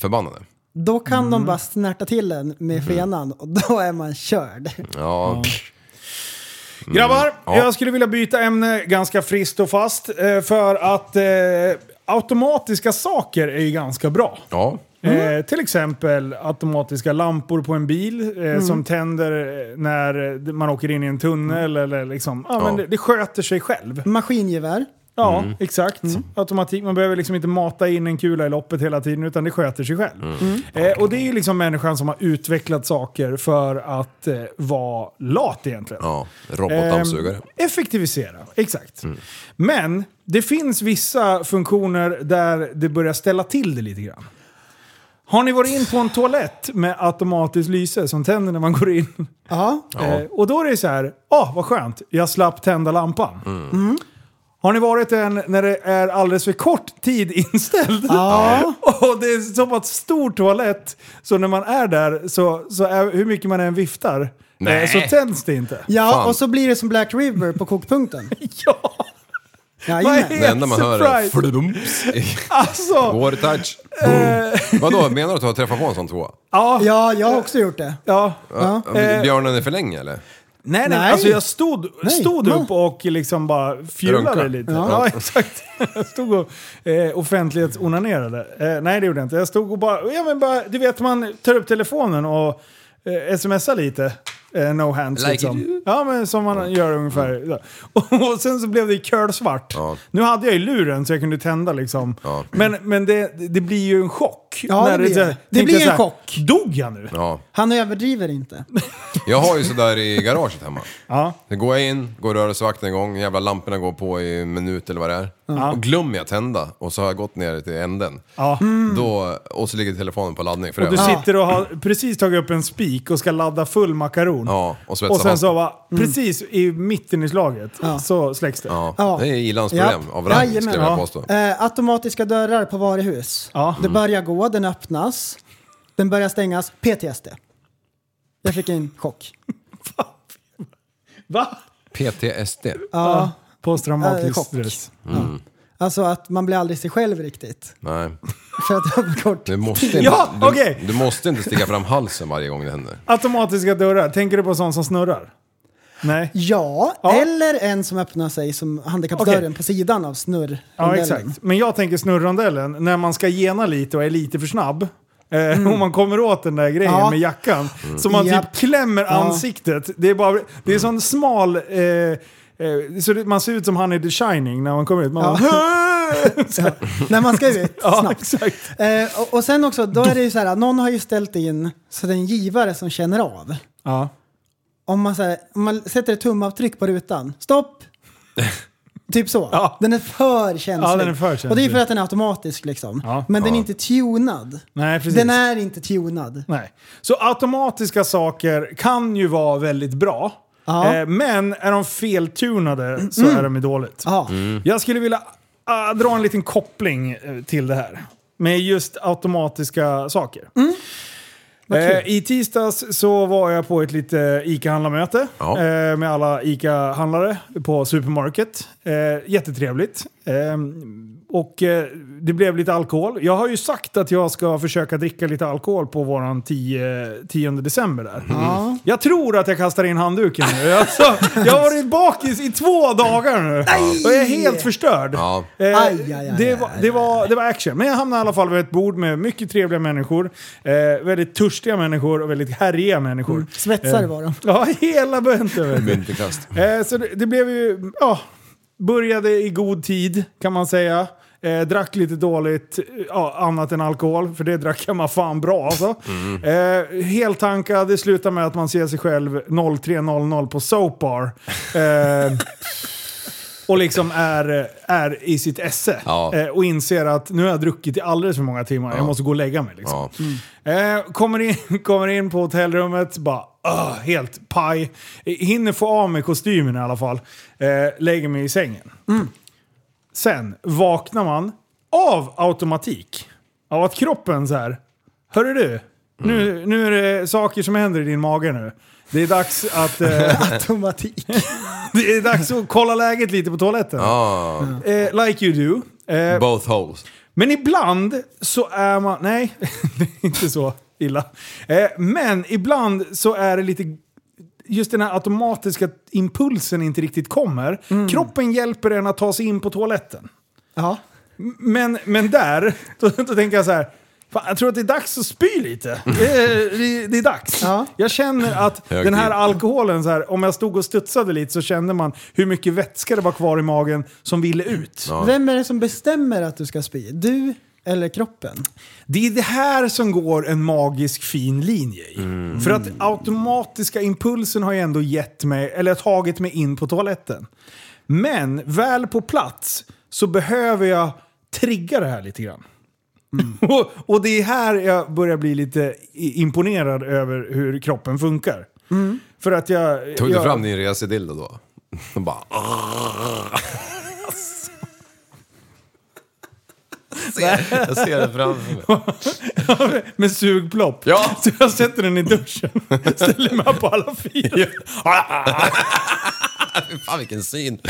[SPEAKER 7] förbannade.
[SPEAKER 6] då kan
[SPEAKER 5] Mm.
[SPEAKER 6] de bara snärta till en
[SPEAKER 5] Mhm.
[SPEAKER 6] med fenan och då är man körd.
[SPEAKER 7] Ja, pff,
[SPEAKER 5] Grabbar,
[SPEAKER 7] Mm. Ja.
[SPEAKER 5] jag skulle vilja byta ämne ganska friskt och fast. eh, För att eh, automatiska saker är ju ganska bra.
[SPEAKER 7] ja. Mm.
[SPEAKER 5] Eh, till exempel automatiska lampor på en bil eh,
[SPEAKER 7] Mm.
[SPEAKER 5] som tänder eh, när eh, man åker in i en tunnel. Eller liksom, ja, Men
[SPEAKER 7] Mm. Ja. Mm.
[SPEAKER 5] det, det sköter sig själv.
[SPEAKER 6] Maskingevär.
[SPEAKER 5] Ja, exakt. Automatik. Man behöver liksom inte mata in en kula i loppet hela tiden, utan det sköter sig själv.
[SPEAKER 7] Mm.
[SPEAKER 5] Eh, och det är ju liksom människan som har utvecklat saker för att eh, vara lat egentligen.
[SPEAKER 7] ja. Robotdammsugare.
[SPEAKER 5] Ehm, Effektivisera, exakt. Men det finns vissa funktioner där det börjar ställa till det lite grann. Har ni varit in på en toalett med automatiskt lyse som tänder när man går in?
[SPEAKER 6] Ja.
[SPEAKER 5] Eh, och då är det så här, åh vad skönt, jag slapp tända lampan. Mm. Har ni varit en när det är alldeles för kort tid inställd?
[SPEAKER 6] Ja.
[SPEAKER 5] Och det är så pass stor toalett, så när man är där, så, så är, hur mycket man än viftar, eh,
[SPEAKER 7] Nej.
[SPEAKER 5] så tänds det inte.
[SPEAKER 6] Ja,
[SPEAKER 7] Fan.
[SPEAKER 6] och så blir det som Black River på kokpunkten.
[SPEAKER 5] Ja! Vad
[SPEAKER 6] Jajamän.
[SPEAKER 5] är-
[SPEAKER 7] Det enda man hör är...
[SPEAKER 5] Surprise.
[SPEAKER 7] Fludums.
[SPEAKER 5] Alltså!
[SPEAKER 7] Water touch.
[SPEAKER 5] Eh.
[SPEAKER 7] Vadå, menar du att du har träffat på en sån tvåa?
[SPEAKER 5] Ja, ja.
[SPEAKER 6] Ja, jag har också gjort det.
[SPEAKER 5] Eh.
[SPEAKER 7] Björnen är för länge eller?
[SPEAKER 5] Nej, nej,
[SPEAKER 6] Nej.
[SPEAKER 5] Alltså jag stod, stod
[SPEAKER 6] Ja.
[SPEAKER 5] upp och liksom bara fjulade
[SPEAKER 7] Runka.
[SPEAKER 5] lite. Ja.
[SPEAKER 6] Ja.
[SPEAKER 5] exakt. Jag stod och eh, offentlighetsonanerade. Eh, nej, det gjorde jag inte. Jag stod och bara, ja, men bara, du vet man tar upp telefonen och eh, smsar lite. Eh, no hands
[SPEAKER 7] Like
[SPEAKER 5] liksom.
[SPEAKER 7] you. Mm.
[SPEAKER 5] Ja, men som man gör ungefär. Ja. Och, och sen så blev det kölsvart.
[SPEAKER 7] Ja.
[SPEAKER 5] Nu hade jag ju luren så jag kunde tända liksom.
[SPEAKER 7] Ja.
[SPEAKER 5] Men, men det, det blir ju en chock.
[SPEAKER 6] Ja, det blir det.
[SPEAKER 5] jag
[SPEAKER 6] Det blir
[SPEAKER 5] tänkte så
[SPEAKER 6] en
[SPEAKER 5] här,
[SPEAKER 6] chock.
[SPEAKER 5] Dog jag nu?
[SPEAKER 7] Ja.
[SPEAKER 6] Han överdriver inte.
[SPEAKER 7] Jag har ju sådär i garaget hemma.
[SPEAKER 5] Ja.
[SPEAKER 7] Sen går jag in, går rörelsevakten igång, jävla lamporna går på i en minut eller vad det är. Och glömmer jag tända och så har jag gått ner till änden. Mm.
[SPEAKER 5] Ja.
[SPEAKER 7] Då, och så ligger telefonen på laddning för
[SPEAKER 5] Och du
[SPEAKER 7] övrigt.
[SPEAKER 5] sitter och har precis tagit upp en spik och ska ladda full makaron.
[SPEAKER 7] Ja, och svetsa
[SPEAKER 5] Och sen
[SPEAKER 7] fast
[SPEAKER 5] så
[SPEAKER 7] den.
[SPEAKER 5] bara, precis i mitten i slaget
[SPEAKER 6] Mm. Ja.
[SPEAKER 5] så släcks det.
[SPEAKER 7] Ja.
[SPEAKER 6] Ja.
[SPEAKER 7] Det är i-landsproblem
[SPEAKER 6] Japp.
[SPEAKER 7] av rang skulle
[SPEAKER 6] Jajamän.
[SPEAKER 7] jag
[SPEAKER 5] Ja.
[SPEAKER 7] vilja påstå.
[SPEAKER 6] Eh, automatiska dörrar på varuhus.
[SPEAKER 5] Ja.
[SPEAKER 6] Det börjar gå, den öppnas, den börjar stängas. PTSD. Jag fick en chock.
[SPEAKER 5] Va?
[SPEAKER 7] PTSD.
[SPEAKER 6] Ja. Eh,
[SPEAKER 5] Posttraumatisk
[SPEAKER 6] chock.
[SPEAKER 5] stress.
[SPEAKER 6] Alltså att man blir aldrig sig själv riktigt.
[SPEAKER 7] Nej.
[SPEAKER 6] För att det var för kort.
[SPEAKER 7] Du måste, inte,
[SPEAKER 5] Ja,
[SPEAKER 7] du,
[SPEAKER 5] okej.
[SPEAKER 7] du måste inte sticka fram halsen varje gång det händer.
[SPEAKER 5] Automatiska dörrar, tänker du på sånt som snurrar? Nej?
[SPEAKER 6] Ja,
[SPEAKER 5] Ja.
[SPEAKER 6] eller en som öppnar sig som handikappdörren
[SPEAKER 5] Okej.
[SPEAKER 6] på sidan av snurr.
[SPEAKER 5] Ja, exakt. Men jag tänker snurrondellen, när man ska gena lite och är lite för snabb. Eh, Och man kommer åt den där grejen
[SPEAKER 6] Mm. Ja.
[SPEAKER 5] med jackan.
[SPEAKER 7] Mm.
[SPEAKER 5] Så man
[SPEAKER 6] Japp.
[SPEAKER 5] typ klämmer ansiktet. Det är, bara, det är sån smal... Eh, eh, så det, man ser ut som han i The Shining när man kommer ut. Man
[SPEAKER 6] Ja.
[SPEAKER 5] bara, så här.
[SPEAKER 6] När man ska ut
[SPEAKER 5] ja,
[SPEAKER 6] snabbt.
[SPEAKER 5] exakt.
[SPEAKER 6] Eh, och, och sen också, då är det ju så här, någon har ju ställt in så det är en givare som känner av.
[SPEAKER 5] Ja.
[SPEAKER 6] Om man, så här, om man sätter ett tumavtryck på rutan, stopp! typ så.
[SPEAKER 5] Ja.
[SPEAKER 6] Den är för känslig.
[SPEAKER 5] Ja, den är för
[SPEAKER 6] Och det är
[SPEAKER 5] känslig.
[SPEAKER 6] för att den är automatisk liksom.
[SPEAKER 5] Ja.
[SPEAKER 6] Men den är
[SPEAKER 7] Ja.
[SPEAKER 6] inte tunad.
[SPEAKER 5] Nej, precis.
[SPEAKER 6] Den är inte tunad.
[SPEAKER 5] Nej. Så automatiska saker kan ju vara väldigt bra.
[SPEAKER 6] Ja. Mm.
[SPEAKER 5] Eh, men är de feltunade så är de ju dåligt.
[SPEAKER 6] Ja.
[SPEAKER 7] Mm.
[SPEAKER 5] Jag skulle vilja ah, dra en liten koppling eh, till det här. Med just automatiska saker.
[SPEAKER 6] Mm.
[SPEAKER 5] Eh, I tisdags så var jag på ett litet ICA-handlarmöte
[SPEAKER 7] Ja.
[SPEAKER 5] eh, med alla ICA-handlare på Supermarket. Eh, jättetrevligt. Eh, och eh, det blev lite alkohol. Jag har ju sagt att jag ska försöka dricka lite alkohol på våran 10, 10 december där. Jag tror att jag kastar in handduken nu. Alltså, jag har varit bakis i två dagar nu. Och jag är helt förstörd.
[SPEAKER 7] Ja.
[SPEAKER 5] Eh,
[SPEAKER 6] Aj, aj, aj,
[SPEAKER 5] det,
[SPEAKER 6] aj,
[SPEAKER 5] var, det, var, det var action. Men jag hamnade i alla fall vid ett bord med mycket trevliga människor. Eh, väldigt törstiga människor och väldigt härjiga människor.
[SPEAKER 6] Svetsare
[SPEAKER 5] Eh.
[SPEAKER 6] var de.
[SPEAKER 5] Ja, hela bunten.
[SPEAKER 7] Myntekast.
[SPEAKER 5] eh, så det, det blev ju... Ja, började i god tid kan man säga. Eh, drack lite dåligt, eh, ja, annat än alkohol, för det drack jag man fan bra alltså. Eh, heltankad, det slutar med att man ser sig själv 03.00 på Soapbar. Eh, och liksom är, är i sitt esse.
[SPEAKER 7] Ja.
[SPEAKER 5] Eh, och inser att nu har jag druckit i alldeles för många timmar, jag måste gå och lägga mig. Liksom.
[SPEAKER 7] Ja.
[SPEAKER 5] Eh, kommer, in, kommer in på hotellrummet, bara "Ugh", helt paj. Eh, Hinner få av mig kostymen i alla fall. Eh, lägger mig i sängen. Sen vaknar man av automatik. Av att kroppen så här. Hörru du, nu, nu är det saker som händer i din mage nu. Det är dags att, eh,
[SPEAKER 6] Automatik.
[SPEAKER 5] det är dags att kolla läget lite på toaletten.
[SPEAKER 7] Ah,
[SPEAKER 5] Eh, like you do. Eh,
[SPEAKER 7] both holes.
[SPEAKER 5] men ibland så är man... Nej, det är inte så illa. Eh, men ibland så är det lite... Just den här automatiska impulsen inte riktigt kommer. Kroppen hjälper en att ta sig in på toaletten.
[SPEAKER 6] Ja.
[SPEAKER 5] Men, men där, då, då tänker jag så här. Fan, jag tror att det är dags att spy lite. Det är, det, det är dags.
[SPEAKER 6] Ja.
[SPEAKER 5] Jag känner att
[SPEAKER 7] Hög
[SPEAKER 5] den här
[SPEAKER 7] tid.
[SPEAKER 5] alkoholen, så här, om jag stod och studsade lite så kände man hur mycket vätska det var kvar i magen som ville ut.
[SPEAKER 6] Vem är det som bestämmer att du ska spy? Du eller kroppen?
[SPEAKER 5] Det är det här som går en magisk fin linje i.
[SPEAKER 7] Mm.
[SPEAKER 5] För att automatiska impulsen har ju ändå gett mig, eller tagit mig in på toaletten. Men väl på plats så behöver jag trigga det här lite grann.
[SPEAKER 7] Mm.
[SPEAKER 5] Och, och det är här jag börjar bli lite i- imponerad över hur kroppen funkar. För att jag...
[SPEAKER 7] Mm. Tog
[SPEAKER 5] jag,
[SPEAKER 7] du fram din resedildo då? Och bara... Jag ser- Jag ser det framför mig.
[SPEAKER 5] Med sugplopp.
[SPEAKER 7] Ja.
[SPEAKER 5] Så jag sätter den i duschen. Ställer mig på alla fyra.
[SPEAKER 7] Fan vilken syn.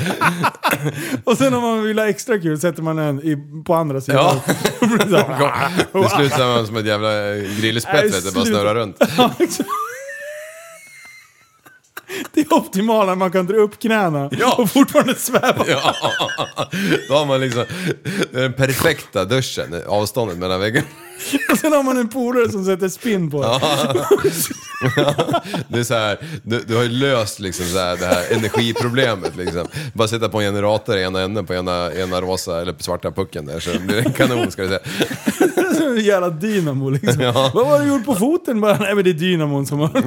[SPEAKER 5] Och sen om man vill ha extra kul sätter man den i, på andra sidan.
[SPEAKER 7] Ja.
[SPEAKER 5] Ja.
[SPEAKER 7] Det slutar med som ett jävla
[SPEAKER 5] Nej,
[SPEAKER 7] grillspett vet du,
[SPEAKER 5] sluta.
[SPEAKER 7] bara snurrar runt.
[SPEAKER 5] exakt. det är optimalt när man kan dra upp knäna
[SPEAKER 7] Ja.
[SPEAKER 5] och fortfarande sväva.
[SPEAKER 7] Ja. Då har man liksom det är den perfekta duschen, avståndet mellan väggarna.
[SPEAKER 5] Och sen har man en polare som sätter spinn på det.
[SPEAKER 7] Det är så här, du, du har ju löst liksom så här, det här energiproblemet liksom. Bara sätta på en generator i ena änden på ena, ena rosa eller svarta pucken där så blir det en kanon ska du säga.
[SPEAKER 5] Det är som en jävla dynamo liksom. Vad var det du gjort på foten? Bara, nej men det är dynamon som har...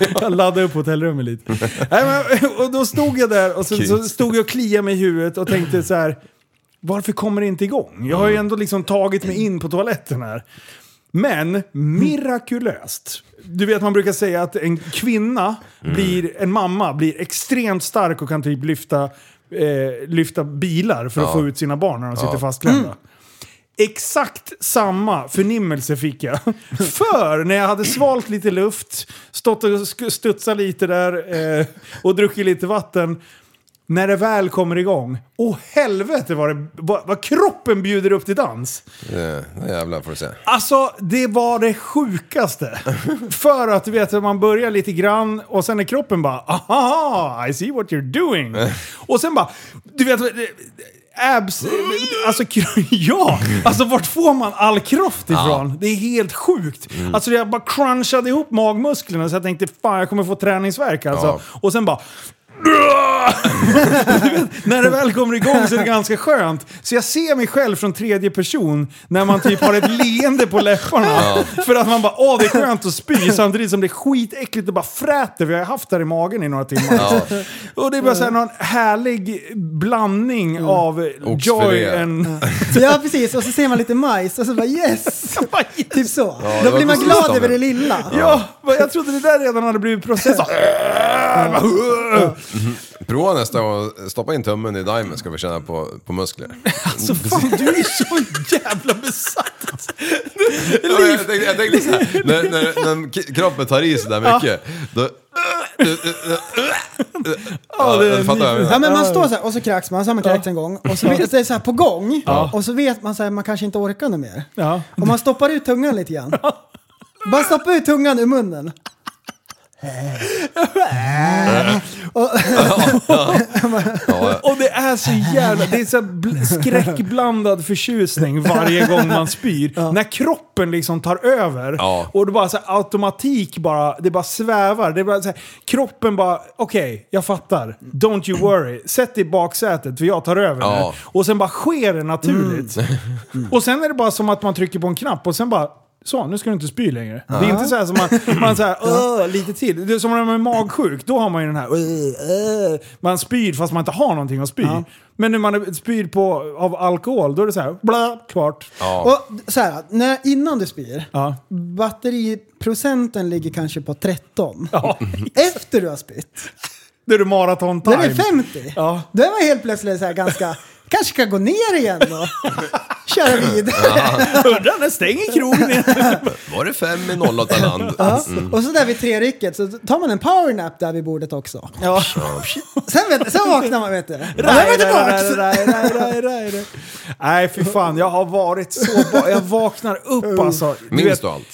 [SPEAKER 5] jag laddade upp hotellrummet lite. Nej, men, och då stod jag där och så, så stod jag och kliade mig i huvudet och tänkte så här. Varför kommer det inte igång? Jag har ju ändå liksom tagit mig in på toaletten här. Men mirakulöst. Du vet man brukar säga att en kvinna, blir, en mamma, blir extremt stark och kan typ lyfta, eh, lyfta bilar för att få ut sina barn när de sitter fastklämda. Exakt samma förnimmelse fick jag. För när jag hade svalt lite luft, stått och sk- studsat lite där eh, och druckit lite vatten. När det väl kommer igång, åh helvete vad, det, vad, vad kroppen bjuder upp till dans.
[SPEAKER 7] Det, Eh, det jävlar får du se.
[SPEAKER 5] Alltså, det var det sjukaste. För att du vet, man börjar lite grann och sen är kroppen bara aha, I see what you're doing. och sen bara, du vet, abs... Alltså, kro- ja! Alltså vart får man all kraft ifrån? Det är helt sjukt. Alltså jag bara crunchade ihop magmusklerna så jag tänkte fan jag kommer få träningsvärk alltså.
[SPEAKER 7] Ja.
[SPEAKER 5] Och sen bara... när det väl kommer igång så är det ganska skönt. Så jag ser mig själv från tredje person när man typ har ett leende på läpparna. För att man bara, åh det är skönt att spy samtidigt som det är skitäckligt och bara fräter. Vi har haft det här i magen i några timmar. Och det är bara så här någon härlig blandning av
[SPEAKER 7] Oxfilé.
[SPEAKER 5] joy and...
[SPEAKER 6] Ja precis, och så ser man lite majs och så bara yes! typ så.
[SPEAKER 7] det
[SPEAKER 6] Då
[SPEAKER 7] var
[SPEAKER 6] blir man
[SPEAKER 7] precis
[SPEAKER 6] glad
[SPEAKER 7] det.
[SPEAKER 6] över det lilla.
[SPEAKER 5] Ja, men jag trodde det där redan hade blivit processat.
[SPEAKER 7] Mm-hmm. Prova nästa gång, stoppa in tummen i Diamond ska vi känna på, på muskler. Mm.
[SPEAKER 5] Alltså fan, du är så jävla besatt.
[SPEAKER 7] Ja, men jag, tänkte, jag tänkte så här, när, när, när k- kroppen tar i så där mycket, då... Ja,
[SPEAKER 5] det är
[SPEAKER 7] du fattar vad jag
[SPEAKER 6] Ja
[SPEAKER 7] menar.
[SPEAKER 6] men man står så här och så kräks man, så har man kräkts en gång och så vet det är så här på gång och så vet man så här, man kanske inte orkar något mer.
[SPEAKER 5] Ja.
[SPEAKER 6] Och man stoppar ut tungan lite grann. Bara stoppa ut tungan ur munnen.
[SPEAKER 5] Och det är så jävla... Det är så här bl- skräckblandad förtjusning varje gång man spyr. När kroppen liksom tar över
[SPEAKER 7] Ja.
[SPEAKER 5] och det bara så här, automatik bara, det bara svävar. Det är bara så här, kroppen bara, okej, jag fattar. Don't you worry. Sätt dig i baksätet för jag tar över
[SPEAKER 7] Ja. Mm.
[SPEAKER 5] nu. Och sen bara sker det naturligt. Och sen är det bara som att man trycker på en knapp och sen bara så, nu ska du inte spy längre. Det är inte så här som man, man så här, "Åh", lite till. Det är som när man är magsjuk, då har man ju den här, "Åh, åh". man spyr fast man inte har någonting att spy. Men när man är- spyr på, av alkohol, då är det så här, bla, klart.
[SPEAKER 6] Och så här, när, innan du spyr,
[SPEAKER 5] Ja.
[SPEAKER 6] batteriprocenten ligger kanske på 13. Efter du har spytt,
[SPEAKER 5] Då är det maraton
[SPEAKER 6] då
[SPEAKER 5] time.
[SPEAKER 6] är det 50.
[SPEAKER 5] Ja.
[SPEAKER 6] Då är man helt plötsligt så här ganska, kanske ska gå ner igen då. Köra vidare.
[SPEAKER 5] Undrar när stänger krogen igen?
[SPEAKER 7] Var det fem i 08 land?
[SPEAKER 6] Ja. Och så där vid tre-rycket så tar man en powernap där vid bordet också.
[SPEAKER 5] Ja.
[SPEAKER 6] Sen, vet, sen vaknar man vet du. Och då är man
[SPEAKER 5] Nej, nej, nej,
[SPEAKER 6] tillbaks.
[SPEAKER 5] nej, nej, nej, nej, nej. Nej, fy fan. Jag har varit så... Ba- jag vaknar upp alltså. Du
[SPEAKER 7] Minns
[SPEAKER 5] vet-
[SPEAKER 7] du allt?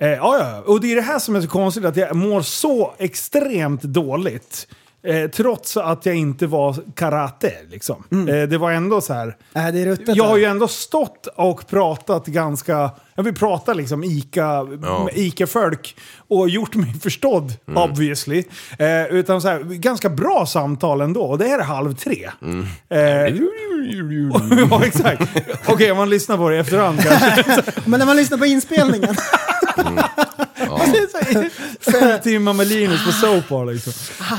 [SPEAKER 5] Eh, ja, ja, och det är det här som är så konstigt, att jag mår så extremt dåligt. Eh, trots att jag inte var karate, liksom. Eh, det var ändå så här...
[SPEAKER 6] Nej, Äh, det är ruttet.
[SPEAKER 5] Jag har
[SPEAKER 6] där.
[SPEAKER 5] ju ändå stått och pratat ganska... Jag vill prata liksom Ica,
[SPEAKER 7] Ja.
[SPEAKER 5] med Ica-folk och gjort mig förstådd, obviously. Eh, utan så här, ganska bra samtal ändå, och det här är halv tre. Eh, ja, exakt. Okej, om man lyssnar på det i efterhand kanske.
[SPEAKER 6] Men när man lyssnar på inspelningen.
[SPEAKER 5] Alltså, Fem timmar med Linus på Soapbar liksom.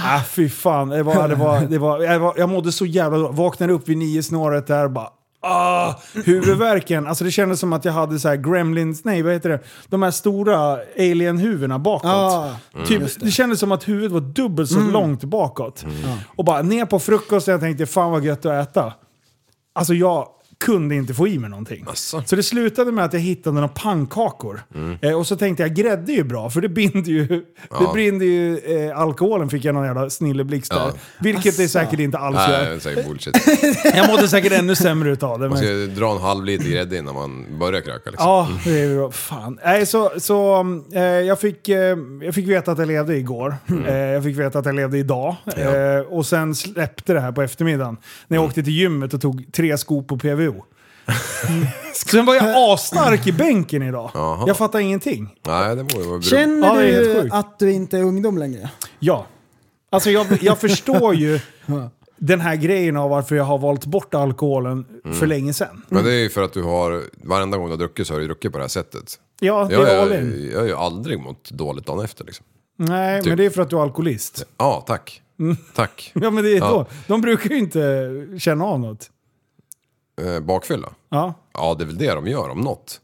[SPEAKER 5] Ah, fy fan. Det var, det var, det var, jag, var, jag mådde så jävla dåligt. Vaknade upp vid nio snåret där och bara... Ah, huvudvärken. Alltså det kändes som att jag hade så här gremlins, nej vad heter det? De här stora alien-huvudena bakåt.
[SPEAKER 6] Ja,
[SPEAKER 5] typ, det. kändes som att huvudet var dubbelt så långt bakåt. Och bara ner på frukosten, jag tänkte fan vad gött att äta. Alltså jag kunde inte få i mig någonting. Så det slutade med att jag hittade några pannkakor.
[SPEAKER 7] Mm.
[SPEAKER 5] Eh, och så tänkte jag grädde är ju bra, för det binder ju, det binder ju eh, alkoholen, fick jag någon jävla snilleblixt där.
[SPEAKER 7] Ja.
[SPEAKER 5] Vilket det säkert inte alls
[SPEAKER 7] Nej, det
[SPEAKER 5] gör.
[SPEAKER 7] är säkert bullshit.
[SPEAKER 5] Jag mådde säkert ännu sämre utav det.
[SPEAKER 7] Man ska
[SPEAKER 5] Men,
[SPEAKER 7] ju dra en halv liter grädde innan man börjar kröka liksom.
[SPEAKER 5] ja, det är bra. Fan. Nej, så, så mm, eh, jag, fick, eh, jag fick veta att jag levde igår. Eh, jag fick veta att jag levde idag. Eh, och sen släppte det här på eftermiddagen. När jag åkte till gymmet och tog tre skopor PVO. Sen var jag asstark i bänken idag.
[SPEAKER 7] Jaha.
[SPEAKER 5] Jag fattar ingenting.
[SPEAKER 7] Nej, det borde vara bra.
[SPEAKER 5] Ja,
[SPEAKER 6] Känner
[SPEAKER 5] det är helt
[SPEAKER 6] du
[SPEAKER 5] sjukt.
[SPEAKER 6] att du inte är ungdom längre?
[SPEAKER 5] Ja. Alltså jag, jag förstår ju den här grejen av varför jag har valt bort alkoholen för länge sedan.
[SPEAKER 7] Men det är ju för att du har, varenda gång du har druckit så har du druckit på det här sättet.
[SPEAKER 5] Ja, det
[SPEAKER 7] Jag,
[SPEAKER 5] är
[SPEAKER 7] jag,
[SPEAKER 5] all
[SPEAKER 7] jag,
[SPEAKER 5] in.
[SPEAKER 7] har ju aldrig mått dåligt dagen efter liksom.
[SPEAKER 5] Nej, men
[SPEAKER 7] typ.
[SPEAKER 5] det är för att du är alkoholist.
[SPEAKER 7] Ja, tack. Tack.
[SPEAKER 5] Mm. Ja, men det är
[SPEAKER 7] Ja.
[SPEAKER 5] då. De brukar ju inte känna av något.
[SPEAKER 7] Eh, bakfylla?
[SPEAKER 5] Ja.
[SPEAKER 7] Ja, det är väl det de gör om något.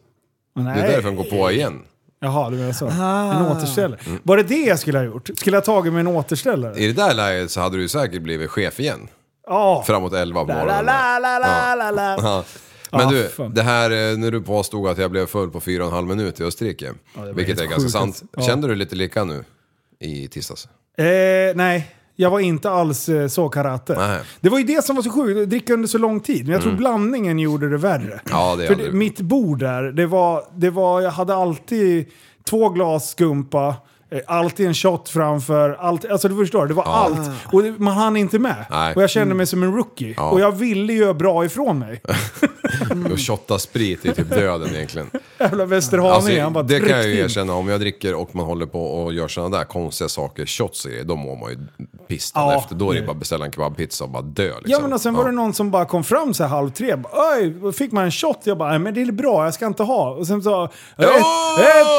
[SPEAKER 5] Nej.
[SPEAKER 7] Det är därför de går på igen.
[SPEAKER 5] Jaha, du menar så. En återställare. Var det det jag skulle ha gjort? Skulle jag ha tagit mig en återställare?
[SPEAKER 7] I det där läget så hade du ju säkert blivit chef igen.
[SPEAKER 5] Ja.
[SPEAKER 7] Framåt 11 på morgonen.
[SPEAKER 5] la.
[SPEAKER 7] Ja. Men
[SPEAKER 5] Ah,
[SPEAKER 7] du,
[SPEAKER 5] fan.
[SPEAKER 7] det här eh, när du påstod att jag blev full på fyra och en halv minut i Österrike.
[SPEAKER 5] var helt
[SPEAKER 7] vilket är ganska
[SPEAKER 5] sjukt.
[SPEAKER 7] sant.
[SPEAKER 5] Ja.
[SPEAKER 7] Kände du lite lika nu i tisdags?
[SPEAKER 5] Eh, nej, jag var inte alls eh, så karate.
[SPEAKER 7] Nej. Mm.
[SPEAKER 5] Det var ju det som var så sjukt, att dricka under så lång tid. Men jag tror blandningen gjorde det värre.
[SPEAKER 7] Ja, det
[SPEAKER 5] För
[SPEAKER 7] hade
[SPEAKER 5] det,
[SPEAKER 7] det.
[SPEAKER 5] mitt bord där, det var, det var, jag hade alltid två glas skumpa, eh, alltid en shot framför, allt, alltså du förstår, det var allt. Och det, man hann inte med.
[SPEAKER 7] Nej. Mm.
[SPEAKER 5] Och jag kände mig som en rookie.
[SPEAKER 7] Ja.
[SPEAKER 5] Och jag ville göra bra ifrån mig. Mm.
[SPEAKER 7] Och shotta sprit är typ döden egentligen.
[SPEAKER 5] Jävla Västerhaninge,
[SPEAKER 7] Alltså,
[SPEAKER 5] han bara
[SPEAKER 7] det kan jag
[SPEAKER 5] tryckte
[SPEAKER 7] ju
[SPEAKER 5] in.
[SPEAKER 7] erkänna, om jag dricker och man håller på och gör sådana där konstiga saker, shots och grejer, då mår man ju pistan
[SPEAKER 5] Ja,
[SPEAKER 7] efter. Då är det
[SPEAKER 5] det-
[SPEAKER 7] bara att beställa en kebabpizza och bara dö liksom.
[SPEAKER 5] Ja men och sen var det någon som bara kom fram så här halv tre. Bara, Oj, då fick man en shot. Jag bara, "Nej, men det är bra, jag ska inte ha. Och sen så, ett, ett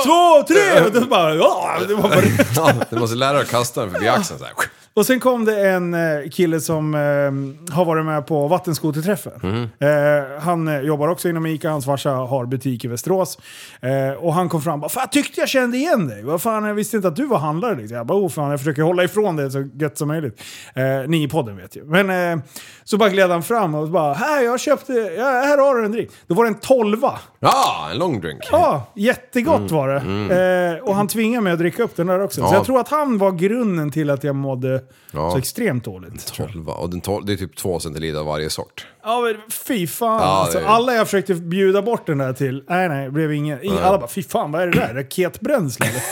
[SPEAKER 5] två, tre! Och, då bara, ja, det var bara,
[SPEAKER 7] Ja, du måste lära dig att kasta den förbi axeln så här.
[SPEAKER 5] och sen kom det en eh, kille som eh, har varit med på vattenskoterträffen. Eh, han eh, jobbar också inom ICA, hans farsa har butik i Västerås. Eh, och han kom fram och bara, fan jag tyckte jag kände igen dig. Vad fan, jag visste inte att du var handlare. Liksom. Jag bara, oh fan, jag försöker hålla ifrån det så gött som möjligt. Eh, ni i podden vet ju. Men eh, så bara gled han fram och bara, här jag köpte, ja, här har du en drink. Då var det en tolva.
[SPEAKER 7] Ja, en long drink.
[SPEAKER 5] Ja, jättegott var det. Eh, och han tvingade mig att dricka upp den där också.
[SPEAKER 7] Mm. Ja.
[SPEAKER 5] Så jag tror att han var grunden till att jag mådde
[SPEAKER 7] Ja.
[SPEAKER 5] så extremt dåligt.
[SPEAKER 7] Tolva, och den tol- det är typ två centiliter av varje sort.
[SPEAKER 5] Ja, men fy fan.
[SPEAKER 7] Ja,
[SPEAKER 5] alltså,
[SPEAKER 7] det är-
[SPEAKER 5] alla jag försökte bjuda bort den där till, nej nej, det blev ingen. ingen alla bara, fy fan vad är det där? Raketbränsle? eller?"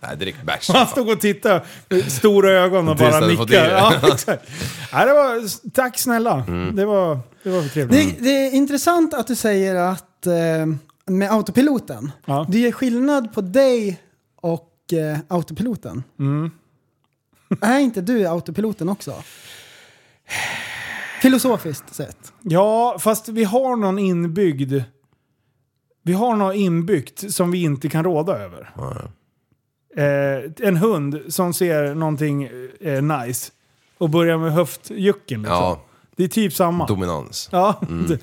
[SPEAKER 7] Nej, drick bärs.
[SPEAKER 5] Han stod och tittade med stora ögon och
[SPEAKER 7] Tills
[SPEAKER 5] bara
[SPEAKER 7] han fått i
[SPEAKER 5] nickade.
[SPEAKER 7] det. Mm.
[SPEAKER 5] Ja, exakt. nej, det var, tack snälla. Det var, det var trevligt.
[SPEAKER 6] Det, det är intressant att du säger att eh, med autopiloten,
[SPEAKER 5] Ja.
[SPEAKER 6] det är skillnad på dig och eh, autopiloten.
[SPEAKER 5] Mm.
[SPEAKER 6] är inte du autopiloten också? Filosofiskt sett.
[SPEAKER 5] Ja, fast vi har någon inbyggd... Vi har något inbyggt som vi inte kan råda över. Eh, en hund som ser någonting eh, nice och börjar med höftjucken. Liksom.
[SPEAKER 7] Ja.
[SPEAKER 5] Det är typ samma.
[SPEAKER 7] Dominans.
[SPEAKER 5] ja, det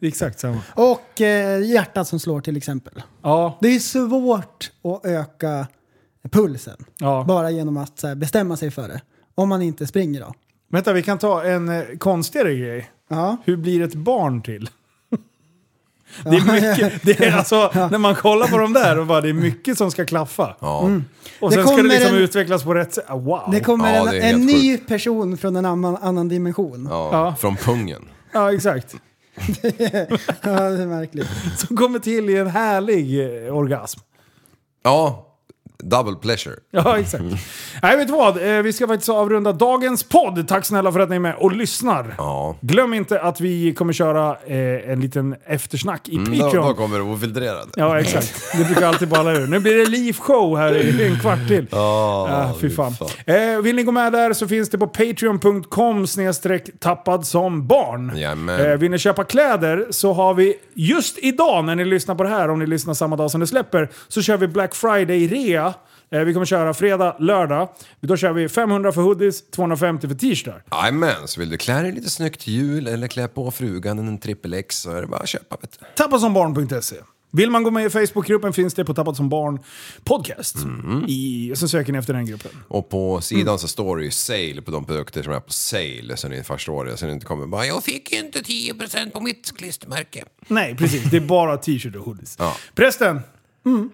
[SPEAKER 5] det är exakt samma.
[SPEAKER 6] Och eh, hjärtat som slår till exempel.
[SPEAKER 5] Ja,
[SPEAKER 6] Det är svårt att öka pulsen
[SPEAKER 5] ja.
[SPEAKER 6] bara genom att så här, bestämma sig för det. Om man inte springer då.
[SPEAKER 5] Vänta, vi kan ta en eh, konstigare grej.
[SPEAKER 6] Ja.
[SPEAKER 5] Hur blir ett barn till? Det är mycket, det är alltså, när man kollar på de där och bara, det är mycket som ska klaffa.
[SPEAKER 7] Ja.
[SPEAKER 5] Och
[SPEAKER 6] Mm. Det
[SPEAKER 5] sen ska det
[SPEAKER 6] kommer
[SPEAKER 5] liksom
[SPEAKER 6] en-
[SPEAKER 5] utvecklas på rätt sätt. Ah, Wow!
[SPEAKER 6] Det kommer
[SPEAKER 7] Ja,
[SPEAKER 6] en,
[SPEAKER 7] det är
[SPEAKER 6] en
[SPEAKER 7] helt
[SPEAKER 6] ny person från en annan, annan dimension. Ja.
[SPEAKER 7] Ja,
[SPEAKER 5] Ja.
[SPEAKER 7] Från pungen.
[SPEAKER 5] Ja, exakt.
[SPEAKER 6] det är märkligt.
[SPEAKER 5] Som kommer till i en härlig eh, orgasm.
[SPEAKER 7] Ja, double pleasure.
[SPEAKER 6] Mm.
[SPEAKER 5] Ja, exakt. Nej, vet du vad? Eh, Vi ska faktiskt avrunda dagens podd. Tack snälla för att ni är med och lyssnar.
[SPEAKER 7] Ja.
[SPEAKER 5] Glöm inte att vi kommer köra eh, en liten eftersnack i
[SPEAKER 7] Då,
[SPEAKER 5] Patreon.
[SPEAKER 7] då kommer det ofiltrerad.
[SPEAKER 5] Ja, exakt. Det brukar alltid balla ur. Nu blir det livshow här i en kvart till. ah, fy
[SPEAKER 7] fy
[SPEAKER 5] fan.
[SPEAKER 7] fan.
[SPEAKER 5] Eh, vill ni gå med där så finns det på patreon.com snedstreck tappad som barn.
[SPEAKER 7] Jajamän.
[SPEAKER 5] Eh, vill ni köpa kläder så har vi just idag när ni lyssnar på det här, om ni lyssnar samma dag som det släpper, så kör vi Black Friday rea. Eh, vi kommer köra fredag, lördag. Då kör vi 500 för hoodies, 250 för t-shirtar.
[SPEAKER 7] Jajamän, så vill du klä dig lite snyggt till jul eller klä på frugan en trippel X så är det bara att köpa vet du.
[SPEAKER 5] Tappasombarn.se. Vill man gå med i Facebookgruppen finns det på Tappat som barn podcast.
[SPEAKER 7] Mm.
[SPEAKER 5] I, så söker ni efter den gruppen.
[SPEAKER 7] Och på sidan så står det ju sale på de produkter som är på sale så ni förstår det. Så ni inte kommer bara “Jag fick ju inte 10% på mitt klistermärke”.
[SPEAKER 5] Nej, precis. Det är bara t-shirt och hoodies.
[SPEAKER 7] Ja.
[SPEAKER 5] Prästen,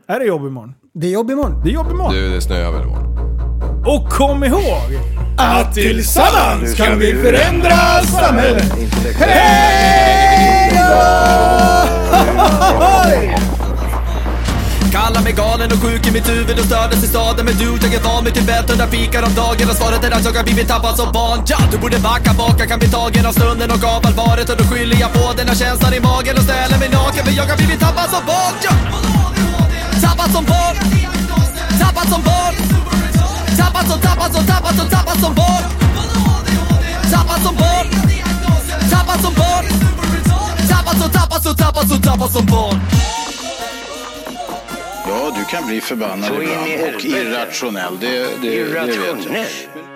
[SPEAKER 5] är det jobb imorgon?
[SPEAKER 6] Det är jobb imorgon.
[SPEAKER 5] Det är jobb imorgon.
[SPEAKER 7] Du, det snöar väl imorgon.
[SPEAKER 5] Och kom ihåg! Att tillsammans kan vi förändra samhället!
[SPEAKER 1] Kallar mig galen och sjuk i mitt huvud och stördes i staden Men du, jag är van vid Tibet och där fikar om dagen Och svaret är att jag har blivit tappad som barn ja, Du borde backa bak, jag kan bli tagen av stunden och av allvaret Och då skyller jag på den här känslan i magen och ställer mig naken För jag har blivit tappad som barn ja. Tappad som barn Tappad som barn Tappad som, tappad som, tappad som, tappad som barn Tappad som barn Tappad som barn Tappad som, tappad som, tappad som, tappad som barn
[SPEAKER 2] Ja, du kan bli förbannad
[SPEAKER 3] Så in i
[SPEAKER 2] ibland och
[SPEAKER 3] helvete.
[SPEAKER 2] irrationell. Det, det, det vet jag.
[SPEAKER 3] Irrationell.